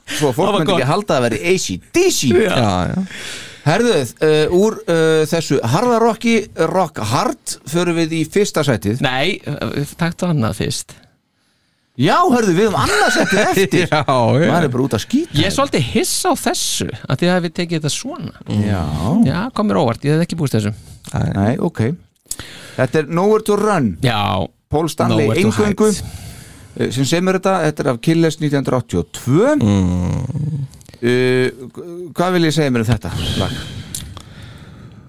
Svo Það fólk var myndi gott. ekki halda að vera AC-DC Já. Já, Herðuð, uh, úr uh, þessu harðarokki rock hard förum við í fyrsta sætið Nei, taktu annað fyrst Já, herðu, við um annað sætið eftir Já, já. Maður er bara út að skýta Ég er svolítið hissa á þessu að þið hefði tekið þetta svona Já, Já, kom mér óvart, ég hefði ekki búist þessu Nei, ok Þetta er Nowhere to Run Já Paul Stanley Nowhere to eingöngu eh, sem semur þetta, þetta er af Killes 1982 uh, Hvað vil ég segja mér um þetta? Lag?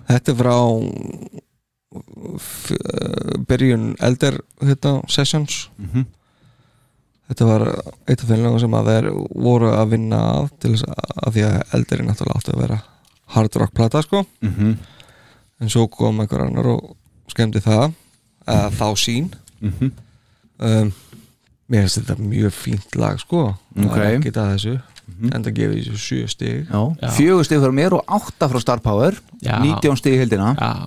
Þetta er frá f- uh, byrjun Elder hérna, Sessions Mhm. Þetta var eitt af félagum sem að þeir voru að vinna að til þess að, að því að Elder er náttúrulega átti að vera hard rock plata sko Mhm. en svo kom einhver annar og skemmdi það eða þá sín Mhm. um, Mér finnst þetta mjög fínt lag sko Ok. Mhm. það er ekki það þessu en það gefið þessu sjö stig Já. Fjögur stig frá mér og átta frá Star Power Já. 19 stig í heldina Já.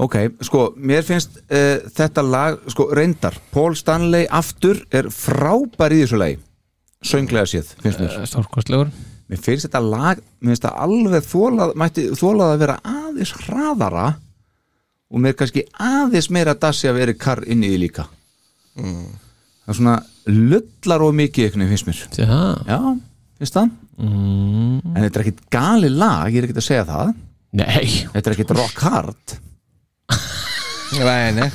Ok, sko, mér finnst uh, þetta lag, sko, reyndar Paul Stanley aftur er frábær í þessu lagi sönglega séð, finnst mér Stórkostlegur Mér finnst þetta lag, mér finnst það alveg þólað, mætti þólað að vera aðeins hraðara og mér kannski aðeins meira dassi að vera karr inn í því líka Mm. það er svona lullar og mikið eitthvað finnst mér Já, Já finnst það? Mm. En þetta er ekkit gali lag, ég er ekkit að segja það Nei Þetta er ekkit rock hard Nei, nei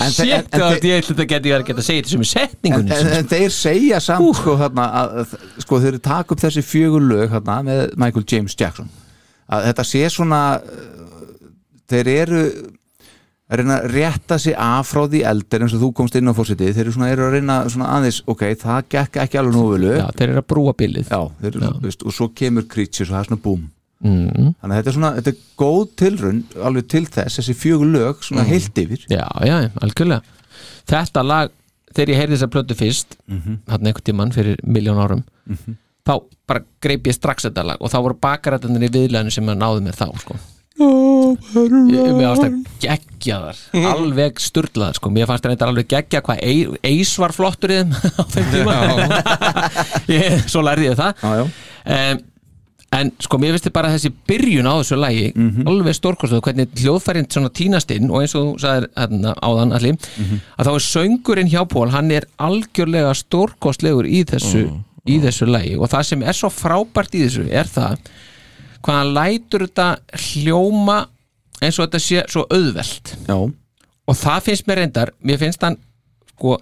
En þe- Sétt en- en að ég ætla þetta geti verið að geta segið þessum í En, setningunni en, en þeir segja samt sko, þarna, að, að- sko þeir taka upp þessi fjögur lög þarna, með Michael James Jackson að þetta sé svona uh, þeir eru að reyna að rétta sig af frá því eldir eins og þú komst inn á fórsetið þeir eru, svona, eru að reyna svona aðeins ok, það gekk ekki alveg nógu Já, þeir eru að brúa bilið Já, þeir, eru, Veist, og svo kemur Creatures og það er svona búm mm. þannig að þetta er svona, þetta er góð tilrun alveg til þess, þessi fjögur lög svona Mhm. heilt yfir Já, já, algjörlega Þetta lag, þegar ég heyrði þessa plötu fyrst mm Mhm. -hmm. hann einhvern tímann fyrir miljón árum þá bara greip ég strax þetta lag og þá voru bakarættanir í viðlæðinu sem að náðu mér þá sko. Ég- Mér fannst það geggjaðar alveg sturlaðar sko. mér fannst þetta alveg geggjað hvað eis var flottur í þeim á þeim tíma ég, svo lærði ég það já, já. Um, en sko mér finnst þið bara þessi byrjun á þessu lægi alveg stórkostuð hvernig hljóðfærin svona tínast inn og eins og þú sagðir hérna, áðan allir að þá er söngurinn hjá Pól hann er algjörlega stórkostlegur í þessu, í þessu lægi og það sem er svo frábært í þessu er það hvað hann lætur þetta hljóma eins og þetta sé svo auðvelt Já. og það finnst mér reyndar mér finnst hann sko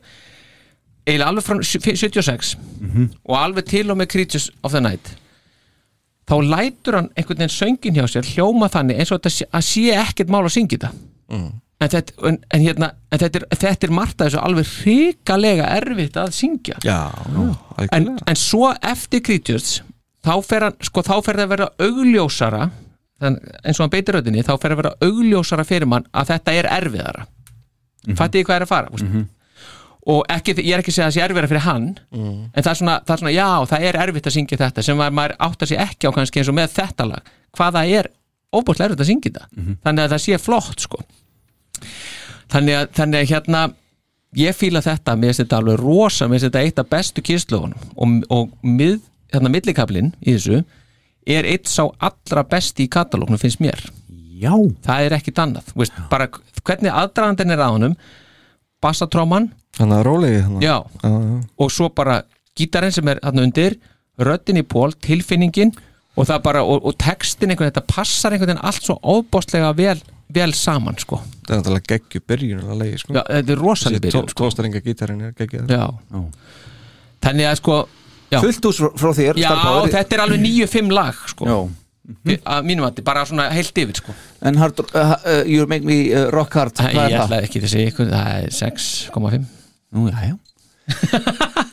eiginlega alveg frá 76 og alveg til og með Creatures of the Night þá lætur hann einhvern veginn söngin hjá sér hljóma þannig eins og þetta sé, að sé ekkert mál að syngja þetta en, þetta, en, en, hérna, en þetta, er, þetta er margt að þessu alveg hrikalega erfitt að syngja Já, en, en svo eftir Creatures þá fer, hann, sko, þá fer það að vera augljósara þann, eins og hann beitir röddinni þá fer að vera augljósara fyrir mann að þetta er erfiðara mm -hmm. fattiði hvað er að fara mm -hmm. og ekki, ég er ekki að segja að það sé erfiðara fyrir hann en það er, svona, það er svona, já, það er erfitt að syngja þetta sem maður, maður áttar sig ekki á kannski eins og með þetta lag hvað það er óbúslega erfitt að syngja þetta þannig að það sé flott sko þannig að, þannig að hérna ég fíla þetta, mér finnst þetta alveg rosa mér finnst þetta eitt af bestu kyslóðunum og, og mið, hérna millikablin í þessu er eitt sá allra besti í katalóknu finnst mér Já. það er ekkit annað, Þú veist, bara hvernig aðdragandinn er að honum bassatróman Þannig að rólegi þannig Já. og svo bara gítarinn sem er hann undir röddin í pól, tilfinningin og það bara, og, og textin einhvern þetta passar einhvern veginn allt svo óbóstlega vel, vel saman sko Það er náttúrulega geggju byrjun að leiði sko. Já, þetta er rosaleg byrjun, sko. Tóstaringa gítarinn er geggjað Já. þannig að sko já. Fullt ús frá þér já, Star Power. þetta er alveg 9-5 lag sko. Já. að mínum að þetta bara svona heilt yfir sko. En hard, uh, uh, You Make Me uh, Rock Hard Æ, Hvað ég er það? ætla ekki að segja ykkur, það er 6,5 Nú, já, já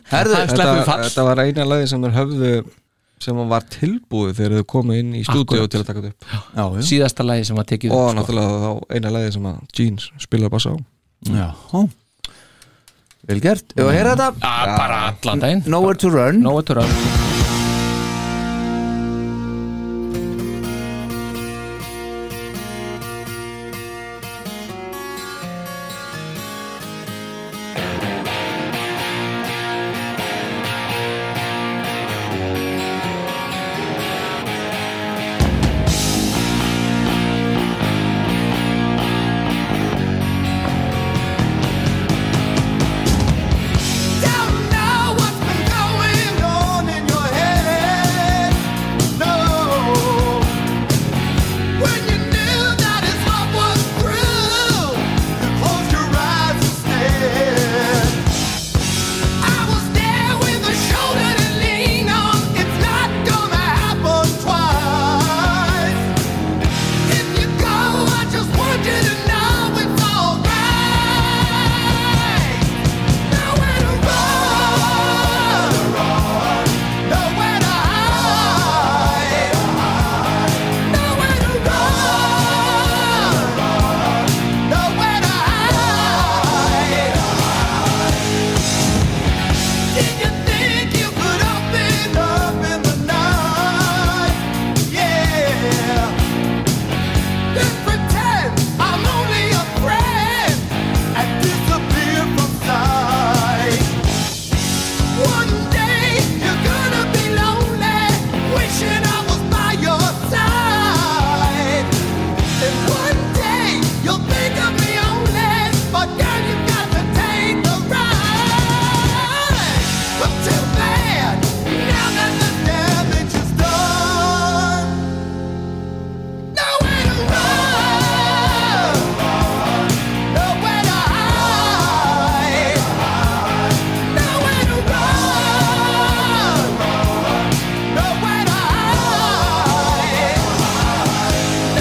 Herðu, þetta, þetta var eina lagi sem þeir höfðu sem var tilbúið þegar þau komið inn í stúdíu Akkúrat. til að taka þetta upp já, já. sko. síðasta lagi sem var tekið og upp, sko. náttúrulega þá eina lagi sem að Jeans spilaði bara sá Já, vel gert Ef að heyra þetta Ah, bara allan daginn Nowhere to run Nowhere to run Don't know what's been going on in your head, no. When you knew that his love was true, you closed your eyes and stared. I was there with a shoulder to lean on. It's not gonna happen twice. If you go, I just want you to know it's alright. Nowhere to run, nowhere to hide. Nowhere to run, nowhere to hide. Did you think you could open up in the night? Yeah. Just pretend I'm only a friend and disappear from sight. One day you're gonna be lonely, wishing I was by your side. And one day you'll think of me only, but girl you got to take the ride. But too bad now that the damage is done. Nowhere to run, nowhere to hide. Nowhere to run, nowhere to hide. Nowhere to run, nowhere to hide.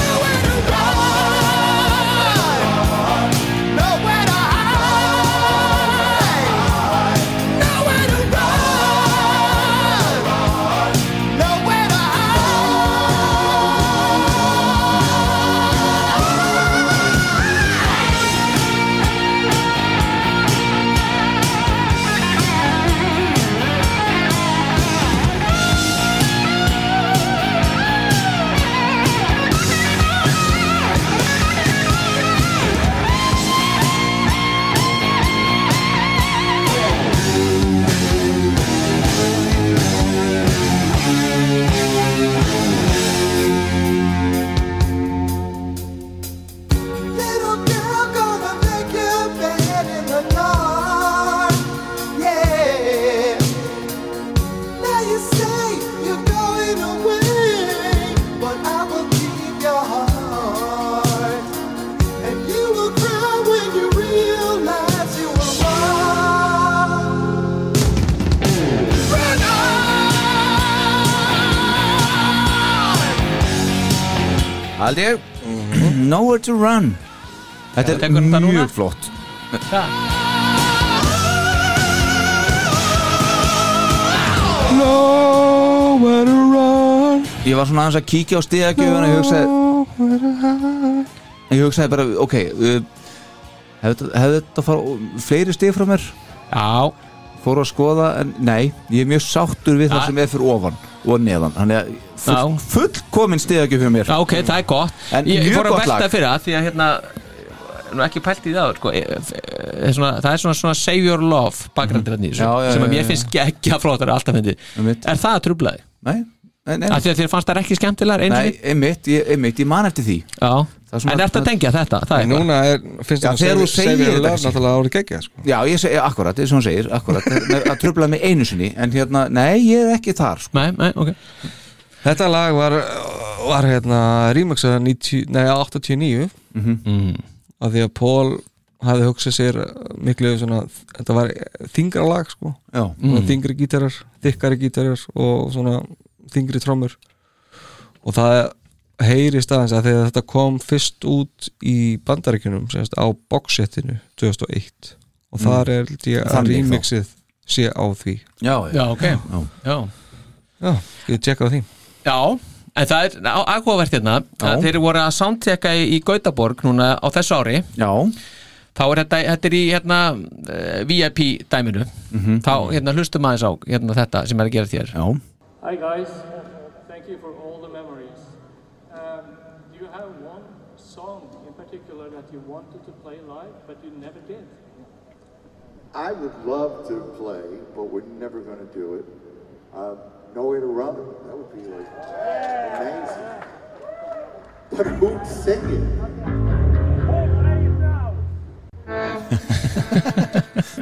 Nowhere to run, nowhere to hide. Little girl gonna make your bed in the dark, yeah. Now you say you're going away, but I will keep your heart, and you will cry when you realize you were wrong. Run Hald ég Mhm. Nowhere to run Þetta er tekur þetta núna? mjög flott Nowhere to run Ég var svona aðeins að kíkja á stíðagjöfuna Ég hugsaði on. Ég hugsaði bara, ok uh, Hefði hefði þetta fara fleiri stíð frá mér? Já Fór að skoða, en nei Ég er mjög sáttur við það Já. sem er fyrir ofan og neðan Þannig að full, Já. fullkomin stíðagjöf hjá mér Já, ok, það er gott En Ég mjög fór að gott velta lag. fyrir það því að hérna nú ekki pælt í það áður, sko. Ég- það er svona, það er svona, svona save your love bakgrændir mm. Mhm. Já, já, sem já, að mér já. finnst ekki að flóta er alltaf fyndið Er það að trublaði? Nei, nei, nei. Af því að þér fannst það ekki skemmtilegar einu Nei, sinni? einmitt, ég, einmitt, ég man eftir því Já, svona- En ertu að tengja þetta? Það er En eitthvað. núna er, finnst Já, þetta þegar þú segir þetta þetta kannski. náttúrulega árið gegja sko. Já, ég segi, akkurat, eins og hann segir, akkurat Það að tröfla mig einu sinni, en hérna, nei, ég er ekki þar sko. Nei, nei, ok þetta lag var, var hérna, remixað 90 nei, 89 af því að Paul hafði hugsað sér miklu svona, þetta var þingra lag sko. Já. Svona Mm. þingri gítarar, þykkari gítarar og svona þingri trommur og það heyrist aðeins að þegar þetta kom fyrst út í bandaríkjunum semst, á boxsettinu 2001 og þar er held ég að Mm. Þannig þá. remixið sé á því Já, Já, ok Já, Já, já ég tjekka á því Já, en það er á- áhugavert hérna Já. að þeir voru að soundtjekka í, í Gautaborg núna á þessu ári Já Þá er þetta, þetta er í hérna eh, VIP dæminu Mhm. Þá hérna hlustum aðeins á hérna þetta sem er að gera þér Já Hi guys, thank you for all the memories. Um, do you have one song in particular that you wanted to play live but you never did? I would love to play, but we're never going to do it. Um, no way to run. That would be like amazing. But who'd sing it?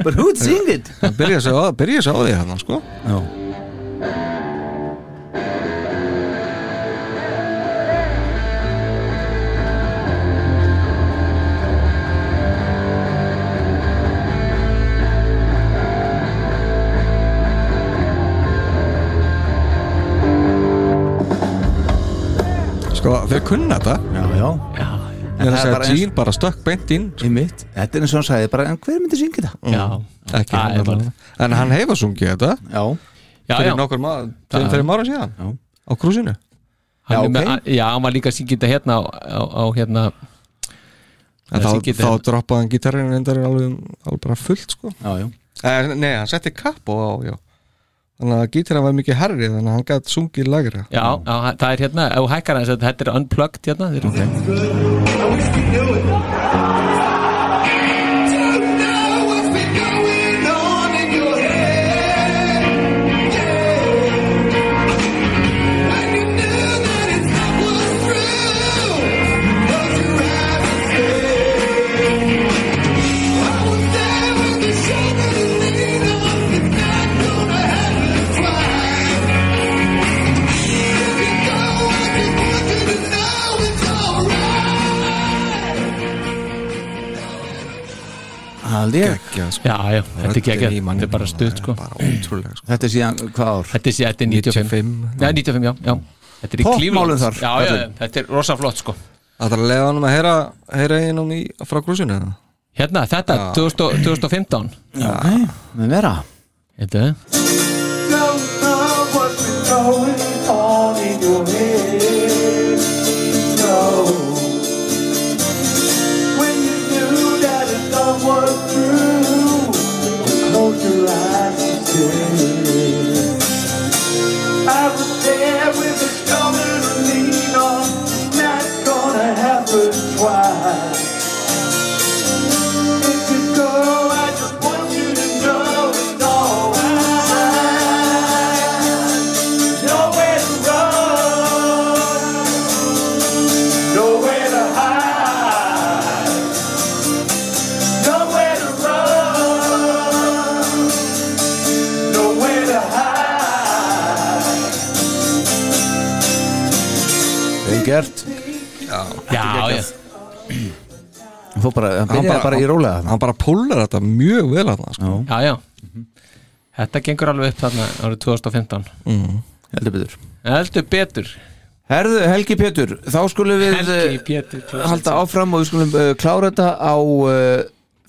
But who'd sing it? Það byrja svo á, byrja svo á því hann sko Já Sko, þeir kunna þetta Já, já Já En það er bara Gene bara stökk beint inn sko. Í mitt Þetta er eins og hann sagði bara En hver myndi syngja þetta? Já. Ekki Það hann er bara- allavega. En hann hefur sungið þetta Já Já, Fyrir já. nokkur maður Fyrir fyrir ára síðan Já Á krúsinu Hann er með- Já, hann var líka að syngja þetta hérna á, á, á hérna En að þá, syngja þá þetta- hérna. droppaði hann gítarinn endar alveg, alveg bara fullt sko já, já. Eh, nei, hann setti kapp á, já Þannig að gítarinn var mikið herri Þannig að hann gætt sungið lagra Já, já, það er hérna, ef þú hækkar aðeins þetta- þetta er unplugged hérna okay. Aldrei Já, já, þetta er geggjað, þetta er bara stutt sko Ótrúlega sko Þetta er síðan hvað ár? Þetta er síðan, þetta er 95 Já, 95, já, já Þetta er í Poppmálin Cleveland þar, Já, já, kallinn. þetta er rosa flott sko Það er að leiða hann að heyra, heyra einum í, frá krúsinu eða? Hérna, þetta, Já. 2000, 2015 Já, ok, með vera Þetta er Don't know what's been going on in your head. No. When you knew that it's not was true, close your eyes and stay. I was there with a shoulder to lean on. Not gonna happen twice. If you go, I just want you to know it's alright. Nowhere to run, nowhere to hide, nowhere to run, nowhere to hide. Vel gert Já, já Hann fór bara, hann Hann byrjaði bara- bara, í rólega Hann bara púlar þetta mjög vel að það sko Já, já Þetta gengur alveg upp þarna árið 2015 Heldur betur Heldur betur Herðu, Helgi Pétur, þá skulum við Helgi eh, Pétur halda áfram og við skulum uh, klára þetta á uh,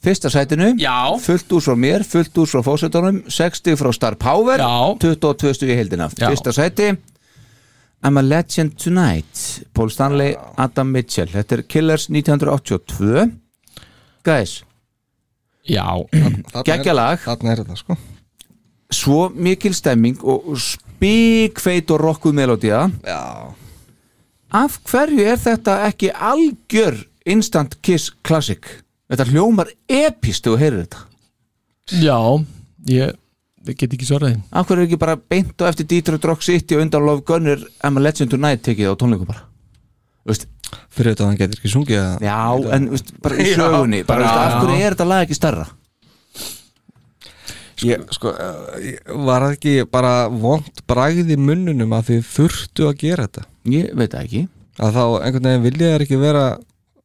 fyrsta sætinu Já. fullt úr frá mér, fullt úr frá fósettunum 60 frá Star Power Já. 22 stug í heildina, Já. fyrsta sæti I'm a Legend Tonight Paul Stanley, Adam Mitchell þetta er Killers 1982 guys, Já, Þarna er- geggjalag Þarna er þetta sko svo mikil stemming og spíkveit og rockuð melodía Já af hverju er þetta ekki algjör instant kiss classic þetta hljómar epist þegar þú heyrir þetta já Ég, ég get ekki svarað þín af hverju er ekki bara beint á eftir Detroit Rock City og undan Love Gunner I'm a Legend Tonight tekið á tónleikum bara Vist, Fyrir þetta að hann getur ekki sungið að já, en vist, bara í sögunni bara, vist, af hverju er þetta lag ekki starra ég, Sko, eh, ég- var það ekki bara vond bragð í munnunum að þið þurftu að gera þetta ég veit það ekki Að þá einhvern veginn vilja þær ekki vera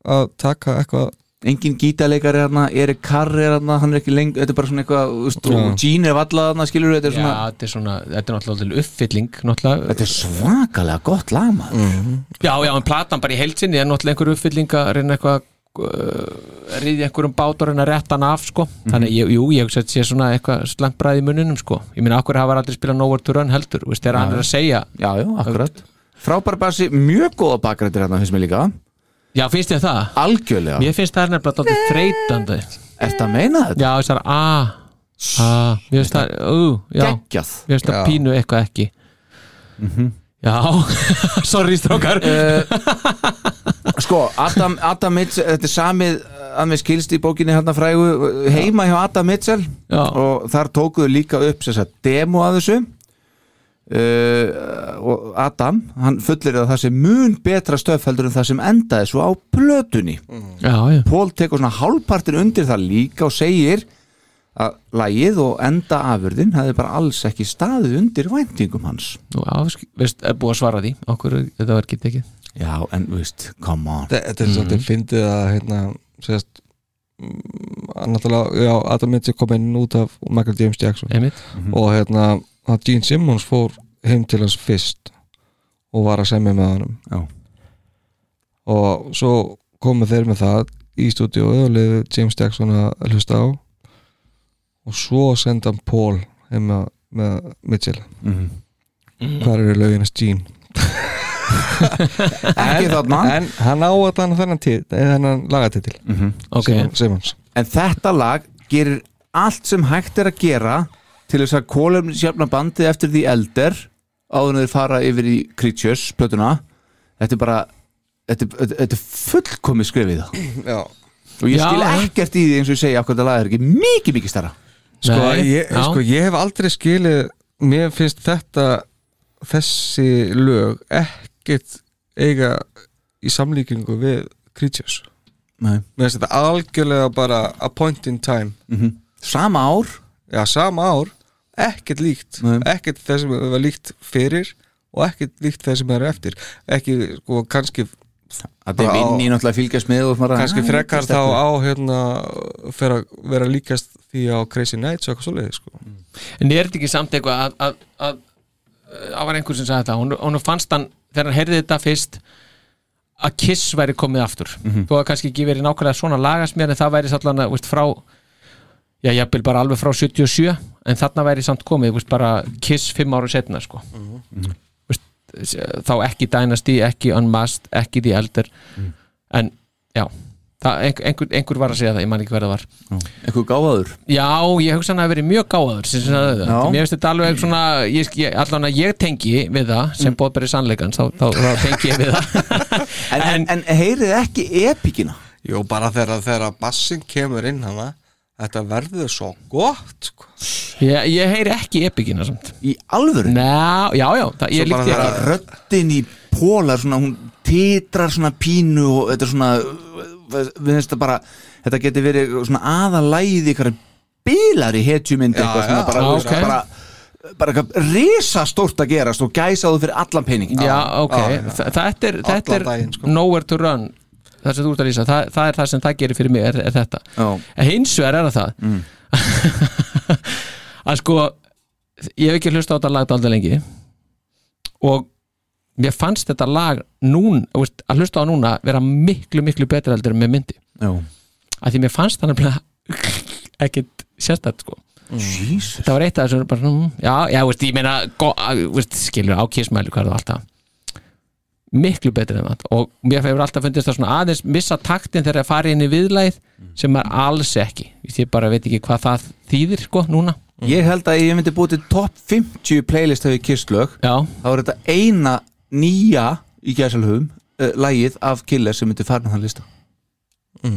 að taka eitthvað engin gítarleikar er hana, Erik Carr er hana hann er ekki lengur, þetta er bara svona eitthvað vist, og Gene er vallað hana, skilur Já, þetta er svona þetta er svona, þetta er náttúrulega til uppfylling náttúrulega. þetta er svakalega gott lag maður Mm. Já, já, en platan bara í heilsinni er náttúrulega einhver uppfylling að reyna eitthvað að uh, riðja einhverjum bátur en að rétta hann af sko. þannig að ég, jú, ég hugsa að sé svona eitthvað slengt bræði í mununum sko. ég meina, okkur hafa aldrei spilað Nowhere to Run heldur veist, þegar hann Já, er að segja já, já, akkurat frábær basi, mjög góða bakrættir hérna finnst mér líka já, finnst ég það algjörlega, mér finnst það er nefnilega dálítið þreytandi ert að meina þetta? já, þessar a, a mér finnst það, ú, já Geggjað. mér finnst það Já. pínu eitthvað ekki já, sorry strókar sko, Adam, Adam Mitchell þetta er samið að mér skilst í bókinni hérna frægu, heima hjá Adam Mitchell já. og þar tókuðu líka upp þess að demo að þessu uh, og Adam hann fullir að það sé mun betra stöf heldur en það sem endaði svo á plötunni já, já. Pól tekur svona hálfpartin undir það líka og segir að lagið og enda afurðin hefði bara alls ekki staðið undir væntingum hans Nú, á, veist, er búið að svara því okkur þetta var ekki tekið já, en veist, come on Þe- Þetta er svolítið fyndið að hérna, sérst náttúrulega, já, Adam Mitchell kom inn út af Michael James Jackson Einmitt. og hérna, að Gene Simmons fór heim til hans fyrst og var að semja með honum já. og svo komu þeir með það í stúdíu og leiðu James Jackson að hlusta á og svo senda hann Paul heim með, með Mitchell Mhm. Hvar eru löginast Gene? Ekki þarna. En hann á allan þennan, tit- þennan lagatitil Mhm. Ok. Simons En þetta lag gerir allt sem hægt er að gera til þess að kólum sjafna bandið eftir því elder áður en þeir fara yfir í Creatures plötuna þetta er bara þetta, er- þetta, þetta er fullkomi skrifið Já. og ég Já, skil já. ekkert í því eins og ég segja okkur þetta lag er ekki mikið mikið starra sko, ég, sko ég hef aldrei skilið mér finnst þetta þessi lög ekkert eiga í samlíkingu við Creatures Nei. mér finnst þetta algjörlega bara a point in time Mhm. sama ár já sama ár, ekkert líkt Nei. ekkert það sem var líkt fyrir og ekkert líkt það sem er eftir ekki sko kannski að þeim inn í náttúrulega fylgjast með og bara- kannski Æ, frekar þetta þá er á hérna fer að vera líkast því á Crazy Nights og eitthvað svoleiði sko En er þetta ekki samt eitthvað að, að, að, að það var einhver sem sagði þetta hún, hún fannst hann, þegar hann heyrði þetta fyrst að Kiss væri komið aftur Mhm. þó að kannski ekki verið nákvæmlega svona lagasmér en það væri sallan að, veist, frá já, ég byrð bara alveg frá 77 en þarna væri samt komið, veist, bara Kiss fimm ára setna, sko Mhm. veist, eh, þá ekki Dynasty, ekki Unmasked, ekki The Elder Mhm. en, já það, einhver, einhver, einhver var að segja það, ég man ekki hverða var einhver gáfaður Já, ég hugsa hann að hafi verið mjög gáður sem sem það er Mm. Já. það. Mér finnst þetta alveg svona ég, ég, allan að ég tengi við það sem mm. bóðberi sannleikans, þá, þá, þá tengi ég við það en, en, en heyrið ekki epíkina Jú, bara þegar, þegar bassin kemur inn hana Þetta verður svo gott sko. Ég, ég heyri ekki epikina samt Í alvöru? Ná, já, já, það, ég líkti ekki röddin í pólar svona, hún titrar svona pínu og þetta er svona við finnst það bara, þetta getur verið svona aðalæði ykkur bílar í hetjumynd Já, eitthvað já. svona bara, Já, þú veist, ok. bara, bara eitthvað risastórt að gerast og gæsaðu fyrir allan pening Já, ok, hérna. Þa- þetta er, þetta er sko. nowhere to run það sem þú ert að lýsa, það, það er það sem það gerir fyrir mig er, er þetta, Já. en hins vegar er það það að sko ég hef ekki hlusta á þetta lag alltaf lengi og mér fannst þetta lag núna, þú veist, að hlusta á núna vera miklu, miklu betra heldur en með myndi Já. að því mér fannst það nefnilega ekkit sérstætt sko Jesus. það var eitt af þessu bara, svona, mm, já, já, veist, ég meina go, að, veist, skilur á kísmælu hvað það alltaf miklu betur en það og mér hefur alltaf fundist það svona aðeins missa taktin þegar það fari inn í viðlæð sem er alls ekki Vist, ég bara veit ekki hvað það þýðir sko núna Mm. ég held að ef ég myndi búið til top 50 playlist hefur kistlög Já. þá er þetta eina nýja í gæsalhugum, uh, lagið af killer sem myndi farna þann lista já,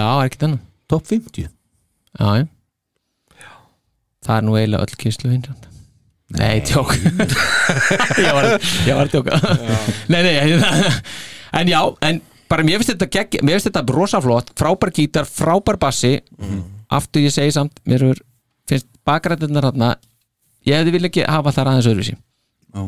er ekki þannig top 50 já, já. það er nú eiginlega öll kíslu hinn nei, tjók ég var, ég var að tjóka nei, nei, ég- en já en bara mér finnst þetta, gegg, mér finnst þetta rosa flott, frábær gítar, frábær bassi aftur ég segi samt mér er, finnst bakrættirnar þarna ég hefði vilja ekki hafa þar aðeins öðruvísi Já.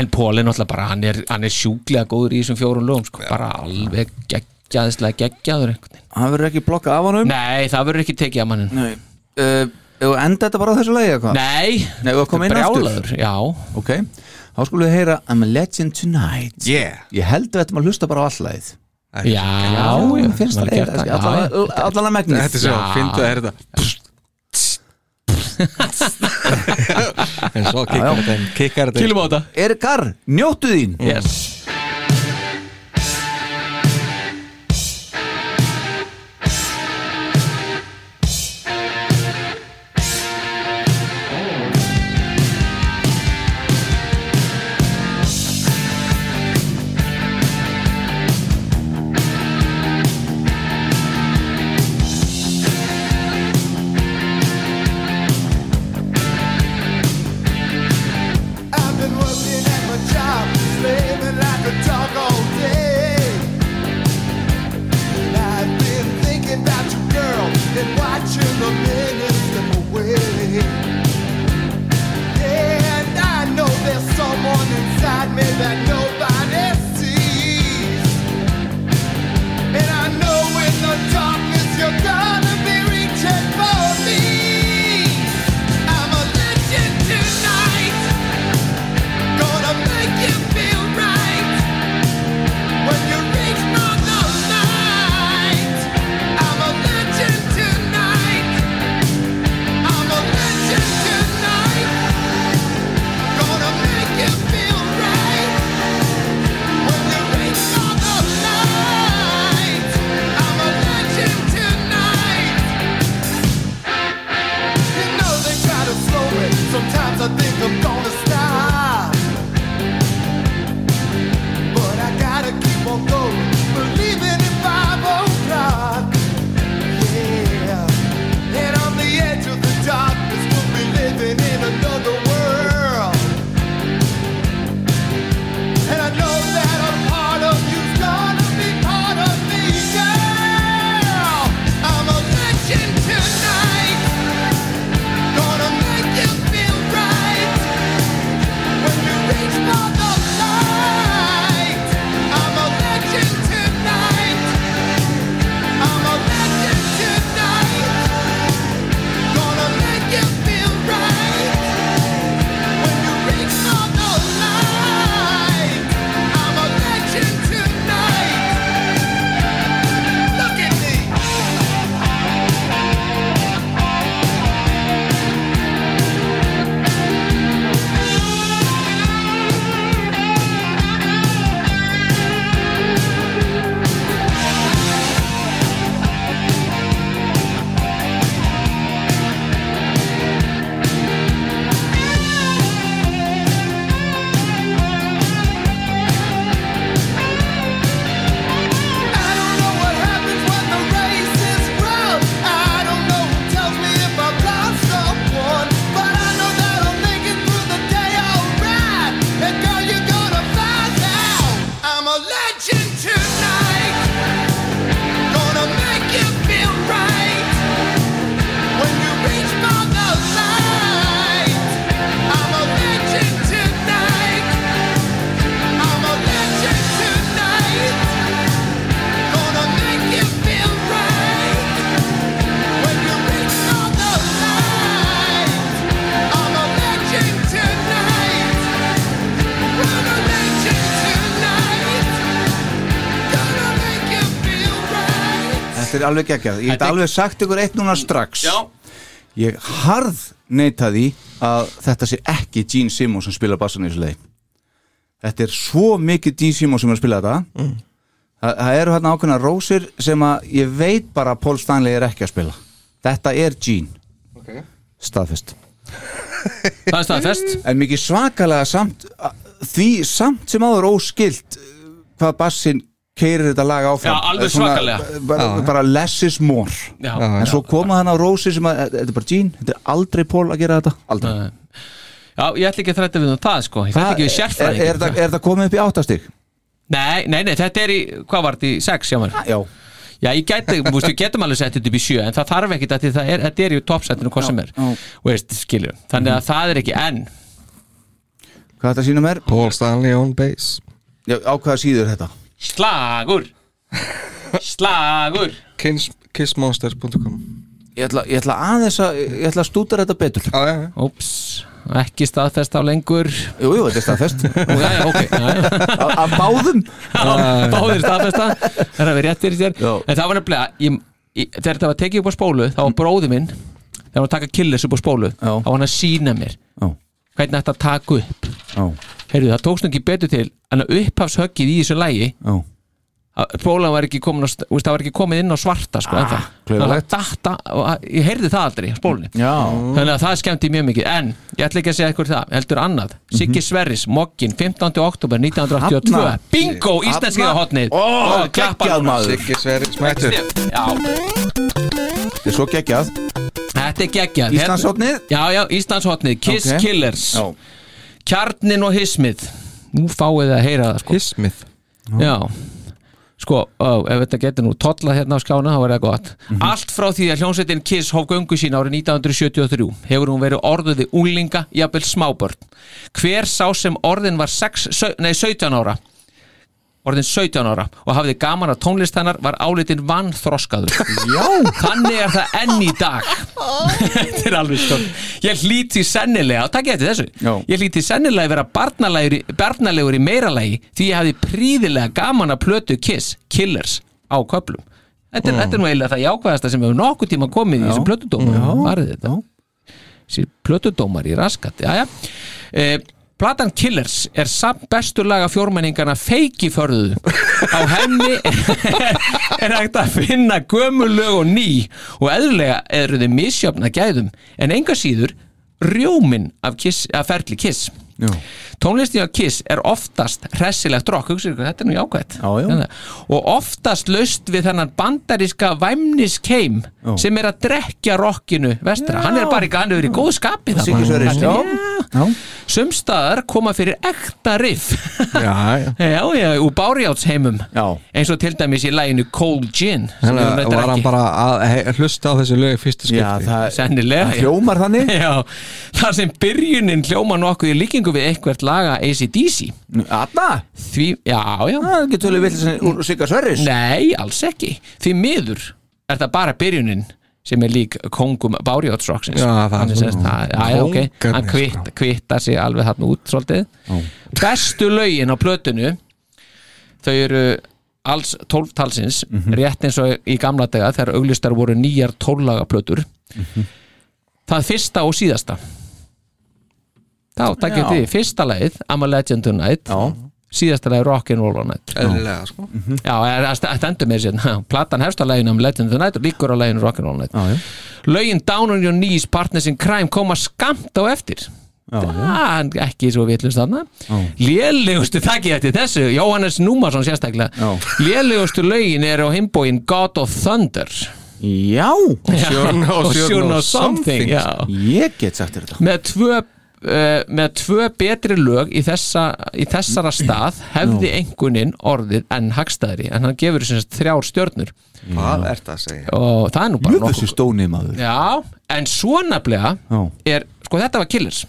en Pólin náttúrulega bara, hann er, hann er sjúklega góður í þessum fjórun lögum, sko, bara alveg geggjaðislega geggjaður einhvern veginn hann verður ekki blokka af honum nei, það verður ekki tekið af mannin Nei uh, Ef enda þetta bara á þessu lagi eða hvað? Nei Nei, við komum Ah. inn aftur Brjálaður, já Ok, þá skulum við heyra I'm a legend tonight Yeah Ég held að við ættum að hlusta bara á allagið Já, já, mér finnst var það gert það, já, já. allan að megnið Þetta er svo, fyndu að er þetta En svo kikkar þetta inn, kikkar þetta inn. á þetta Erikar, njóttu þín yes. I've been working at my job, slaving like a dog all day. And I've been thinking about you, girl, and watching the minutes slip away. And I know there's someone inside me that nobody sees. And I know in the darkness you're gonna be reaching for me. I'm a legend tonight. Gonna make you feel right when you reach for the light. I'm a legend tonight. I'm a legend tonight. Gonna make you feel right when you reach for the light. I'm a legend tonight. You know they try to slow me. Sometimes I think I'm gonna stop. But I gotta keep on going. Believing in five o'clock. Yeah. And on the edge of the darkness, we'll be living in another world. And I know that a part of you's gonna be part of me, girl. I'm a legend tonight. Gonna make you feel right when you reach for the light. I'm a legend tonight. I'm a legend tonight. Gonna make you feel right when you reach for the light. I'm a legend tonight. Look at me. Gonna make you feel right when you reach for the light. I'm a legend tonight. I'm a legend tonight. Gonna make you feel right. Þetta er alveg geggjað, ég get alveg sagt ykkur eitt núna strax Já Ég harð neita því að þetta sé ekki Gene Simmons sem spila bassan í þessu leið Þetta er svo mikið Gene Simmons sem er að spila þetta Mm. Þa, Það eru hérna ákveðna rósir sem að ég veit bara að Paul Stanley er ekki að spila Þetta er Gene Ok. Staðfest Það er staðfest En mikið svakalega samt a- því samt sem áður óskilt uh, hvað bassin keirir þetta lag áfram Eh, Já, alveg Svona, svakalega. bara, Já. bara less is more Já. Já, en já. svo koma hann á rósi sem að þetta er bara Gene, þetta er aldrei Paul að gera þetta Eh, aldrei Já, ég ætla ekki að þræta við um það sko Ég þræta ekki við Mm. er, sérfræðing er, það- er það komið upp í áttastig? Nei, nei, nei, þetta er í, hvað var þetta í sex hjá mér? Já Já, ég geti, þú veist, við getum alveg sett þetta upp í sjö en það þarf ekkit að því það er, þetta er í toppsættinu hvað sem er, Þú veist, skilur þannig að það er ekki enn Hvað þetta sínum er? Paul Stanley on bass Já, á hvaða síður þetta? Slagur Slagur Kiss, kissmonsters.com Ég ætla, ég ætla aðeins að ég ætla að stúta þetta betur ah, ja, Óps, ekki staðfest af lengur Jú, jú, þetta er staðfest Já, já, ok Af- af báðum? Já, Báðir staðfesta Það er að við réttir þér En það var nefnilega ég, ég, Þegar þetta var tekið upp á spólu þá var bróði minn Þegar hann var að taka killis upp á spólu Mm. já. þá var hann að sína mér já. Hvernig þetta taka upp já. Heyrðu, það tókst nú ekki betur til en að upphafshöggið í þessu lægi Já. Spólan var ekki komin á, st- þú veist, það var ekki komin inn á svarta sko, ah, klaufalegt. datta, Ég heyrði það aldrei á spólunni Já. Þannig að það skemmti mjög mikið En ég ætla ekki að segja eitthvað það Heldur annað Mhm. Siggi Sverris, Mokkin, 15. oktober 1982 Hafna. Bingo, íslenskiða Hafna. hotnið Ó, Og klappar geggjað núna. maður. Siggi Sverris mættur. Já, Þetta er svo geggjað þetta er geggjað Hérna- Íslandshotnið? Já, já, Íslandshotnið Kiss Ok. Killers já. Kjarnin og Hismið Nú fáið þið að heyra það sko. Hismið? Já Sko, ó, ef þetta getur nú tollað hérna á skjána þá verður það gott Allt frá því að hljómsveitin Kiss hóf göngu sín árið 1973 hefur hún verið orðuði unglinga jafnvel smábörn Hver sá sem orðin var 6, sau- nei, 17 ára orðin 17 ára og hafði gaman að tónlist hennar var álitinn vannþroskaður Já. þannig er það enn í dag þetta er alveg stjórn ég hlíti sennilega, og takk ég eftir þessu Já. ég hlíti sennilega að vera barnalegur, í- barnalegur í meira lagi því ég hafði príðilega gaman að plötu Kiss Killers á köplum þetta er, Mm. þetta er nú eiginlega það jákvæðasta sem hefur nokkuð tíma komið í þessum plötudómar varðið þetta sér plötudómar í raskat Jæja. e, Platan Killers er samt bestur laga fjórmenningana feikiförðu á henni er hægt að finna gömulög og ný og eðlulega eru þið misjöfna gæðum en enga síður rjómin af, kiss, af ferli Kiss Já. tónlistin á Kiss er oftast hressilegt rock, hugsaðu ykkur, þetta er nú jákvætt já, já. og oftast laust við þennan bandaríska væmniskeim sem er að drekja rockinu vestra, Já. hann er bara ekki, hann er í góð skapi þarna. Siggi Sverris, Þetta er- Já. Sumstaðar koma fyrir ekta riff Já, já Já, já, úr bárjátsheimum já. eins og til dæmis í læginu Cold Gin sem Þannig við að reyndar var hann ekki- bara að he- hlusta á þessi lög í fyrsta skipti sennilega það já. já, þar sem byrjunin hljóma nokkuð í líkingu við einhvert laga ACDC Anna? Því, já, já Það getur tölum vill sem úr Sigga Sverris Nei, alls ekki, því miður er það bara byrjunin sem er lík kongum Bárjótsroksins Já, það er Hann er svona. semst að- já, já, ok, Kóngarnir, sko. hann kvitt, kvittar sig alveg hann út svolítið bestu lögin á plötunu þau eru alls 12 talsins Mhm. rétt eins og í gamla daga þegar auglistar voru nýjar 12 laga plötur það fyrsta og síðasta þá takkjum Já. því fyrsta lagið I'm a Legend Tonight Já. Mhm. síðasta lagið Rock'n'Roll All Night Eðlilega, sko. Já, það st- það stendur mér sérna platan hefst á læginu um Legend of the Night og líkur á læginu Rock'n'Roll Night já, lögin Down on Your Knees, Partners in Crime koma skamt á eftir það er ekki svo vitlust þarna lélegustu þakki eftir þessu Jóhannes Númarsson sérstaklega lélegustu lögin er á himbóin God of Thunder já og Sure Know- og Sure Sure Know Know Something, Something. já Ég get sagt þér þetta með tvö eh, með tvö betri lög í, þessa, í þessara stað hefði enguninn orðið enn hagstæðri en hann gefur sem sagt þrjár stjörnur Hvað ert það að segja? og það er nú bara Jöfessi stónið maður Já, en svo nefnilega Já. er, sko þetta var Killers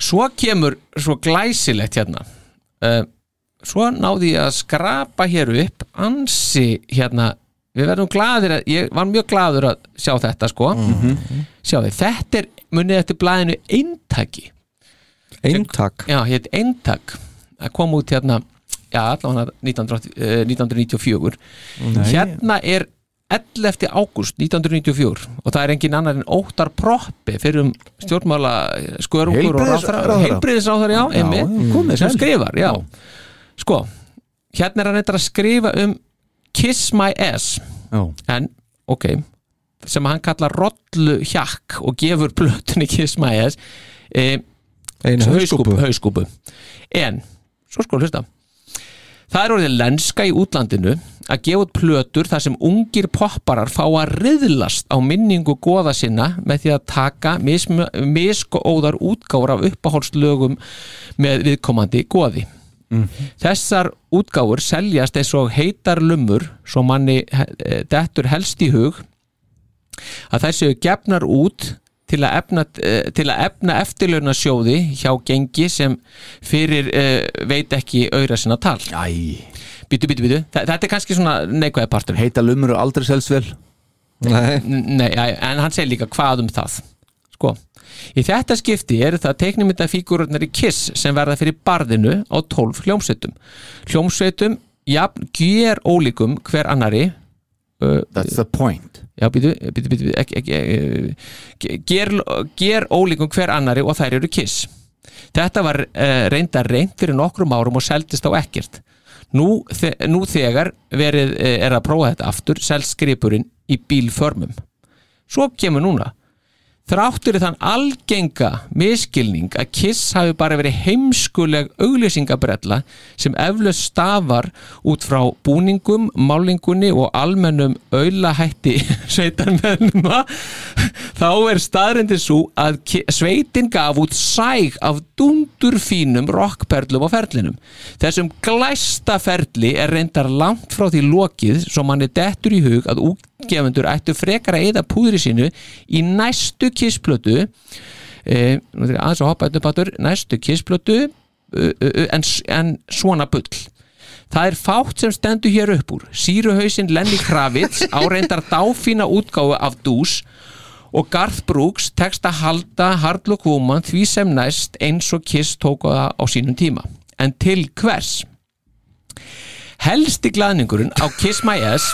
Svo kemur svo glæsilegt hérna uh, Svo náði ég að skrapa hér upp ansi hérna Við verðum gladir að, ég var mjög gladur að sjá þetta sko Sjáði, þetta er, munið eftir blæðinu eintaki Eintak? Já, hétt eintak Það kom út hérna, já allavega 1980 eh, 1994 Nei. Hérna er 11. ágúst 1994 og það er engin annar en Óttar Proppi fyrir um stjórnmála eh, skörungur og Heilbrigðis- ráðherra ráðherra. heilbriðisráþara, já, Já, já, komið einmitt sem sæl. skrifar, já sko, hérna er hann eitthvað að skrifa um Kiss My Ass Já. en, ok sem hann kallar rollu hjakk og gefur blötunni Kiss My Ass e, Einu hauskúpu. hauskúpu en, svo sko hlusta Það er orðið lenska í útlandinu að gefa út plötur þar sem ungir popparar fá að riðlast á minningu goða sinna með því að taka mism- misgóðar útgáfur af uppahólslögum með viðkomandi goði. Þessar útgáfur seljast eins og heitar lumur svo manni eh, dettur helst í hug að þær séu gefnar út til að efna, eh, til að efna eftirlauna hjá gengi sem fyrir uh, veit ekki auðra sinna tal Æ. Býtu, býtu, býtu, Þa, þetta er kannski svona neikvæði partur Heita lumur og aldrei selst vel Nei, Nei æ, en hann segir líka hvað um það sko. Í þetta skipti eru það teiknumyndafígururnar í Kiss sem verða fyrir barðinu á 12 hljómsveitum. Hljómsveitum, jafn, gjör ólíkum hver annari. Uh, That's the point. Já, býtu, býtu, býtu, ekki, ekki, ekki ger, ger ólíkum hver annari og þær eru Kiss. Þetta var uh, reynda reynd fyrir nokkrum árum og seldist á ekkert. Nú, þe nú þegar verið, eh, er að prófa þetta aftur selst skripurinn í bílförmum. Svo kemur núna. Þráttur er þann algenga miskilning að Kiss hafi bara verið heimskuleg auglýsingabrella sem eflaust stafar út frá búningum, málingunni og almennum aulahætti sveitarmennuma þá er staðrendin svo að Ki- sveitin gaf út sæg af dundurfínum rockperlum á ferlinum. Þessum glæsta ferli er reyndar langt frá því lokið svo manni dettur í hug að útgefendur ættu frekar að eða púðri sínu í næstu kissplötu eh, nú þurfum aðeins að hoppa þetta patur næstu kissplötu uh, uh, uh, en, en svona bull Það er fátt sem stendur hér upp úr Sýruhausinn Lenny Kravitz á reyndar dáfína útgáfu af dús og Garth Brooks tekst að halda Hardlock Woman því sem næst eins og Kiss tók á það á sínum tíma en til hvers? Helsti glaðningurinn á Kiss My Ass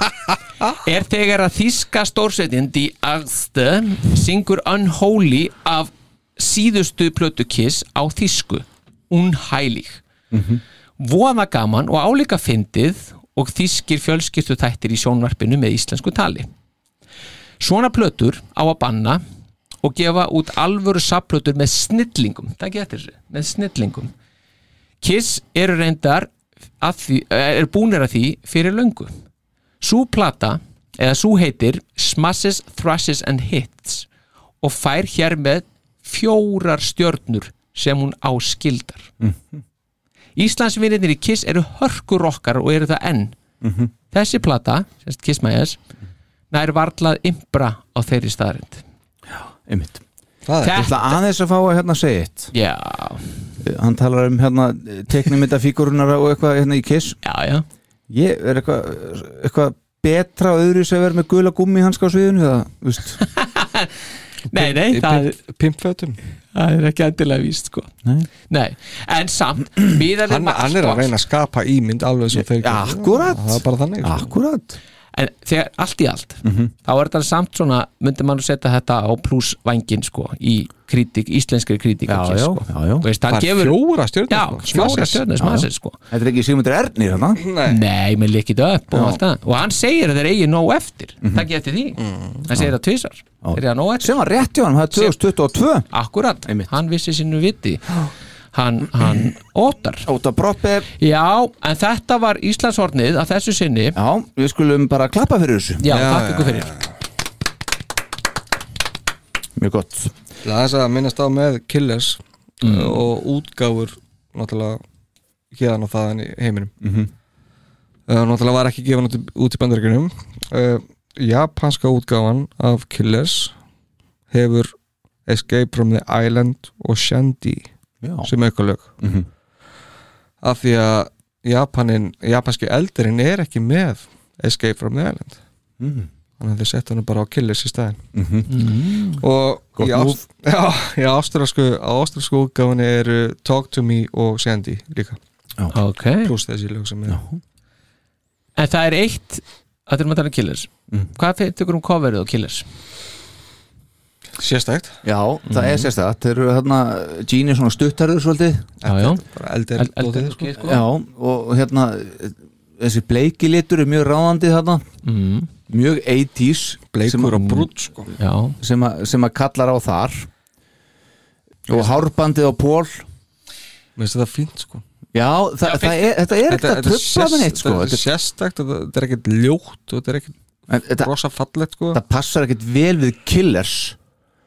er þegar að þíska stórsveitin Die Angste syngur Unholy af síðustu plötu Kiss á þísku Unheilig voða gaman og álíka fyndið og þýskir fjölskyldu þættir í sjónvarpinu með íslensku tali. Svona plötur á að banna og gefa út alvöru saplötur með snillingum, það getur þessu, með snillingum. Kiss eru reyndar að því, er búnir að því fyrir löngu. Sú plata, eða sú heitir Smashes, Thrashes and Hits og fær hér með fjórar stjörnur sem hún áskildar. Íslandsvinirnir í Kiss eru hörkur okkar og eru það enn Mhm. þessi plata, sérst Kiss My Ass nær varlað impra á þeirri staðarind Einmitt. Það Það er- er ætla aðeins að fá að hérna segja eitt Já Hann talar um hérna teknimyndafíkurunar og eitthvað hérna í Kiss Já, já Ég er eitthvað, eitthvað betra og öðru sem verður með gula gummi hanska á sviðinu eða, veist Nei, nei, það er pimpfötum Það er ekki endilega víst, sko Nei, en samt miðað við sko, hann, hann er Matchbox- að reyna að skapa ímynd alveg svo þeir Akkúrat. það er bara þannig sko. akkurat en þegar allt í allt Mhm. þá er þetta samt svona, myndi mann setja þetta á pluss vængin sko í kritik, íslenskri kritik Já, já, sko. já, já. Þú Veist, hann Það er gefur, fjórar stjörnur, já, sko. fjóra Smashes. stjörnur Já, já. smassis, sko. Þetta er ekki Sigmundur Ernir hérna Nei, Nei með likið upp og allt það og hann segir að þeir eigi nóg eftir mm Mhm. -hmm. takk eftir því, Mm, hann segir það tvisar þeir eigi nóg eftir sem var rétt hjá hann, það er 2022 Akkurat, hann vissi sínu viti hann, hann ótar Ótar Broppi Já, en þetta var Íslandshornið að þessu sinni Já, við skulum bara klappa fyrir þessu Já, takk ykkur fyrir Mjög gott Það er að minnast á með Killers Mm. uh, og útgáfur náttúrulega hérna og þaðan í heiminum Mhm. uh, Náttúrulega var ekki gefan út, í- út í bandaríkunum uh, Japanska útgáfan af Killers hefur Escape from the Island og Shandy Já. sem aukulög mm Mhm. af því að Japanin, japanski eldurinn er ekki með Escape from the Island Mhm. þannig að þið setja hann bara á Killers í staðin Mhm. Mhm. og Gott í ást- já, í ástralsku ástralsku útgáfunni eru Talk to me og Sandy líka já. ok pluss þessi lög sem er En það er eitt að þeir maður tala um Killers Hvað fyrir ykkur um coverið á Killers? sérstækt Já, það er sérstætt Þeir eru hérna, Gene er svona stuttarður svolítið Já, já bara eldir Eld- dótið, eldir sko. dótið, sko. Já, og hérna þessi bleiki litur er mjög ráðandi þarna mm. mjög 80s Bleikur og brúnn, sko. Já. sem, að, sem að kallar á þar og hárbandið á pól Mér finnst þetta fínt sko Já, þa Já, það fínt. er, þetta er ekkert að þetta tröfla með neitt sko þetta er sérstækt, þetta þetta er ekkert ljótt og þetta er ekkert rosa fallegt sko það passar ekkert vel við killers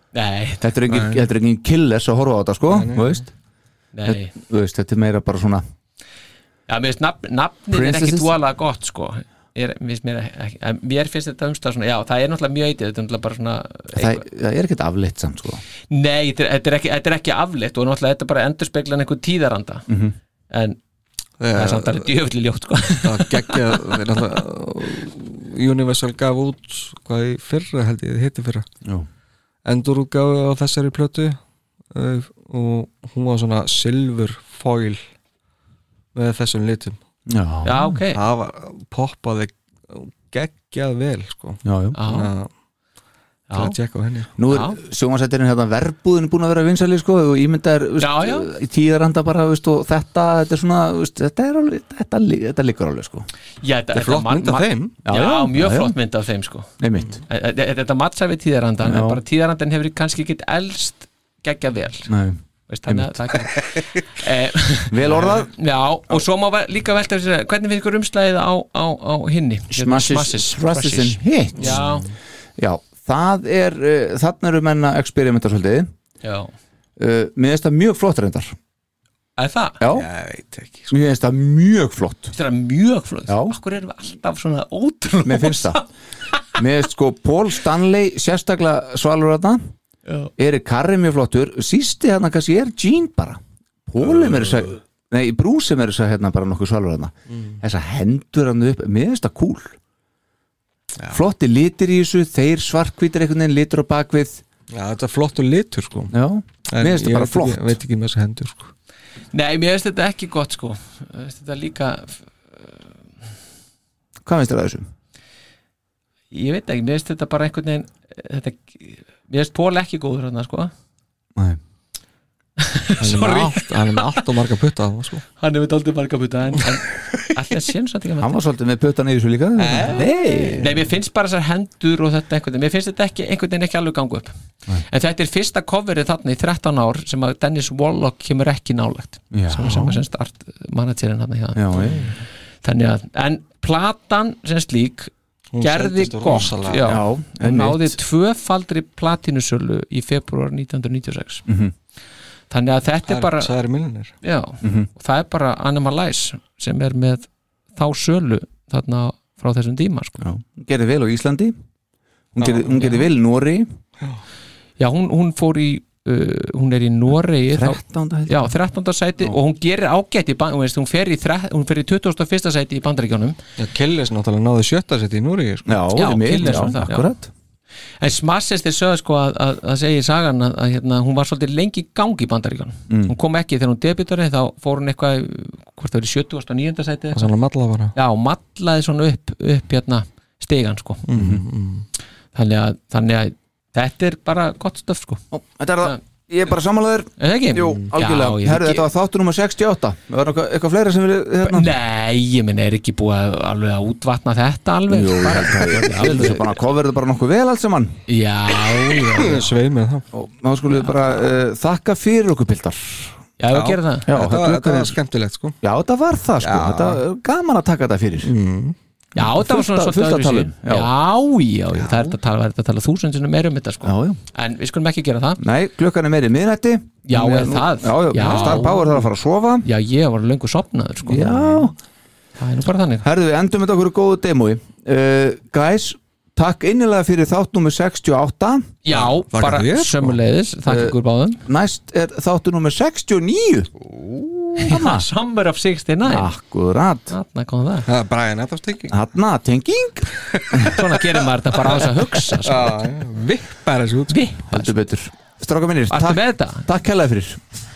Nei Þetta er engin, Nei. þetta er engin killers að horfa á þetta sko Nei, nei, þú veist. nei. Þetta, þú veist, þetta er meira bara svona Já, mér finnst nafn, nafnin er ekki Princesses? dvala gott sko er, mér, mér, ekki, en mér finnst þetta umstað svona, já, það er náttúrulega mjög eitið þetta er náttúrulega bara svona það, það er ekkert afleitt samt sko Nei, þetta er, þetta er, ekki, þetta er ekki afleitt og náttúrulega þetta er bara endurspeglan einhver tíðaranda Mhm. en það er samt alveg djöfli ljótt sko. það geggja þeir náttúrulega Universal gaf út hvað í fyrra held ég, þið hitti fyrra Já. endurútgáfi á þessari plötu uh, og hún var svona silfur foil með þessum litum Já. Já, ok Það var, poppaði geggjað vel sko. Já, já. Ah. Þannig að- Það er að tjekka á henni sko. Nú er sjónvarsættirinn hérna verbúðin búin að vera vinsæli sko og ímyndar Já, já. í tíðaranda bara veist, og þetta, þetta er svona veist, þetta, er alveg, þetta, li- þetta liggur alveg sko Já, þetta- þetta ma- ma- Já, mjög flott mynd af þeim sko Nei mitt E- e- e- Þetta matsa við tíðarandan Já. en bara tíðarandan hefur kannski ekkit elst geggja vel Nei. Veist, þannig að það kan- Vel orðað. Já, og svo má ve- líka velta fyrir sér, hvernig finnst ykkur umslæðið á, á, á hinni? Smashes, Thrushes and Hits Já, Já, það er uh, þarna eru menna experimentar svolítið já, uh, Mér finnst það mjög flott reyndar að það Já, mér finnst það mjög flott Þetta er mjög flott, Já. okkur erum við alltaf svona ótrúlega Mér finnst það Mér finnst sko Paul Stanley sérstaklega svalur þarna Eri Karri mjög flottur Sýsti hérna kannski er Gene bara Paul er mér þess að Nei, Bruce er mér þess að hérna bara nokkuð svalur þarna Mm. Þessa hendur hann upp Mér finnst það cool Flotti litir í þessu Þeir svartkvítir einhvern veginn litur á bakvið Já, þetta er flottur litur sko Já, En mér finnst ég það bara veit ekki- flott veit ekki með þessa hendur sko Nei, mér finnst þetta ekki gott sko Mér finnst Þetta líka Hvað finnst þér að þessu? ég veit ekki, mér finnst þetta bara einhvern veginn þetta, mér finnst Pól ekki góður hann sko Hann er með allt- hann er með allt og marga putta á sko. hann hefur daldið marga puta en, en alltaf séum svo Hann var svolítið með pötan í þessu líka Nei Nei, mér finnst bara þessar hendur og þetta einhvern veginn Mér finnst þetta ekki, einhvern veginn ekki alveg gangu upp En þetta er fyrsta coverið þarna í 13 ár sem að Dennis Wallock kemur ekki nálægt Já. sem er saman sem start managerinn hann hjá Já, já. Þannig að, en platan sem slík Hún gerði seldist gott rosalega. já, Já, hún einmitt. náði tvöfaldri platinusölu í februar 1996 Mhm. þannig að þetta er Það er bara tvær milljónir. já, Mhm. og það er bara Animalize sem er með þá sölu þarna frá þessum díma sko. já, hún gerði vel á Íslandi hún gerði, hún gerði Já. vel í Nóri já, hún, hún fór í uh, hún er í Noregi 13. þá- já, 13. sæti og hún gerir ágætt í band, hún, veist, hún, fer í þre- hún fer í 21. sæti í bandaríkjónum Já, Kellis náttúrulega náði sjötta sitt í Núri sko. Já, Killers var það, já. En Smashes þeir sögðu sko að, að, að segja í sagan að, að hérna, hún var svolítið lengi í gangi í bandaríkan Mm. hún kom ekki þegar hún debutari þá fór hún eitthvað, í- hvort það verið 70. og 9. sæti Það er svona matla bara Já, hún matlaði svona upp, upp hérna stegan sko Mhm, þannig, að, þannig að þetta er bara gott stöf sko Ó, Þetta er það, ég er bara sammálaður Er það ekki? Jú, algjörlega, Já, já, ég- herðu þetta var þáttur nummer 68 Það var eitthvað, eitthvað fleira sem vilja hérna. Nei, ég minn er ekki búið að alveg að útvatna þetta alveg Jú, ég Bara- held að ég held þessu bara að coverðu bara nokkuð vel allt saman Já, já Sveið með það Og þá skulum við bara uh, þakka fyrir okkur pildar Já, við gerum það. Já, Þetta þetta var- þetta lukkar var eins. skemmtilegt sko Já, þetta var það sko, þetta var gaman að taka þetta fyrir mm. Já, það var svona fullt að öðruvísi. tala um já. Já, já, það er þetta að tala, það er þetta að tala þúsundinu meira um þetta sko já, já. En við skulum ekki gera það Nei, klukkan er meiri miðnætti Já, Hún er nú- það? Já, já, Já. Star Power þarf að fara að sofa Já, ég var löngu sopnaður sko Já Það er nú bara þannig Herðu, við endum þetta okkur góðu demói uh, Guys, takk innilega fyrir þátt nummer 68 Já, Þakka bara þér. sko. sömuleiðis, þakka Eh, ykkur báðum Næst er þáttu nummer 69 Summer of 69 Akkurat Þarna kom það Það er Brian Adams tenging Þarna tenging Svona gerir maður þetta bara á þess að hugsa sko. Vippar þessu út Vippar Heldur betur Stráka minnir, Ertu með þetta? takk hella fyrir